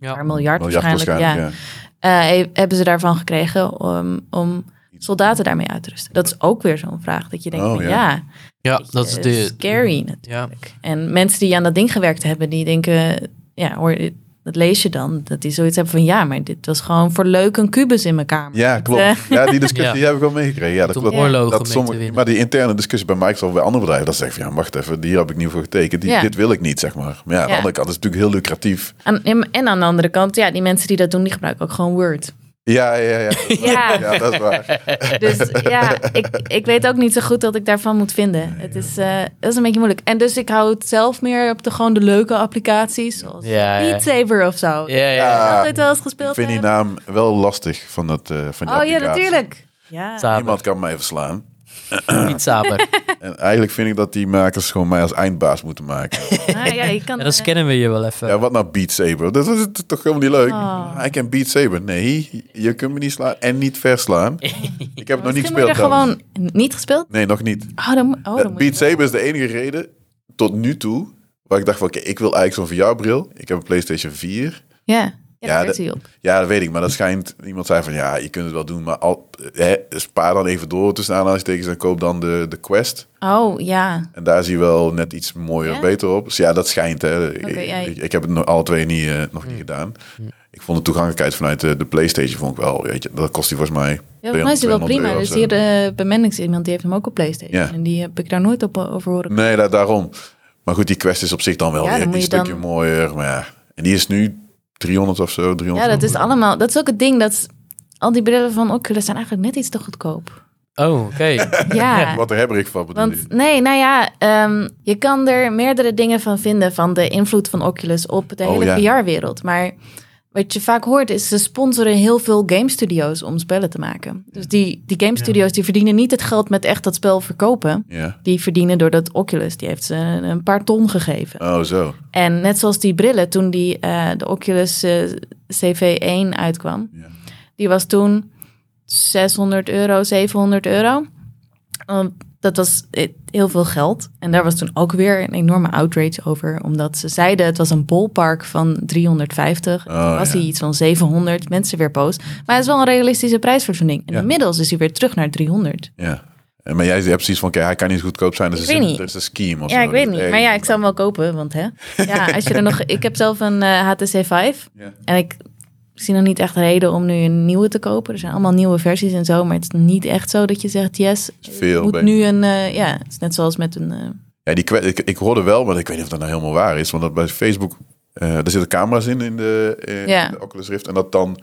Speaker 2: Ja.
Speaker 3: paar miljard,
Speaker 1: Miljard
Speaker 3: waarschijnlijk.
Speaker 1: waarschijnlijk,
Speaker 3: ja.
Speaker 1: ja.
Speaker 3: Eh, he- hebben ze daarvan gekregen om, om soldaten daarmee uit te rusten? Dat is ook weer zo'n vraag. Dat je denkt,
Speaker 1: Oh,
Speaker 3: van,
Speaker 1: ja.
Speaker 3: ja.
Speaker 2: Ja, dat is
Speaker 3: eh,
Speaker 2: Dus de...
Speaker 3: scary natuurlijk.
Speaker 2: Ja,
Speaker 3: En mensen die aan dat ding gewerkt hebben, die denken, ja hoor, dat lees je dan. Dat die zoiets hebben van, ja, maar dit was gewoon voor leuk een kubus in mijn kamer.
Speaker 1: Ja, klopt.
Speaker 3: Eh.
Speaker 1: Ja, die discussie
Speaker 2: (laughs) Ja.
Speaker 1: die heb ik wel meegekregen. Ja, dat
Speaker 2: Om
Speaker 1: klopt.
Speaker 2: oorlogen
Speaker 1: dat
Speaker 2: mee
Speaker 1: sommige-
Speaker 2: te winnen.
Speaker 1: maar die interne discussie bij Microsoft bij andere bedrijven, dat zegt van ja, wacht even, hier heb ik niet voor getekend. Die,
Speaker 3: Ja.
Speaker 1: Dit wil ik niet, zeg maar. Maar ja, aan de
Speaker 3: Ja.
Speaker 1: andere kant is het natuurlijk heel lucratief.
Speaker 3: Aan- en- en aan de andere kant, ja, die mensen die dat doen, die gebruiken ook gewoon Word.
Speaker 1: Ja, ja, ja.
Speaker 3: (laughs) Ja.
Speaker 1: ja dat is
Speaker 2: (laughs)
Speaker 1: waar.
Speaker 3: Dus ja, ik, ik weet ook niet zo goed wat ik daarvan moet vinden. Het is, eh, dat is een beetje moeilijk. En dus ik hou het zelf meer op de gewoon de leuke applicaties, zoals
Speaker 2: Ja, ja.
Speaker 3: Beat Saber of zo.
Speaker 2: ja, ja, ja.
Speaker 1: Ja,
Speaker 3: Dat ooit wel eens
Speaker 1: ik
Speaker 3: gespeeld
Speaker 1: vind die
Speaker 3: hebben.
Speaker 1: naam wel lastig van, dat, eh, van die
Speaker 3: Oh ja,
Speaker 1: applicatie.
Speaker 3: natuurlijk. Ja.
Speaker 2: Saber.
Speaker 1: Niemand kan mij verslaan.
Speaker 2: Niet Saber.
Speaker 3: (laughs)
Speaker 1: En eigenlijk vind ik dat die makers gewoon mij als eindbaas moeten maken.
Speaker 3: Ah, ja, je
Speaker 2: (laughs)
Speaker 3: kan,
Speaker 2: Ja, dan scannen we je wel even.
Speaker 1: Ja, wat nou Beat Saber? Dat is t- toch helemaal niet leuk?
Speaker 3: Oh.
Speaker 1: Hij kent Beat Saber. Nee, je kunt me niet slaan en niet verslaan. Ik heb het nog niet
Speaker 3: Misschien moet je er
Speaker 1: gespeeld. trouwens.
Speaker 3: gewoon niet gespeeld.
Speaker 1: Nee, Eh, nog niet.
Speaker 3: Oh, dan, mo- oh, dan moet je-
Speaker 1: Beat Saber is de enige reden tot nu toe waar ik dacht van oké, ik wil eigenlijk zo'n VR-bril. Ik heb een PlayStation 4.
Speaker 3: Ja, ja, daar
Speaker 1: dat-
Speaker 3: zit hij op.
Speaker 1: Ja, dat weet ik, maar dat schijnt iemand zei van ja, je kunt het wel doen, maar al, eh, hè, spaar dan even door tussen aanhalingstekens en koop dan de, de Quest.
Speaker 3: Oh, ja.
Speaker 1: En daar zie je wel net iets mooier en
Speaker 3: Ja?
Speaker 1: beter op. Dus ja, dat schijnt. Hè. Ik-
Speaker 3: Oké, ja.
Speaker 1: ik, ik heb het nog, alle twee niet, eh, nog niet gedaan. Ik vond de toegankelijkheid vanuit de, de PlayStation vond ik wel, weet je, dat kost die volgens mij.
Speaker 3: Ja, volgens mij is hij wel
Speaker 1: 200
Speaker 3: prima.
Speaker 1: euro of
Speaker 3: Dus
Speaker 1: zo.
Speaker 3: hier eh, bij Mendix iemand, die heeft hem ook op Playstation.
Speaker 1: Ja.
Speaker 3: En die heb ik daar nooit op eh, over horen.
Speaker 1: Nee, da- daarom. Maar goed, die quest is op zich dan wel
Speaker 3: Ja, dan
Speaker 1: weer
Speaker 3: moet
Speaker 1: een
Speaker 3: je
Speaker 1: stukje
Speaker 3: dan-
Speaker 1: mooier. Maar ja. En die is nu 300 of zo. 300
Speaker 3: Ja, dat is allemaal. Dat is ook het ding dat s- al die brillen van Oculus zijn eigenlijk net iets te
Speaker 1: (laughs)
Speaker 3: goedkoop.
Speaker 2: Oh, oké.
Speaker 3: Ja.
Speaker 1: Wat er heb ik van bedoel je?
Speaker 3: Want nee, nou ja, ehm, je kan er meerdere dingen van vinden van de invloed van Oculus op de
Speaker 1: Oh,
Speaker 3: hele
Speaker 1: ja.
Speaker 3: VR-wereld. Maar wat je vaak hoort is, ze sponsoren heel veel game studios om spellen te maken. Dus die, die game studios die verdienen niet het geld met echt dat spel verkopen.
Speaker 1: Ja.
Speaker 3: Die verdienen doordat Oculus, die heeft ze een een paar ton gegeven.
Speaker 1: Oh, zo.
Speaker 3: En net zoals die brillen toen die, eh, de Oculus eh, CV1 uitkwam.
Speaker 1: Ja.
Speaker 3: Die was toen 600 euro, 700 euro. Want dat was eh, heel veel geld. En daar was toen ook weer een enorme outrage over. Omdat ze zeiden het was een bolpark van 350. En toen
Speaker 1: Oh,
Speaker 3: was
Speaker 1: ja.
Speaker 3: hij iets van 700. Mensen weer boos. Maar het is wel een realistische prijs voor zo'n ding. En
Speaker 1: Ja.
Speaker 3: inmiddels is hij weer terug naar 300.
Speaker 1: Ja. En, maar jij hebt precies van, kijk, hij kan niet goedkoop zijn. Dus
Speaker 3: Ik
Speaker 1: er
Speaker 3: weet
Speaker 1: zit-
Speaker 3: niet.
Speaker 1: er is een scheme of
Speaker 3: Ja,
Speaker 1: zo.
Speaker 3: ik weet
Speaker 1: Dus
Speaker 3: niet.
Speaker 1: ergens-
Speaker 3: Maar ja, ik zou hem wel kopen, want
Speaker 1: (laughs)
Speaker 3: hè. Ja, als je er nog... Ik heb zelf een eh, HTC Vive.
Speaker 1: Ja.
Speaker 3: En ik zie nog niet echt reden om nu een nieuwe te kopen. Er zijn allemaal nieuwe versies en zo. Maar het is niet echt zo dat je zegt, yes,
Speaker 1: veel
Speaker 3: ik moet
Speaker 1: beter.
Speaker 3: nu een... eh, ja, het is net zoals met een... eh,
Speaker 1: Ja, die que- ik, ik hoorde wel, maar ik weet niet of dat nou helemaal waar is. Want dat bij Facebook, eh daar zitten camera's in, in de, in
Speaker 3: Ja.
Speaker 1: de Oculus Rift. En dat dan,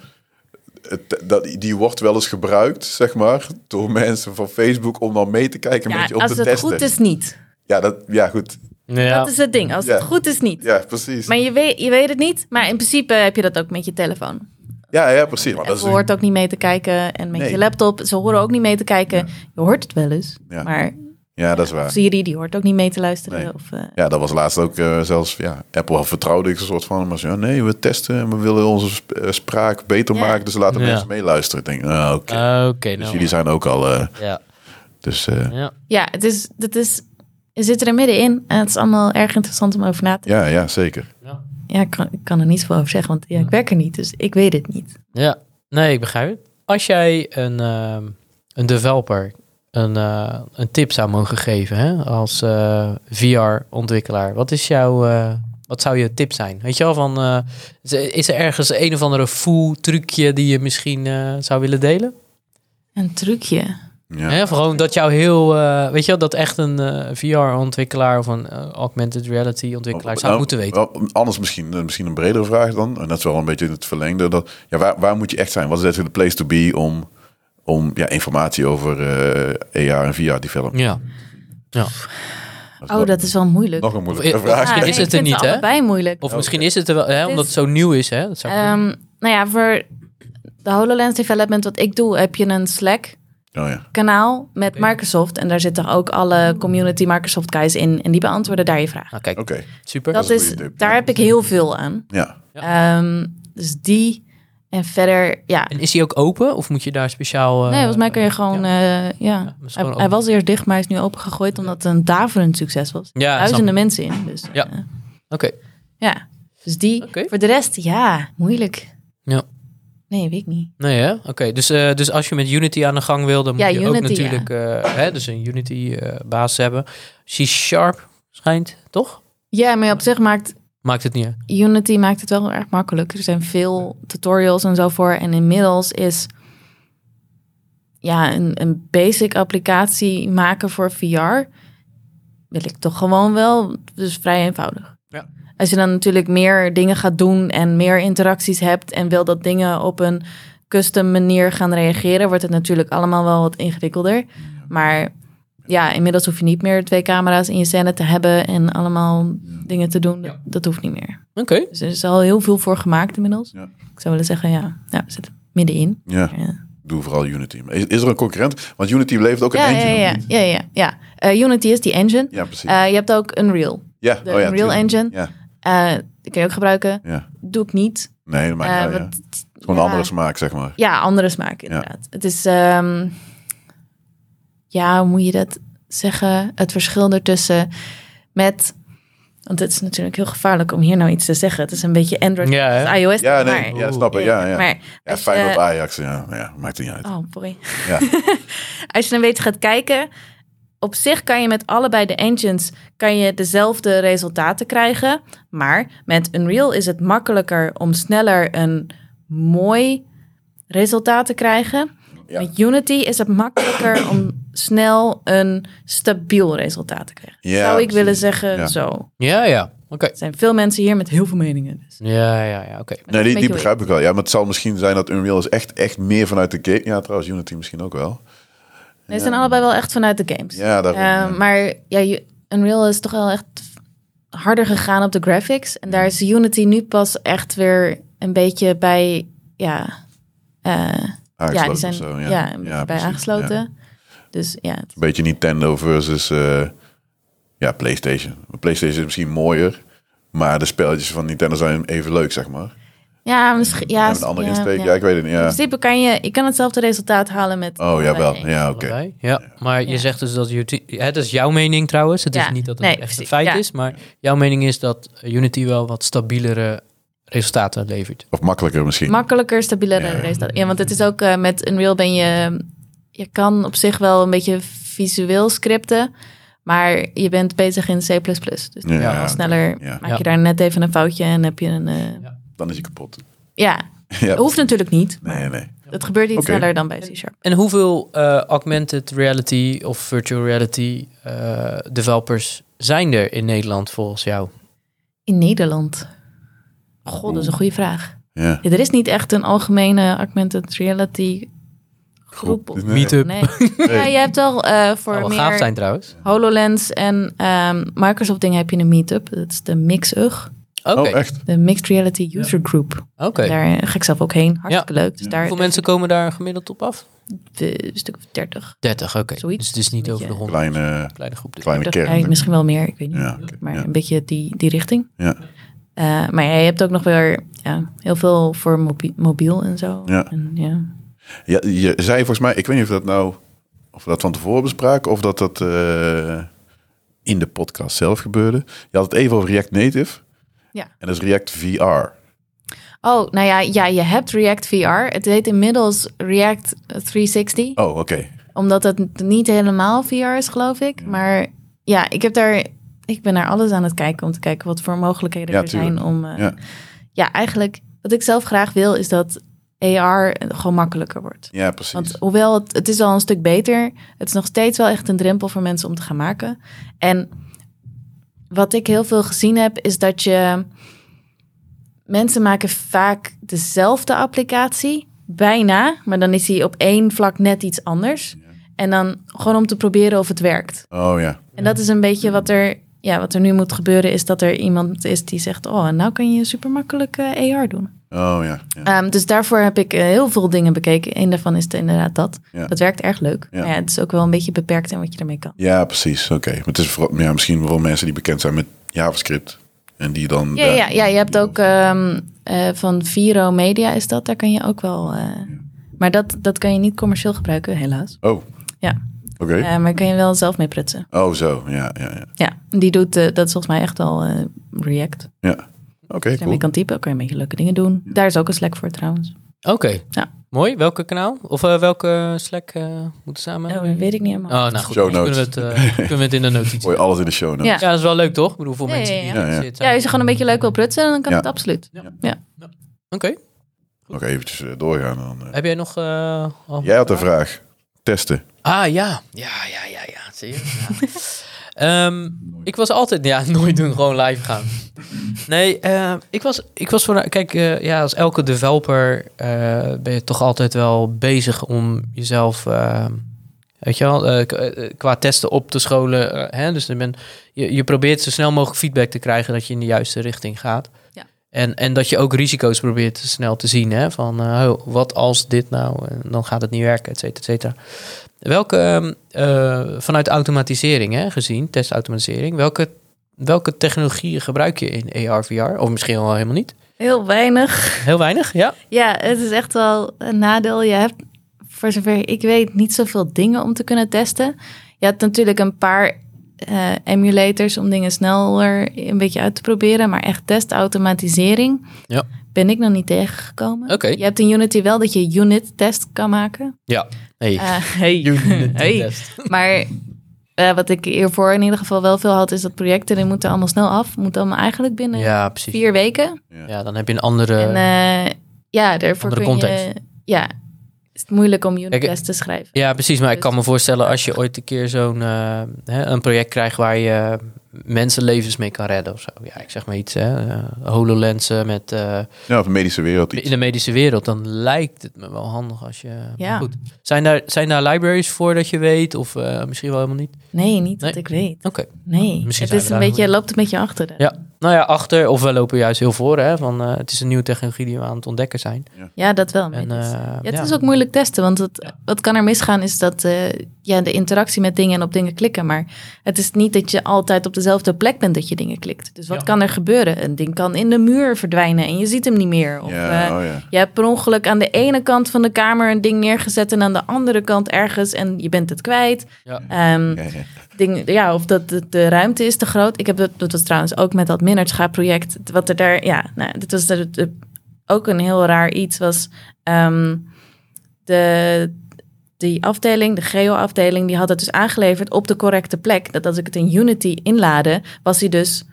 Speaker 1: het, dat, die wordt wel eens gebruikt, zeg maar, door (laughs) mensen van Facebook om dan mee te kijken met je
Speaker 3: ja,
Speaker 1: om
Speaker 3: als
Speaker 1: te
Speaker 3: het
Speaker 1: testen.
Speaker 3: goed is, niet.
Speaker 1: Ja, dat, ja, goed.
Speaker 2: Ja.
Speaker 3: Dat is het ding. Als
Speaker 1: Ja.
Speaker 3: het goed is, niet.
Speaker 1: Ja, precies.
Speaker 3: Maar je weet, je weet het niet. Maar in principe heb je dat ook met je telefoon.
Speaker 1: Ja, ja, precies. Maar dat is
Speaker 3: Apple hoort ook niet mee te kijken. En met
Speaker 1: Nee.
Speaker 3: je laptop, ze horen ook niet mee te kijken. Je hoort het wel eens,
Speaker 1: Ja.
Speaker 3: maar
Speaker 1: ja, dat is waar.
Speaker 3: Siri die hoort ook niet mee te luisteren.
Speaker 1: Nee.
Speaker 3: Of, eh,
Speaker 1: Ja, dat was laatst ook eh, zelfs, ja, Apple vertrouwde ik een soort van, maar ze, ja, nee, we testen en we willen onze sp- eh, spraak beter
Speaker 3: Ja.
Speaker 1: maken, dus laten
Speaker 2: Ja.
Speaker 1: mensen meeluisteren. Ik denk, ah, oké,
Speaker 2: Ah, Oké,
Speaker 1: dus
Speaker 2: nou.
Speaker 1: jullie zijn ook al, eh,
Speaker 2: Ja,
Speaker 1: dus eh,
Speaker 2: ja.
Speaker 3: ja, het is, dat is, je zit er middenin en het is allemaal erg interessant om over na te
Speaker 1: ja, ja, zeker.
Speaker 2: ja.
Speaker 3: Ja, ik kan, ik kan er niet veel over zeggen, want ja, ik werk er niet, dus ik weet het niet.
Speaker 2: Ja, nee, ik begrijp het. Als jij een, ehm, een developer een, eh, een tip zou mogen geven hè, als VR-ontwikkelaar, wat, is jouw, eh, wat zou je tip zijn? Weet je wel, van, eh, is er- is er ergens een of andere fool trucje die je misschien eh, zou willen delen?
Speaker 3: Een trucje.
Speaker 1: Ja.
Speaker 2: Hè, of gewoon dat jou heel, eh, weet je wel, dat echt een VR-ontwikkelaar of een eh, augmented reality-ontwikkelaar zou
Speaker 1: Nou,
Speaker 2: moeten weten.
Speaker 1: wel, anders misschien, eh, misschien een bredere vraag dan, en dat is wel een beetje in het verlengde, dat, ja, waar, waar moet je echt zijn? Wat is echt de place to be om, om ja, informatie over eh AR en VR development?
Speaker 2: Ja.
Speaker 3: Oh, dat is wel moeilijk.
Speaker 1: nog een moeilijke
Speaker 2: Of- of-
Speaker 1: vraag.
Speaker 2: Ah,
Speaker 1: denk
Speaker 2: is
Speaker 1: ik.
Speaker 2: het- er
Speaker 3: vind
Speaker 2: niet,
Speaker 3: ze
Speaker 2: hè?
Speaker 3: allebei moeilijk.
Speaker 2: Of misschien is het er wel, hè, omdat het zo nieuw is. Hè? Dat zou
Speaker 3: Ehm, nou ja, voor de HoloLens development wat ik doe, heb je een Slack
Speaker 1: Oh, ja.
Speaker 3: kanaal met Microsoft. En daar zitten ook alle community Microsoft guys in. En die beantwoorden daar je vragen.
Speaker 2: nou, kijk,
Speaker 1: Oké,
Speaker 2: super.
Speaker 3: Dat
Speaker 1: Ah, is een
Speaker 3: is,
Speaker 1: goede tip,
Speaker 3: daar
Speaker 1: ja.
Speaker 3: heb ik heel veel aan.
Speaker 1: ja.
Speaker 3: Ehm, dus die en verder, ja.
Speaker 2: En is die ook open? Of moet je daar speciaal... eh,
Speaker 3: Nee, volgens mij kun je gewoon, eh, ja.
Speaker 2: maar is
Speaker 3: Hij,
Speaker 2: gewoon
Speaker 3: hij
Speaker 2: open.
Speaker 3: was eerst dicht, maar hij is nu opengegooid omdat het een daverend succes was.
Speaker 2: Ja,
Speaker 3: Duizenden mensen in. Dus,
Speaker 2: Ja.
Speaker 3: eh,
Speaker 2: Oké.
Speaker 3: ja. Dus die.
Speaker 2: Oké.
Speaker 3: Voor de rest, ja, moeilijk.
Speaker 2: Ja.
Speaker 3: Nee, weet ik niet.
Speaker 2: Nee, hè? Oké, dus, eh, dus als je met Unity aan de gang wil, dan moet
Speaker 3: Ja,
Speaker 2: je ook
Speaker 3: Unity,
Speaker 2: natuurlijk... eh, hè, dus een Unity-baas hebben. C-Sharp schijnt, toch?
Speaker 3: Ja, maar op zich maakt
Speaker 2: Maakt het niet uit.
Speaker 3: Unity maakt het wel erg makkelijk. Er zijn veel tutorials en zo voor. En inmiddels is ja, een, een basic applicatie maken voor VR wil ik toch gewoon wel. Dus vrij eenvoudig.
Speaker 2: Ja.
Speaker 3: Als je dan natuurlijk meer dingen gaat doen en meer interacties hebt en wil dat dingen op een custom manier gaan reageren, wordt het natuurlijk allemaal wel wat ingewikkelder. Maar ja, inmiddels hoef je niet meer twee camera's in je scène te hebben en allemaal dingen te doen.
Speaker 2: Ja.
Speaker 3: Dat hoeft niet meer.
Speaker 2: Oké.
Speaker 3: Dus er is al heel veel voor gemaakt inmiddels.
Speaker 1: Ja.
Speaker 3: Ik zou willen zeggen, ja, ja we zitten middenin.
Speaker 1: ja.
Speaker 3: Ja,
Speaker 1: Doe vooral Unity. Maar Is, is er een concurrent? Want Unity levert ook
Speaker 3: ja,
Speaker 1: een
Speaker 3: ja.
Speaker 1: engine.
Speaker 3: ja,
Speaker 1: of niet?
Speaker 3: ja, ja, ja. Eh, Unity is die engine.
Speaker 1: Ja, precies.
Speaker 3: Eh, je hebt ook Unreal.
Speaker 1: ja,
Speaker 3: de
Speaker 1: oh ja,
Speaker 3: Unreal
Speaker 1: tuurlijk.
Speaker 3: Engine.
Speaker 1: Ja,
Speaker 3: Eh, die kun je ook gebruiken.
Speaker 1: ja.
Speaker 3: Doe ik niet.
Speaker 1: Nee, dat maakt niet
Speaker 3: Eh,
Speaker 1: uit, ja.
Speaker 3: want-
Speaker 1: Het is gewoon een
Speaker 3: ja.
Speaker 1: andere smaak, zeg maar.
Speaker 3: Ja, andere smaak inderdaad. Het is, ehm, ja, hoe moet je dat zeggen? Het verschil ertussen met, want het is natuurlijk heel gevaarlijk om hier nou iets te zeggen. Het is een beetje Android,
Speaker 2: Ja, hè?
Speaker 3: het is iOS.
Speaker 1: Ja, nee,
Speaker 3: maar,
Speaker 1: ja, snap ik. Ja, ja.
Speaker 3: maar dus, eh,
Speaker 1: ja
Speaker 3: als je-
Speaker 1: fijn op Ajax. Ja, ja, maakt niet uit.
Speaker 3: Oh, boy.
Speaker 1: Ja.
Speaker 3: (laughs) Als je een beetje gaat kijken, op zich kan je met allebei de engines kan je dezelfde resultaten krijgen. Maar met Unreal is het makkelijker om sneller een mooi resultaat te krijgen.
Speaker 1: Ja.
Speaker 3: Met Unity is het makkelijker om snel een stabiel resultaat te krijgen.
Speaker 1: Ja,
Speaker 3: Zou ik
Speaker 1: precies.
Speaker 3: willen zeggen,
Speaker 1: Ja.
Speaker 3: zo. Er
Speaker 2: Ja, ja. Oké.
Speaker 3: zijn veel mensen hier met heel veel meningen. Dus.
Speaker 2: Ja, ja, ja. Oké.
Speaker 1: Nee, die, die
Speaker 3: Beetje
Speaker 1: begrijp ik wel. Ja, maar het zal misschien zijn dat Unreal is echt, echt meer vanuit de game. Ja, trouwens, Unity misschien ook wel.
Speaker 3: Nee, ze zijn allebei wel echt vanuit de games.
Speaker 1: Ja, daarom. ja.
Speaker 3: Eh, maar ja, je- Unreal is toch wel echt harder gegaan op de graphics. En daar is Unity nu pas echt weer een beetje bij, ja, eh, ja,
Speaker 1: Aangesloten
Speaker 3: die
Speaker 1: of
Speaker 3: zijn
Speaker 1: zo,
Speaker 3: ja. een beetje bij
Speaker 1: precies,
Speaker 3: aangesloten.
Speaker 1: ja.
Speaker 3: Dus ja, het-
Speaker 1: Een beetje Nintendo versus eh, ja, PlayStation. PlayStation is misschien mooier, maar de spelletjes van Nintendo zijn even leuk, zeg maar.
Speaker 3: ja, misschien, ja,
Speaker 1: Ja, met een andere
Speaker 3: ja,
Speaker 1: insteek. Ja.
Speaker 3: ja.
Speaker 1: ik weet het niet.
Speaker 3: In
Speaker 1: Ja.
Speaker 3: principe kan je, je kan hetzelfde resultaat halen met.
Speaker 1: Oh, jawel. Ja, oké.
Speaker 2: Allebei. Ja, maar je
Speaker 3: Ja.
Speaker 2: zegt dus dat Unity... hè, Dat is jouw mening trouwens. Het is
Speaker 3: Ja.
Speaker 2: niet dat het
Speaker 3: Nee,
Speaker 2: echt een
Speaker 3: precies.
Speaker 2: feit
Speaker 3: Ja.
Speaker 2: is. Maar jouw mening is dat Unity wel wat stabielere resultaten levert.
Speaker 1: Of makkelijker misschien.
Speaker 3: Makkelijker, stabielere
Speaker 1: Ja.
Speaker 3: resultaten. Ja, want het is ook eh, met Unreal ben je, je kan op zich wel een beetje visueel scripten, maar je bent bezig in C++. Dus
Speaker 1: ja,
Speaker 2: Ja,
Speaker 3: Al sneller
Speaker 1: Ja.
Speaker 3: maak
Speaker 2: Ja.
Speaker 3: je daar net even een foutje en heb je een. eh, ja.
Speaker 1: dan is hij kapot. (laughs)
Speaker 3: dat hoeft natuurlijk niet. maar
Speaker 1: Nee, nee.
Speaker 3: Het gebeurt iets
Speaker 1: Oké.
Speaker 3: sneller dan bij C-Sharp.
Speaker 2: En hoeveel eh, augmented reality of virtual reality eh, developers zijn er in Nederland volgens jou?
Speaker 3: In Nederland. God, dat is een goede vraag.
Speaker 1: Ja.
Speaker 3: Ja, er is niet echt een algemene augmented reality groep. of-
Speaker 1: Nee.
Speaker 2: Meetup.
Speaker 3: Nee. Ja, je hebt wel eh, voor
Speaker 2: Zou wel gaaf
Speaker 3: meer
Speaker 2: zijn trouwens.
Speaker 3: HoloLens en ehm, Microsoft dingen heb je een meetup. Dat is de MixUG.
Speaker 2: Oké.
Speaker 1: Oh, echt?
Speaker 3: De Mixed Reality User Group.
Speaker 2: Oké.
Speaker 3: Daar eh, ga ik zelf ook heen. Hartstikke leuk. Dus daar
Speaker 2: Hoeveel mensen komen daar gemiddeld op af?
Speaker 3: eh, een stuk of 30.
Speaker 2: 30, oké.
Speaker 3: Zoiets.
Speaker 2: Dus het is niet
Speaker 3: Beetje-
Speaker 2: over de 100.
Speaker 1: Kleine,
Speaker 2: Kleine groep. dus.
Speaker 1: kleine
Speaker 3: 30,
Speaker 1: kern.
Speaker 3: eigenlijk misschien wel meer, ik weet niet.
Speaker 1: Ja, oké,
Speaker 3: maar
Speaker 1: ja.
Speaker 3: een beetje die, die richting.
Speaker 1: Ja.
Speaker 3: Eh, maar ja, je hebt ook nog weer ja, heel veel voor mobie- mobiel en zo.
Speaker 1: Ja.
Speaker 3: En, ja.
Speaker 1: Ja, je zei volgens mij, ik weet niet of dat nou of we dat van tevoren bespraken of dat dat eh, in de podcast zelf gebeurde. Je had het even over React Native.
Speaker 3: Ja.
Speaker 1: En dat is React VR.
Speaker 3: Oh, nou ja, ja, je hebt React VR. Het heet inmiddels React 360.
Speaker 1: Oh, oké.
Speaker 3: Omdat het niet helemaal VR is, geloof ik. Maar ja, ik heb daar. Ik ben naar alles aan het kijken om te kijken wat voor mogelijkheden
Speaker 1: Ja,
Speaker 3: er
Speaker 1: tuurlijk.
Speaker 3: zijn om. eh,
Speaker 1: Ja.
Speaker 3: ja. eigenlijk wat ik zelf graag wil is dat AR gewoon makkelijker wordt.
Speaker 1: Ja, precies.
Speaker 3: Want hoewel het, het is al een stuk beter, het is nog steeds wel echt een drempel voor mensen om te gaan maken. En wat ik heel veel gezien heb, is dat je mensen maken vaak dezelfde applicatie, bijna, maar dan is die op één vlak net iets anders. En dan gewoon om te proberen of het werkt.
Speaker 1: oh ja.
Speaker 3: En dat is een beetje wat er, ja, wat er nu moet gebeuren, is dat er iemand is die zegt, oh, en nou kan je super makkelijk AR doen.
Speaker 1: Oh ja. ja.
Speaker 3: Ehm, dus daarvoor heb ik eh, heel veel dingen bekeken. Eén daarvan is de- inderdaad dat.
Speaker 1: Ja.
Speaker 3: Dat werkt erg leuk.
Speaker 1: Ja.
Speaker 3: Maar ja, het is ook wel een beetje beperkt in wat je ermee kan.
Speaker 1: Ja, precies. Oké. Maar het is vooral, ja, misschien wel mensen die bekend zijn met JavaScript. En die dan...
Speaker 3: Ja,
Speaker 1: daar-
Speaker 3: ja, ja je hebt ook ehm, eh, van Viro Media is dat. Daar kan je ook wel... eh, Maar dat, dat kan je niet commercieel gebruiken, helaas.
Speaker 1: Oh, oké.
Speaker 3: Ja, Eh, maar kan je wel zelf mee prutsen.
Speaker 1: oh, zo. Ja, ja, ja.
Speaker 3: Ja, die doet, eh, dat is volgens mij echt wel eh, React. Als
Speaker 1: ja. Oké,
Speaker 3: je mee
Speaker 1: cool.
Speaker 3: kan typen, kan je een beetje leuke dingen doen. Daar is ook een Slack voor trouwens.
Speaker 2: Oké.
Speaker 3: Ja.
Speaker 2: Mooi. Welke kanaal? Of eh, welke Slack eh moeten samen?
Speaker 3: Oh, dat weet ik niet helemaal.
Speaker 2: Oh, nou goed.
Speaker 1: Show
Speaker 2: dan Kunnen we, het,
Speaker 1: notes.
Speaker 2: eh, kunnen we het in
Speaker 1: (laughs)
Speaker 2: de notities.
Speaker 1: Gooi alles in de show notes.
Speaker 3: Ja.
Speaker 2: Ja, dat is wel leuk toch? Ik bedoel, voor
Speaker 3: Ja,
Speaker 2: mensen
Speaker 3: ja,
Speaker 2: die
Speaker 3: ja.
Speaker 1: Ja, ja.
Speaker 2: geïnteresseerd
Speaker 3: ja,
Speaker 2: zijn.
Speaker 3: als je gewoon een beetje leuk wil prutsen, dan kan
Speaker 1: Ja.
Speaker 3: het absoluut.
Speaker 2: Ja.
Speaker 3: Ja.
Speaker 2: Oké.
Speaker 1: Nog eventjes eh, doorgaan. Dan, eh.
Speaker 2: Heb jij nog... eh, al-
Speaker 1: Jij had een vraag. Testen.
Speaker 2: Ah, ja. Ja, ja, ja, ja. Zie je? Ja. (laughs) Ehm, ik was altijd... Ja, (laughs) nooit doen. Gewoon live gaan. Nee, eh, ik was, ik was voor... Kijk, eh, ja, als elke developer eh, ben je toch altijd wel bezig om jezelf... eh, Weet je wel, eh, k- eh, qua testen op te scholen. eh, hè? Dus je, bent- je, je probeert zo snel mogelijk feedback te krijgen dat je in de juiste richting gaat.
Speaker 3: Ja.
Speaker 2: En, en dat je ook risico's probeert snel te zien. Hè? Van eh, oh, wat als dit nou, en dan gaat het niet werken, et cetera, et cetera. Welke, ehm, eh, vanuit automatisering hè, gezien, testautomatisering, welke, welke technologieën gebruik je in AR, VR? Of misschien wel helemaal niet?
Speaker 3: Heel weinig.
Speaker 2: Heel weinig, ja.
Speaker 3: Ja, het is echt wel een nadeel. Je hebt, voor zover ik weet, niet zoveel dingen om te kunnen testen. Je hebt natuurlijk een paar eh, emulators om dingen sneller een beetje uit te proberen. Maar echt testautomatisering
Speaker 2: Ja.
Speaker 3: ben ik nog niet tegengekomen.
Speaker 2: Oké.
Speaker 3: Je hebt in Unity wel dat je unit-test kan
Speaker 2: (laughs)
Speaker 3: maken.
Speaker 2: Ja. Hey.
Speaker 3: Eh, hey.
Speaker 2: Unit
Speaker 3: Hey.
Speaker 2: test.
Speaker 3: Maar eh, wat ik hiervoor in ieder geval wel veel had, is dat projecten die moeten allemaal snel af. Moeten allemaal eigenlijk binnen
Speaker 2: Ja, precies.
Speaker 3: vier weken.
Speaker 2: Ja, dan heb je een andere...
Speaker 3: En eh, ja, daarvoor
Speaker 2: Andere
Speaker 3: kun je...
Speaker 2: context.
Speaker 3: Ja, is het moeilijk om unit
Speaker 2: Kijk,
Speaker 3: tests te schrijven.
Speaker 2: Ja, precies. Maar ik
Speaker 3: Dus-
Speaker 2: kan me voorstellen als je ooit een keer zo'n eh, hè, een project krijgt waar je mensenlevens mee kan redden of zo. Ja, ik zeg maar iets. Hè. Eh, HoloLens eh, met eh,
Speaker 1: Ja, of de medische wereld.
Speaker 2: in
Speaker 1: Iets.
Speaker 2: de medische wereld, dan lijkt het me wel handig als je.
Speaker 3: Ja.
Speaker 2: maar Goed. Zijn daar zijn daar libraries voor dat je weet of eh, misschien wel helemaal niet?
Speaker 3: Nee, niet
Speaker 2: Nee.
Speaker 3: dat ik weet.
Speaker 2: Oké.
Speaker 3: Nee,
Speaker 2: Misschien zijn
Speaker 3: het
Speaker 2: we
Speaker 3: is
Speaker 2: daar
Speaker 3: een
Speaker 2: nog
Speaker 3: beetje,
Speaker 2: niet.
Speaker 3: loopt een beetje achter. de- Ja.
Speaker 2: Ja. Nou ja, achter of we lopen juist heel voor. Hè, van eh, het is een nieuwe technologie die we aan het ontdekken zijn.
Speaker 3: dat wel. maar
Speaker 2: En,
Speaker 3: het is,
Speaker 2: eh,
Speaker 3: ja, het
Speaker 2: ja.
Speaker 3: is ook moeilijk testen, want het, wat kan er misgaan is dat eh, ja, de interactie met dingen en op dingen klikken. Maar het is niet dat je altijd op dezelfde plek bent dat je dingen klikt. Dus wat
Speaker 2: Ja.
Speaker 3: kan er gebeuren? Een ding kan in de muur verdwijnen en je ziet hem niet meer. Of,
Speaker 1: Ja,
Speaker 3: eh,
Speaker 1: oh ja.
Speaker 3: Je hebt per ongeluk aan de ene kant van de kamer een ding neergezet en aan de andere kant ergens en je bent het kwijt.
Speaker 2: Ja.
Speaker 3: Ehm,
Speaker 1: Ja, ja.
Speaker 3: ding, ja, of dat de, de ruimte is te groot. Ik heb dat, dat was trouwens ook met dat Minnertscha-project. Wat er daar, ja, nou, dit was de- de- ook een heel raar iets. Was ehm, de, die afdeling, de geo-afdeling, die had het dus aangeleverd op de correcte plek. Dat als ik het in Unity inlaadde, was hij dus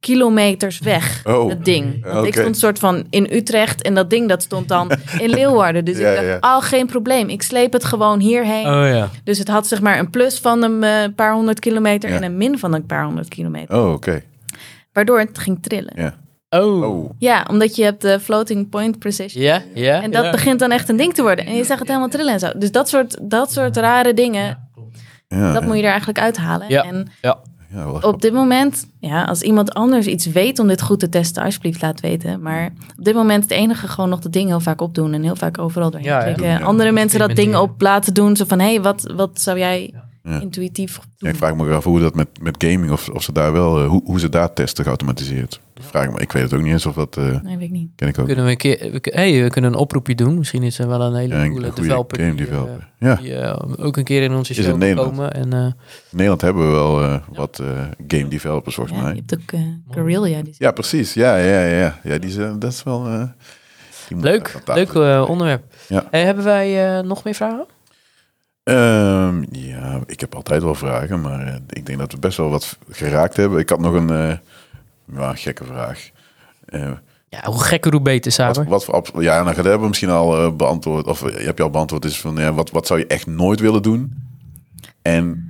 Speaker 3: kilometers weg,
Speaker 1: Oh.
Speaker 3: het ding. Want ik
Speaker 1: Oké.
Speaker 3: stond soort van in Utrecht en dat ding dat
Speaker 1: (laughs)
Speaker 3: stond dan in Leeuwarden. Dus
Speaker 1: Ja,
Speaker 3: ik dacht,
Speaker 1: ja.
Speaker 3: al geen probleem, ik sleep het gewoon hierheen.
Speaker 2: ja.
Speaker 3: Dus het had zeg maar een plus van een eh, paar honderd kilometer
Speaker 1: Ja.
Speaker 3: en een min van een paar honderd kilometer.
Speaker 1: Oh, oké.
Speaker 3: Waardoor het ging trillen. Ja,
Speaker 1: Ja.
Speaker 2: Oh.
Speaker 1: Oh.
Speaker 3: omdat je hebt de floating point precision.
Speaker 2: Ja, ja.
Speaker 3: En dat
Speaker 2: ja.
Speaker 3: begint dan echt een ding te worden. En je zag het helemaal trillen en zo. Dus dat soort, dat soort rare dingen,
Speaker 1: Ja,
Speaker 3: dat
Speaker 1: Oh, ja.
Speaker 3: moet je er eigenlijk uithalen.
Speaker 2: Ja.
Speaker 3: En
Speaker 2: Ja.
Speaker 1: Ja, wel
Speaker 3: op dit moment, ja, als iemand anders iets weet om dit goed te testen, alsjeblieft laat weten. Maar op dit moment het enige gewoon nog dat ding heel vaak opdoen en heel vaak overal doorheen
Speaker 2: Ja, ja.
Speaker 1: Ja.
Speaker 3: klikken. Andere mensen dat ding
Speaker 2: Experimenteren.
Speaker 3: op laten doen, zo van, hé, hey, wat, wat zou jij
Speaker 1: Ja.
Speaker 3: intuïtief
Speaker 1: Ja,
Speaker 3: doen?
Speaker 1: ik vraag me ook af hoe dat met, met gaming, of, of ze daar wel, eh, hoe, hoe ze daar testen geautomatiseerd. Dat Vraag ik, me, ik weet het ook niet eens of dat, eh,
Speaker 3: Nee, weet ik niet.
Speaker 1: ken ik ook.
Speaker 2: Kunnen we een keer... We, kun- hey, we kunnen een oproepje doen. Misschien is er wel een hele
Speaker 1: Ja, een
Speaker 2: coole
Speaker 1: goede
Speaker 2: developer.
Speaker 1: game
Speaker 2: die, eh,
Speaker 1: developer. Ja,
Speaker 2: die, eh, ook een keer in onze
Speaker 1: Is in
Speaker 2: show kan
Speaker 1: Nederland.
Speaker 2: komen. En, eh,
Speaker 1: in Nederland hebben we wel eh, wat eh, game developers volgens
Speaker 3: Ja, je
Speaker 1: mij.
Speaker 3: hebt ook eh, Guerrilla. Die
Speaker 1: Ja, precies. Ja, ja, ja. ja die zijn, dat is wel... eh, die moet echt
Speaker 2: leuk,
Speaker 1: aan tafel
Speaker 2: leuk
Speaker 1: zitten.
Speaker 2: eh, onderwerp.
Speaker 1: Ja.
Speaker 2: Hey, hebben wij eh, nog meer vragen?
Speaker 1: Ehm, ja, ik heb altijd wel vragen, maar eh, ik denk dat we best wel wat geraakt hebben. Ik had nog een eh, ja, gekke vraag. Eh,
Speaker 2: Ja, hoe gekker hoe beter,
Speaker 1: wat,
Speaker 2: Saber.
Speaker 1: wat voor abs- ja, nou, dat hebben we misschien al eh, beantwoord. Of eh, heb je al beantwoord? Is van ja, wat, wat zou je echt nooit willen doen? En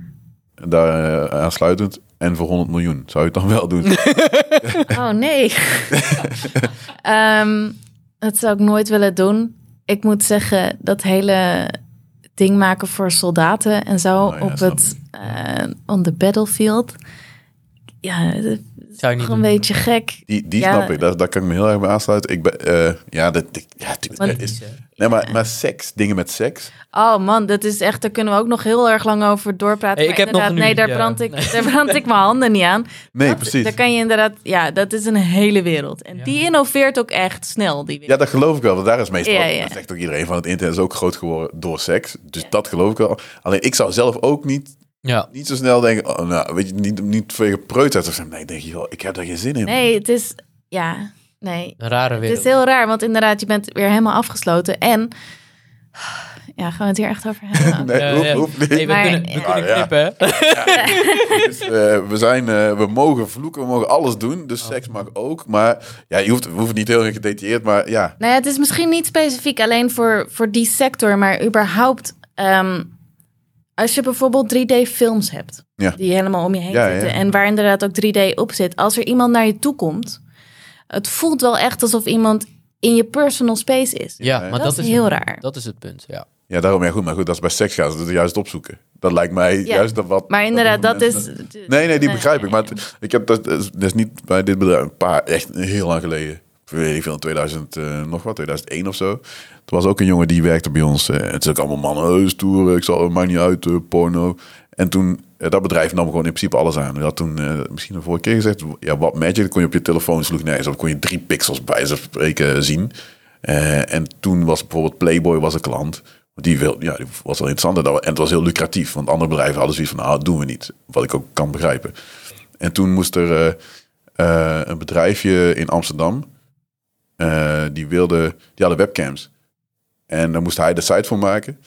Speaker 1: daar eh, aansluitend, en voor 100 miljoen zou je het dan (laughs) wel doen?
Speaker 3: Oh
Speaker 1: (laughs)
Speaker 3: nee. Ehm, dat zou ik nooit willen doen. Ik moet zeggen, dat hele ding maken voor soldaten en zo
Speaker 1: Oh ja,
Speaker 3: op
Speaker 1: snap
Speaker 3: het eh, on the battlefield. Ja, dat is
Speaker 2: Zou je niet
Speaker 3: toch een
Speaker 2: doen.
Speaker 3: beetje gek.
Speaker 1: Die, die
Speaker 3: (laughs) Ja.
Speaker 1: snap ik, daar, daar kan ik me heel erg bij aansluiten. Ik ben, eh, ja, dat, ik- ja, tuurlijk,
Speaker 3: Want-
Speaker 1: dat is, nee, maar, maar seks, dingen met seks.
Speaker 3: Oh man, dat is echt, daar kunnen we ook nog heel erg lang over doorpraten.
Speaker 2: Hey, ik
Speaker 3: Maar
Speaker 2: heb nog
Speaker 3: inderdaad,
Speaker 2: een
Speaker 3: nee, daar
Speaker 2: uurtje.
Speaker 3: brand, ik, daar brand ik mijn handen niet aan.
Speaker 1: Nee,
Speaker 3: Dat-
Speaker 1: precies.
Speaker 3: Daar kan je inderdaad, ja, dat is een hele wereld. En die innoveert ook echt snel, die wereld.
Speaker 1: Ja, dat geloof ik wel. Want daar is meestal,
Speaker 3: Ja, ja.
Speaker 1: dat zegt ook iedereen van het internet, is ook groot geworden door seks. Dus dat geloof ik wel. Alleen ik zou zelf ook niet,
Speaker 2: Ja.
Speaker 1: niet zo snel denken, oh, nou, weet je, niet, niet vanwege preutheid of zo. Nee, denk je wel, ik heb daar geen zin in.
Speaker 3: Nee, het is, ja, nee.
Speaker 2: Een rare
Speaker 3: Het
Speaker 2: wereld.
Speaker 3: is heel raar, want inderdaad, je bent weer helemaal afgesloten. En ja, gaan we het hier echt over
Speaker 1: (laughs)
Speaker 3: hebben?
Speaker 1: Nee,
Speaker 2: Ja,
Speaker 1: hoeft-
Speaker 2: ja.
Speaker 1: hoeft niet.
Speaker 2: Hey, we
Speaker 3: Maar-
Speaker 2: kunnen, we
Speaker 3: Ja.
Speaker 2: kunnen
Speaker 1: Ja.
Speaker 2: knippen, hè?
Speaker 1: Dus, eh, we, zijn, eh, we mogen vloeken, we mogen alles doen. Dus seks mag ook. Maar ja, je hoeft, we hoeven het niet heel erg gedetailleerd, maar ja.
Speaker 3: nou ja, het is misschien niet specifiek alleen voor, voor die sector, maar überhaupt. ehm, als je bijvoorbeeld 3D-films hebt,
Speaker 1: Ja.
Speaker 3: die helemaal om je heen
Speaker 1: Ja, ja.
Speaker 3: zitten. En waar inderdaad ook 3D op zit. Als er iemand naar je toe komt, het voelt wel echt alsof iemand in je personal space is.
Speaker 2: Ja,
Speaker 1: hè?
Speaker 2: maar dat,
Speaker 3: Dat is heel raar.
Speaker 2: Dat is het punt, ja.
Speaker 1: Ja, daarom, ja goed, maar goed, dat is bij seks gaan ze het juist opzoeken. Dat lijkt mij juist dat wat...
Speaker 3: Maar inderdaad, dat
Speaker 1: mensen-
Speaker 3: is.
Speaker 1: Nee, nee, die begrijp ik. Maar het- ik heb dat, dat is- dat is niet bij dit bedrijf een paar, echt heel lang geleden. Ik weet niet veel, 2000, eh, nog wat, 2001 of zo. Er was ook een jongen die werkte bij ons. eh, het is ook allemaal mannen, eh, stoer, ik zal, maakt niet uit, eh, porno. En toen, eh, dat bedrijf nam gewoon in principe alles aan. We had toen eh, misschien de vorige keer gezegd, ja, wat magic, dat kon je op je telefoon sloeg nergens op, kon je drie pixels bij ze spreken zien. Eh, en toen was bijvoorbeeld Playboy was een klant. Die, wil, ja, die was wel interessanter. dan- En het was heel lucratief. Want andere bedrijven hadden zoiets van, nou, dat doen we niet. Wat ik ook kan begrijpen. En toen moest er eh, eh, een bedrijfje in Amsterdam. eh, die, wilde, die hadden webcams. En daar moest hij de site voor maken.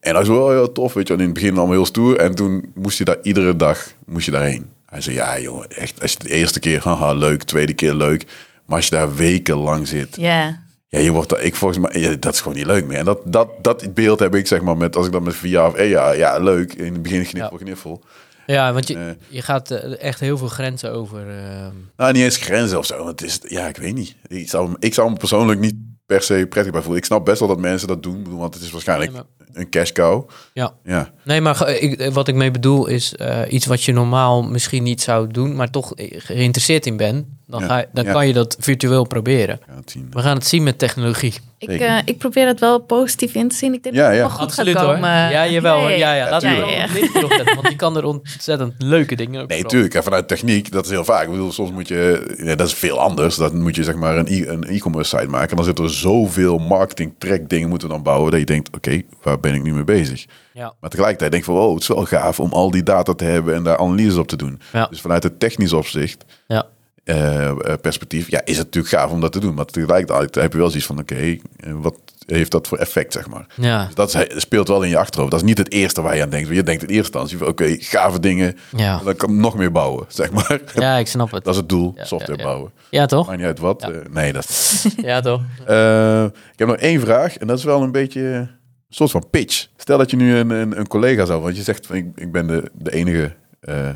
Speaker 1: En dat is wel heel tof, weet je. want in het begin allemaal heel stoer. En toen moest je daar iedere dag moest je daarheen. Hij zei, ja jongen, echt. Als je de eerste keer, haha, leuk. Tweede keer leuk. Maar als je daar wekenlang zit.
Speaker 3: Ja.
Speaker 1: Ja, je wordt, daar- ik volgens mij, ja, dat is gewoon niet leuk meer. En dat, dat, dat beeld heb ik, zeg maar, met als ik dan met VR of E, ja, ja, leuk. In het begin gniffel, gniffel.
Speaker 2: Ja, want je,
Speaker 1: Eh.
Speaker 2: je gaat eh, echt heel veel grenzen over. ehm.
Speaker 1: Nou, niet eens grenzen of zo. Want het is, ja, ik weet niet. Ik zou, hem- ik zou me persoonlijk niet per se prettig bij voelen. Ik snap best wel dat mensen dat doen, ik bedoel, want het is waarschijnlijk
Speaker 2: Nee,
Speaker 1: een cash cow.
Speaker 2: Ja.
Speaker 1: Ja,
Speaker 2: Nee, maar ge- ik, eh, wat ik mee bedoel is eh, iets wat je normaal misschien niet zou doen, maar toch eh, geïnteresseerd in bent. Dan,
Speaker 1: Ja,
Speaker 2: ga je- dan
Speaker 1: ja.
Speaker 2: kan je dat virtueel proberen.
Speaker 1: ja, het zien.
Speaker 2: We gaan het zien met technologie.
Speaker 3: Ik,
Speaker 1: Zeker.
Speaker 3: eh, ik probeer het wel positief in te zien. Ik denk
Speaker 1: Ja,
Speaker 3: dat het
Speaker 1: ja.
Speaker 3: wel goed
Speaker 2: Absoluut
Speaker 3: gaat
Speaker 2: hoor.
Speaker 3: komen.
Speaker 2: Ja, jawel. hoor. Ja, ja. Laat
Speaker 1: Ja,
Speaker 2: het
Speaker 1: tuurlijk.
Speaker 2: wel op licht erop zetten, want je kan er ontzettend leuke dingen ook
Speaker 1: Nee,
Speaker 2: voor
Speaker 1: tuurlijk. En vanuit techniek, dat is heel vaak. Ik bedoel, soms moet je, ja, dat is veel anders. Dan moet je zeg maar een e- een e-commerce site maken. En dan zitten er zoveel marketing track dingen moeten we dan bouwen. Dat je denkt, oké, waar ben ik nu mee bezig?
Speaker 2: Ja.
Speaker 1: Maar tegelijkertijd denk ik van, wow, het is wel gaaf om al die data te hebben en daar analyses op te doen.
Speaker 2: Ja.
Speaker 1: Dus vanuit het technisch opzicht,
Speaker 2: Ja.
Speaker 1: eh, eh, perspectief, ja, is het natuurlijk gaaf om dat te doen. Maar tegelijkertijd heb je wel zoiets van, oké, eh, wat heeft dat voor effect, zeg maar.
Speaker 2: Ja.
Speaker 1: Dus dat is- speelt wel in je achterhoofd. Dat is niet het eerste waar je aan denkt. Je denkt in eerste instantie van, oké, gave dingen,
Speaker 2: Ja.
Speaker 1: dan kan ik nog meer bouwen, (laughs) zeg maar.
Speaker 2: ja, ik snap het.
Speaker 1: Dat is het doel,
Speaker 2: Ja,
Speaker 1: software
Speaker 2: ja, ja.
Speaker 1: bouwen.
Speaker 2: Ja, toch?
Speaker 1: Maakt niet uit wat. eh, nee, dat
Speaker 2: Ja, toch?
Speaker 1: eh, ik heb nog één vraag en dat is wel een beetje een soort van pitch. Stel dat je nu een, een, een collega zou, want je zegt van, ik, ik ben de, de enige eh,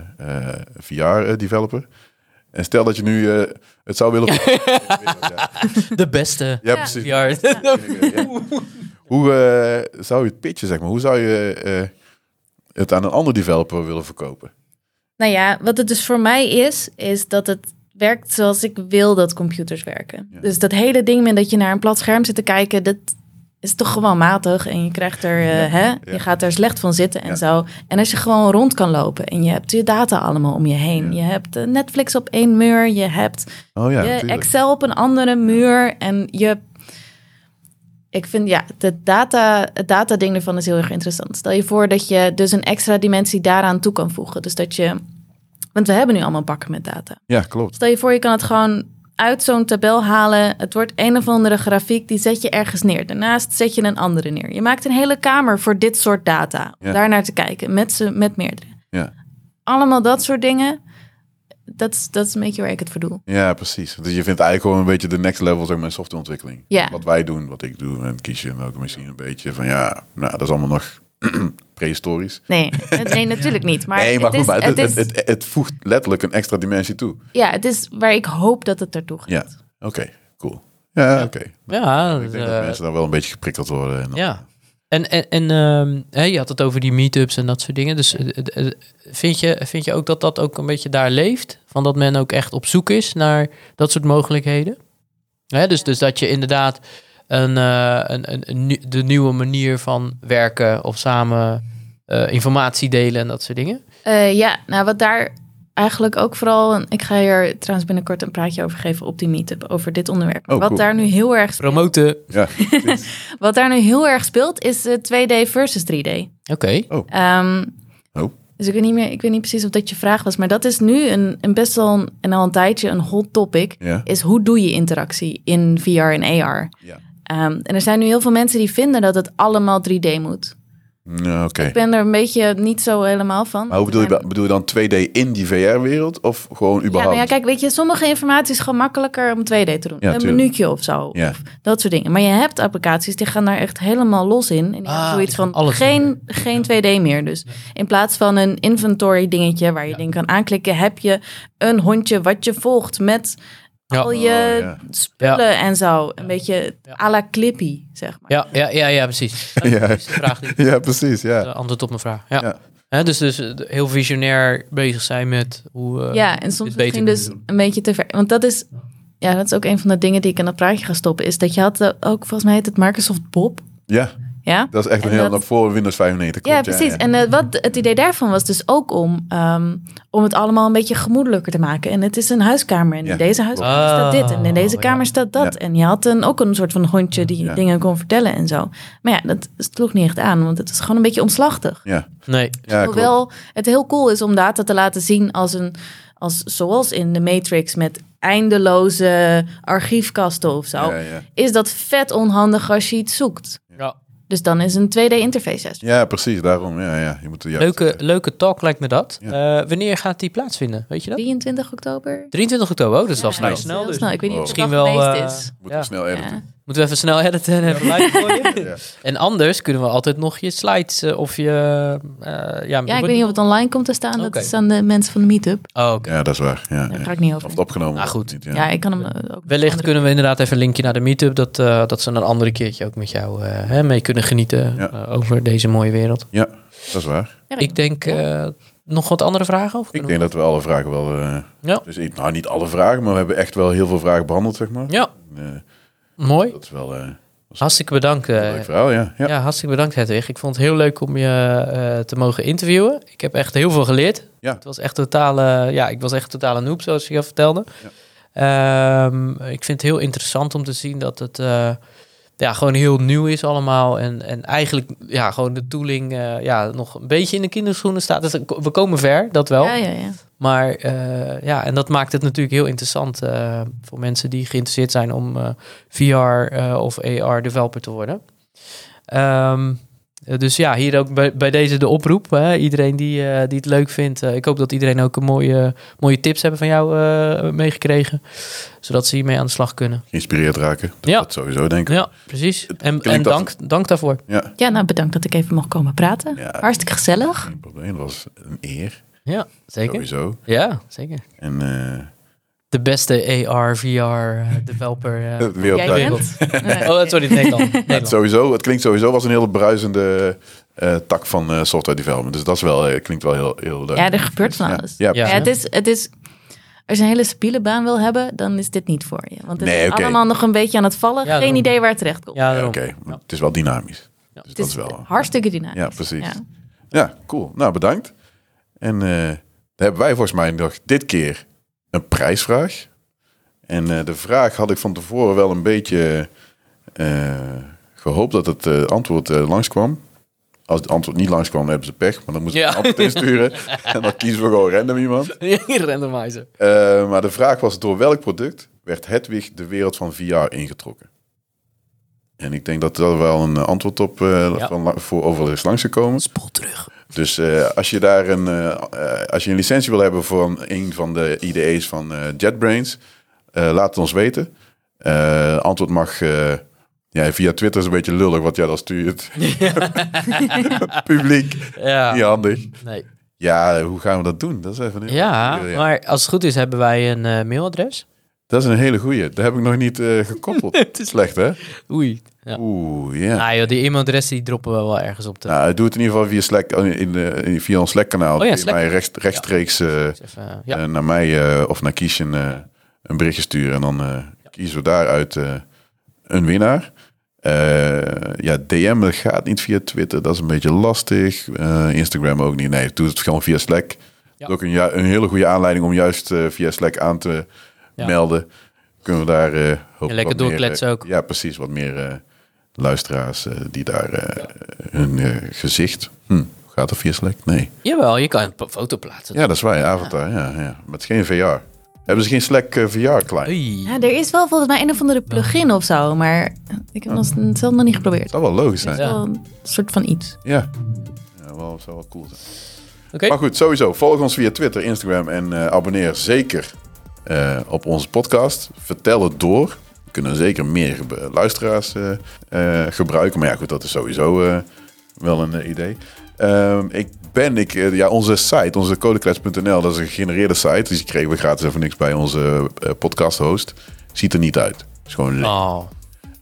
Speaker 1: VR-developer. En stel dat je nu eh, het zou willen... ja,
Speaker 2: De beste.
Speaker 1: precies.
Speaker 2: Ja. (laughs)
Speaker 1: Hoe eh, zou je het pitchen, zeg maar? Hoe zou je eh, het aan een ander developer willen verkopen?
Speaker 3: Nou ja, wat het dus voor mij is, is dat het werkt zoals ik wil dat computers werken.
Speaker 1: Ja.
Speaker 3: Dus dat hele ding met dat je naar een plat scherm zit te kijken, dat is toch gewoon matig. En je krijgt er, eh, hè, je gaat er slecht van zitten en
Speaker 1: Ja.
Speaker 3: zo. En als je gewoon rond kan lopen en je hebt je data allemaal om je heen. Je hebt eh, Netflix op één muur, je hebt
Speaker 1: Oh ja,
Speaker 3: je
Speaker 1: natuurlijk.
Speaker 3: Excel op een andere muur en je... Ik vind ja, de data, het data-ding ervan is heel erg interessant. Stel je voor dat je dus een extra dimensie daaraan toe kan voegen. Dus dat je... Want we hebben nu allemaal bakken met data.
Speaker 1: Ja, klopt.
Speaker 3: Stel je voor, je kan het gewoon uit zo'n tabel halen. Het wordt een of andere grafiek, die zet je ergens neer. Daarnaast zet je een andere neer. Je maakt een hele kamer voor dit soort data. Om
Speaker 1: Ja.
Speaker 3: daar naar te kijken, met, ze, met meerdere.
Speaker 1: Ja.
Speaker 3: Allemaal dat soort dingen. Dat is- dat is een beetje waar ik het voor doe.
Speaker 1: Ja, precies. Dus je vindt eigenlijk gewoon een beetje de next level zeg maar, in softwareontwikkeling.
Speaker 3: Ja.
Speaker 1: Wat wij doen, wat ik doe en kies je en welke misschien een beetje van ja, nou dat is allemaal nog (clears throat) prehistorisch.
Speaker 3: Nee, het- nee natuurlijk niet. Maar,
Speaker 1: nee, maar goed,
Speaker 3: het, is,
Speaker 1: maar
Speaker 3: het,
Speaker 1: het, het,
Speaker 3: is,
Speaker 1: het, het voegt letterlijk een extra dimensie toe.
Speaker 3: ja, het is waar ik hoop dat het naartoe gaat.
Speaker 1: Ja, oké, cool. Ja, oké.
Speaker 2: Ja,
Speaker 3: Dus,
Speaker 1: Ik denk
Speaker 2: eh,
Speaker 1: dat mensen daar wel een beetje geprikkeld worden. En dan-
Speaker 2: ja. En, en, en ehm, hè, je had het over die meetups en dat soort dingen. Dus eh, eh, eh, vind, je, vind je ook dat dat ook een beetje daar leeft? Van dat men ook echt op zoek is naar dat soort mogelijkheden? Hè, dus, dus dat je inderdaad een, eh, een, een, een nieu- de nieuwe manier van werken of samen eh, informatie delen en dat soort dingen.
Speaker 3: Eh, ja, nou wat daar eigenlijk ook vooral... en Ik ga hier trouwens binnenkort een praatje over geven op die meetup... over dit onderwerp. Maar
Speaker 1: Oh,
Speaker 3: wat
Speaker 1: cool.
Speaker 3: daar nu heel erg speelt-
Speaker 2: Promoten. Oké.
Speaker 1: Ja.
Speaker 3: (laughs) Wat daar nu heel erg speelt is eh, 2D versus 3D. Ehm,
Speaker 1: Oh.
Speaker 3: Dus ik weet, niet meer, ik weet niet precies of dat je vraag was, maar dat is nu een, een best wel een, en al een tijdje een hot topic.
Speaker 1: Ja.
Speaker 3: Is hoe doe je interactie in VR en AR?
Speaker 1: Ja.
Speaker 3: Ehm, en er zijn nu heel veel mensen die vinden dat het allemaal 3D moet.
Speaker 1: Ja, Mm, oké.
Speaker 3: Ik ben er een beetje niet zo helemaal van.
Speaker 1: Maar hoe bedoel je, dat? bedoel je dan 2D in die VR-wereld of gewoon
Speaker 3: Ja, nou
Speaker 1: überhaupt?
Speaker 3: ja, kijk, weet je, sommige informatie is gewoon makkelijker om 2D te doen.
Speaker 1: Ja,
Speaker 3: een
Speaker 1: tuurlijk.
Speaker 3: menuutje of zo.
Speaker 1: Ja.
Speaker 3: Of dat soort dingen. Maar je hebt applicaties die gaan daar echt helemaal los in. En die hebben
Speaker 2: Ah,
Speaker 3: zoiets
Speaker 2: die gaan
Speaker 3: van
Speaker 2: alles
Speaker 3: geen, geen 2D meer. Dus in plaats van een inventory dingetje waar je dingen kan aanklikken, heb je een hondje wat je volgt met
Speaker 2: Ja.
Speaker 3: al je
Speaker 1: Oh, ja.
Speaker 3: spullen en zo. Een beetje à la Clippy, zeg maar.
Speaker 2: Ja, ja, ja, ja,
Speaker 1: (laughs)
Speaker 2: precies. Dat is
Speaker 1: Ja.
Speaker 3: Dus
Speaker 2: precies de vraag die ik
Speaker 1: (laughs) Ja, precies. Ja.
Speaker 2: Eh, antwoord op mijn vraag. Ja.
Speaker 1: Ja.
Speaker 2: Hè, dus, dus eh, heel visionair bezig zijn met hoe. eh,
Speaker 3: Ja, en soms
Speaker 2: dit beter
Speaker 3: misschien
Speaker 2: kunnen
Speaker 3: dus
Speaker 2: doen.
Speaker 3: een beetje te ver. Want dat is, ja, dat is ook een van de dingen die ik in dat praatje ga stoppen. Is dat je had eh, ook, volgens mij heet het Microsoft Bob.
Speaker 1: ja,
Speaker 3: Ja,
Speaker 1: dat is echt een
Speaker 3: En
Speaker 1: heel
Speaker 3: dat-
Speaker 1: voor Windows 95.
Speaker 3: ja
Speaker 1: klopt,
Speaker 3: precies.
Speaker 1: ja.
Speaker 3: En eh, wat het idee daarvan was dus ook om, ehm, om het allemaal een beetje gemoedelijker te maken. En het is een huiskamer. En
Speaker 1: Ja,
Speaker 3: in deze huiskamer staat dit. En in deze
Speaker 2: Oh,
Speaker 3: kamer
Speaker 2: ja.
Speaker 3: staat dat.
Speaker 1: Ja.
Speaker 3: En je had een, ook een soort van hondje die
Speaker 1: Ja.
Speaker 3: dingen kon vertellen en zo. Maar ja, dat sloeg niet echt aan, want het is gewoon een beetje omslachtig.
Speaker 1: Ja,
Speaker 2: Nee.
Speaker 1: ja klopt.
Speaker 3: Hoewel het heel cool is om data te laten zien als een, als, zoals in de Matrix met eindeloze archiefkasten of zo.
Speaker 2: Nou.
Speaker 1: Ja, ja.
Speaker 3: Is dat vet onhandig als je iets zoekt?
Speaker 2: Ja.
Speaker 3: Dus dan is een 2D-interface juist.
Speaker 1: ja, precies. Daarom, ja, ja. Je moet de juiste-
Speaker 2: Leuke, leuke talk lijkt me dat.
Speaker 1: Ja.
Speaker 2: Eh, wanneer gaat die plaatsvinden? Weet je dat?
Speaker 3: 23 oktober.
Speaker 2: 23 oktober. Oh, dat is al
Speaker 3: Ja,
Speaker 2: vrij
Speaker 3: dat is
Speaker 2: snel.
Speaker 3: heel
Speaker 2: Dus.
Speaker 3: snel. Ik weet niet of het
Speaker 2: Misschien
Speaker 3: al
Speaker 2: wel.
Speaker 3: geweest
Speaker 2: eh,
Speaker 3: is.
Speaker 1: Moet
Speaker 2: ja.
Speaker 1: ik snel editen.
Speaker 3: Ja.
Speaker 2: Moeten we even snel editen en even live gooien?
Speaker 1: Ja.
Speaker 2: En anders kunnen we altijd nog je slides eh, of je. eh, ja,
Speaker 3: Ja, ik weet niet of het online komt te staan.
Speaker 2: Oké.
Speaker 3: Dat is aan de mensen van de meetup.
Speaker 2: Oh, oké.
Speaker 1: Ja, dat is waar. Ja,
Speaker 3: Daar
Speaker 1: ja.
Speaker 3: ga ik niet
Speaker 1: Of
Speaker 3: over.
Speaker 1: het opgenomen
Speaker 2: Ah,
Speaker 1: wordt
Speaker 2: goed.
Speaker 1: of niet,
Speaker 3: ja.
Speaker 1: ja.
Speaker 3: ik kan hem eh, ook.
Speaker 2: Wellicht kunnen we inderdaad even een linkje naar de meetup. Dat, eh, dat ze dan een andere keertje ook met jou eh, hè, mee kunnen genieten
Speaker 1: Ja.
Speaker 2: eh, over deze mooie wereld.
Speaker 1: Ja, dat is waar.
Speaker 3: Ja,
Speaker 2: Ik denk eh, nog wat andere vragen? Of
Speaker 1: Ik
Speaker 2: kunnen
Speaker 1: denk dat we alle vragen wel... eh,
Speaker 2: Ja.
Speaker 1: dus, ik- nou, niet alle vragen, maar we hebben echt wel heel veel vragen behandeld, zeg maar.
Speaker 2: we- Ja,
Speaker 1: Eh,
Speaker 2: mooi.
Speaker 1: dat is wel eh, een
Speaker 2: Hartstikke bedankt. eh.
Speaker 1: leuk verhaal, ja. Ja,
Speaker 2: ja. hartstikke bedankt Hedwig. Ik vond het heel leuk om je eh, te mogen interviewen. Ik heb echt heel veel geleerd.
Speaker 1: Ja.
Speaker 2: Het was echt totale, ja, ik was echt totale noob, zoals je al vertelde. Ehm, ik vind het heel interessant om te zien dat het eh, ja, gewoon heel nieuw is allemaal. En, en eigenlijk ja, gewoon de tooling eh, ja, nog een beetje in de kinderschoenen staat. Dus we komen ver, dat wel.
Speaker 3: Ja, ja, ja.
Speaker 2: Maar eh, ja, en dat maakt het natuurlijk heel interessant eh, voor mensen die geïnteresseerd zijn om eh, VR eh, of AR developer te worden. Ehm, eh, dus ja, hier ook bij, bij deze de oproep. Hè? Iedereen die, eh, die het leuk vindt. eh, ik hoop dat iedereen ook een mooie, mooie tips hebben van jou eh, meegekregen. Zodat ze hiermee aan de slag kunnen.
Speaker 1: Geïnspireerd raken. Dat,
Speaker 2: Ja.
Speaker 1: dat sowieso, denk ik.
Speaker 2: Ja, precies. En,
Speaker 1: klinkt
Speaker 2: en
Speaker 1: als-
Speaker 2: dank, dank daarvoor.
Speaker 1: Ja.
Speaker 3: ja, nou bedankt dat ik even mocht komen praten.
Speaker 1: Ja.
Speaker 3: Hartstikke gezellig.
Speaker 1: Geen probleem. Dat was een eer,
Speaker 2: Ja, zeker.
Speaker 1: sowieso.
Speaker 2: Ja, zeker.
Speaker 1: En eh,
Speaker 2: De beste AR, VR eh, developer. eh.
Speaker 1: (laughs) wereldwijd. (laughs)
Speaker 3: Jij bent?
Speaker 2: Oh, sorry, Nederland. Nederland.
Speaker 1: Sowieso, het klinkt sowieso als een hele bruisende eh, tak van eh, software development. Dus dat is wel, eh, klinkt wel heel, heel leuk.
Speaker 3: Ja, er gebeurt van
Speaker 1: Ja.
Speaker 3: alles.
Speaker 1: Ja,
Speaker 2: Ja.
Speaker 3: Ja, het is, het is, als je een hele stabiele baan wil hebben, dan is dit niet voor je. Want het
Speaker 1: Nee,
Speaker 3: is
Speaker 1: oké.
Speaker 3: allemaal nog een beetje aan het vallen.
Speaker 2: Ja,
Speaker 3: Geen
Speaker 2: daarom.
Speaker 3: idee waar het terecht komt.
Speaker 2: Ja,
Speaker 1: Ja,
Speaker 2: daarom.
Speaker 1: Oké,
Speaker 2: Ja.
Speaker 1: het is wel dynamisch. Dus
Speaker 3: het
Speaker 1: dat
Speaker 3: is
Speaker 1: is wel.
Speaker 3: hartstikke dynamisch.
Speaker 1: Ja, precies. Ja. cool. Nou, bedankt. En eh, dan hebben wij volgens mij nog dit keer een prijsvraag. En eh, de vraag had ik van tevoren wel een beetje eh, gehoopt dat het eh, antwoord eh, langskwam. Als het antwoord niet langskwam, hebben ze pech. Maar dan moeten we
Speaker 2: Ja.
Speaker 1: het antwoord insturen. en dan kiezen we gewoon random iemand.
Speaker 2: (laughs) Randomizer.
Speaker 1: Eh, maar de vraag was, door welk product werd Hedwig de wereld van VR ingetrokken? En ik denk dat er wel een eh, antwoord op eh,
Speaker 2: Ja.
Speaker 1: van, la- voor overal is langsgekomen.
Speaker 2: Spoel terug.
Speaker 1: Dus eh, als je daar een, eh, eh, als je een licentie wil hebben voor een van de IDE's van eh, JetBrains, eh, laat het ons weten. Eh, antwoord mag eh, ja, via Twitter is een beetje lullig wat jij dan
Speaker 2: (laughs)
Speaker 1: stuurt. Publiek,
Speaker 2: Ja.
Speaker 1: niet handig.
Speaker 2: Nee.
Speaker 1: Ja, hoe gaan we dat doen? Dat is even een-
Speaker 2: Ja, maar als het goed is hebben wij een eh, mailadres.
Speaker 1: Dat is een hele goeie. Dat heb ik nog niet eh,
Speaker 2: (laughs)
Speaker 1: gekoppeld. Het is slecht, hè?
Speaker 2: Oei. Ja.
Speaker 1: Oeh, ja.
Speaker 2: Ah joh, die e-mailadres die droppen we wel ergens op. De...
Speaker 1: Nou, doe het in ieder geval via, Slack, eh, in, eh, in- via ons Slack-kanaal.
Speaker 2: Oh ja,
Speaker 1: Kun je
Speaker 2: Slack.
Speaker 1: mij rechts- rechtstreeks eh,
Speaker 2: Even, eh, ja.
Speaker 1: eh, naar mij eh, of naar Kiesje een, eh, een berichtje sturen. En dan eh, kiezen we daaruit eh, een winnaar. Eh, ja, DM dat gaat niet via Twitter. Dat is een beetje lastig. Eh, Instagram ook niet. Nee, doe het gewoon via Slack. Dat is ook een, ju- een hele goede aanleiding om juist eh, via Slack aan te
Speaker 2: Ja.
Speaker 1: melden. Kunnen we daar eh hopelijk wat meer, eh,
Speaker 2: doorkletsen ook.
Speaker 1: ja, precies. Wat meer eh, luisteraars eh, die daar eh, hun eh, gezicht... Hm, gaat dat via Slack? Nee.
Speaker 2: Jawel, je kan een p- foto plaatsen.
Speaker 1: Ja, dat is waar. ja, Avatar, ja. ja, Maar het is geen VR. Hebben ze geen Slack eh, VR-client?
Speaker 2: Oei.
Speaker 3: Ja, er is wel volgens mij een of andere plugin of zo, maar ik heb nog- het zelf nog niet geprobeerd.
Speaker 1: Zou wel logisch zijn.
Speaker 3: Het is wel een soort van iets.
Speaker 1: Ja. ja wel, zou wel cool zijn.
Speaker 2: Oké.
Speaker 1: Maar goed, sowieso. Volg ons via Twitter, Instagram en eh, abonneer zeker eh, op onze podcast. Vertel het door. We kunnen zeker meer gebe- luisteraars eh, eh, gebruiken. Maar ja, goed, dat is sowieso eh, wel een eh, idee. Ehm, ik ben, ik, eh, ja, onze site, onze codeklets.nl, dat is een gegenereerde site. Dus die kregen we gratis even niks bij onze eh, podcast-host. Ziet er niet uit. is gewoon leuk.
Speaker 2: Oh.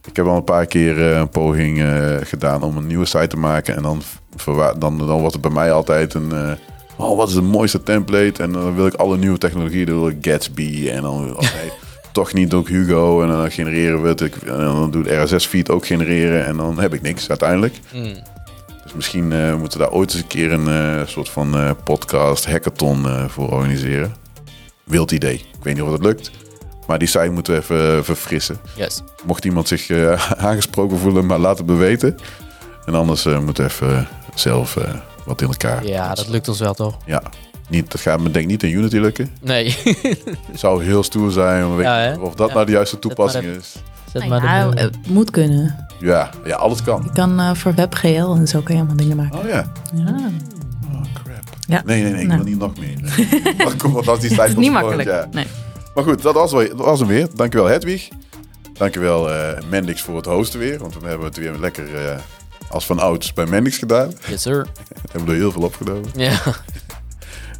Speaker 1: Ik heb al een paar keer eh, een poging eh, gedaan om een nieuwe site te maken. En dan, verwa- dan, dan wordt het bij mij altijd een... eh, oh, wat is de mooiste template? En dan wil ik alle nieuwe technologieën. Dan wil ik Gatsby. En dan oh nee, toch niet ook Hugo. En dan genereren we het. Ik- en dan doet RSS-feed ook genereren. En dan heb ik niks uiteindelijk.
Speaker 2: Mm.
Speaker 1: Dus misschien eh, moeten we daar ooit eens een keer een eh, soort van eh, podcast, hackathon eh, voor organiseren. Wild idee. Ik weet niet of dat lukt. Maar die site moeten we even eh, verfrissen.
Speaker 2: Yes.
Speaker 1: Mocht iemand zich eh, (laughs) aangesproken voelen, maar laat het me weten. En anders eh, moet even eh, zelf eh, wat in elkaar.
Speaker 2: Ja, dat lukt ons wel toch?
Speaker 1: Ja. Niet, dat gaat me denk ik niet in Unity lukken.
Speaker 2: Nee. (laughs)
Speaker 1: Het zou heel stoer zijn. maar weet
Speaker 2: Ja,
Speaker 1: ik
Speaker 2: hè?
Speaker 1: niet of dat
Speaker 2: Ja.
Speaker 1: nou de juiste toepassing
Speaker 2: maar
Speaker 1: is.
Speaker 2: Zet
Speaker 3: Nou ja,
Speaker 2: maar de-
Speaker 3: het moet kunnen.
Speaker 1: Ja, ja, alles kan.
Speaker 3: Je kan eh, voor WebGL en zo kan je allemaal dingen maken.
Speaker 1: Oh ja.
Speaker 2: Ah.
Speaker 3: Ja.
Speaker 1: Oh, crap.
Speaker 3: Ja.
Speaker 1: Nee, nee, nee. Ik
Speaker 3: Nou.
Speaker 1: wil niet nog meer. Nee. (laughs) Dat komt want als
Speaker 3: (laughs)
Speaker 1: die tijd
Speaker 3: Het is
Speaker 1: van
Speaker 3: niet
Speaker 1: volgend
Speaker 3: makkelijk.
Speaker 1: jaar.
Speaker 3: Nee.
Speaker 1: Maar goed, dat was, wel- dat was hem weer. Dankjewel Hedwig. Dankjewel eh Mendix voor het hosten weer. Want we hebben het weer lekker eh, als van ouds bij Mendix gedaan. (laughs) We
Speaker 2: Yes, sir.
Speaker 1: hebben er heel veel opgenomen.
Speaker 2: Ja.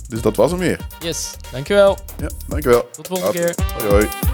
Speaker 1: Dus dat was hem weer.
Speaker 2: Yes. Dankjewel.
Speaker 1: Ja, dankjewel.
Speaker 2: Tot de volgende
Speaker 1: Later.
Speaker 2: keer.
Speaker 1: Hoi hoi.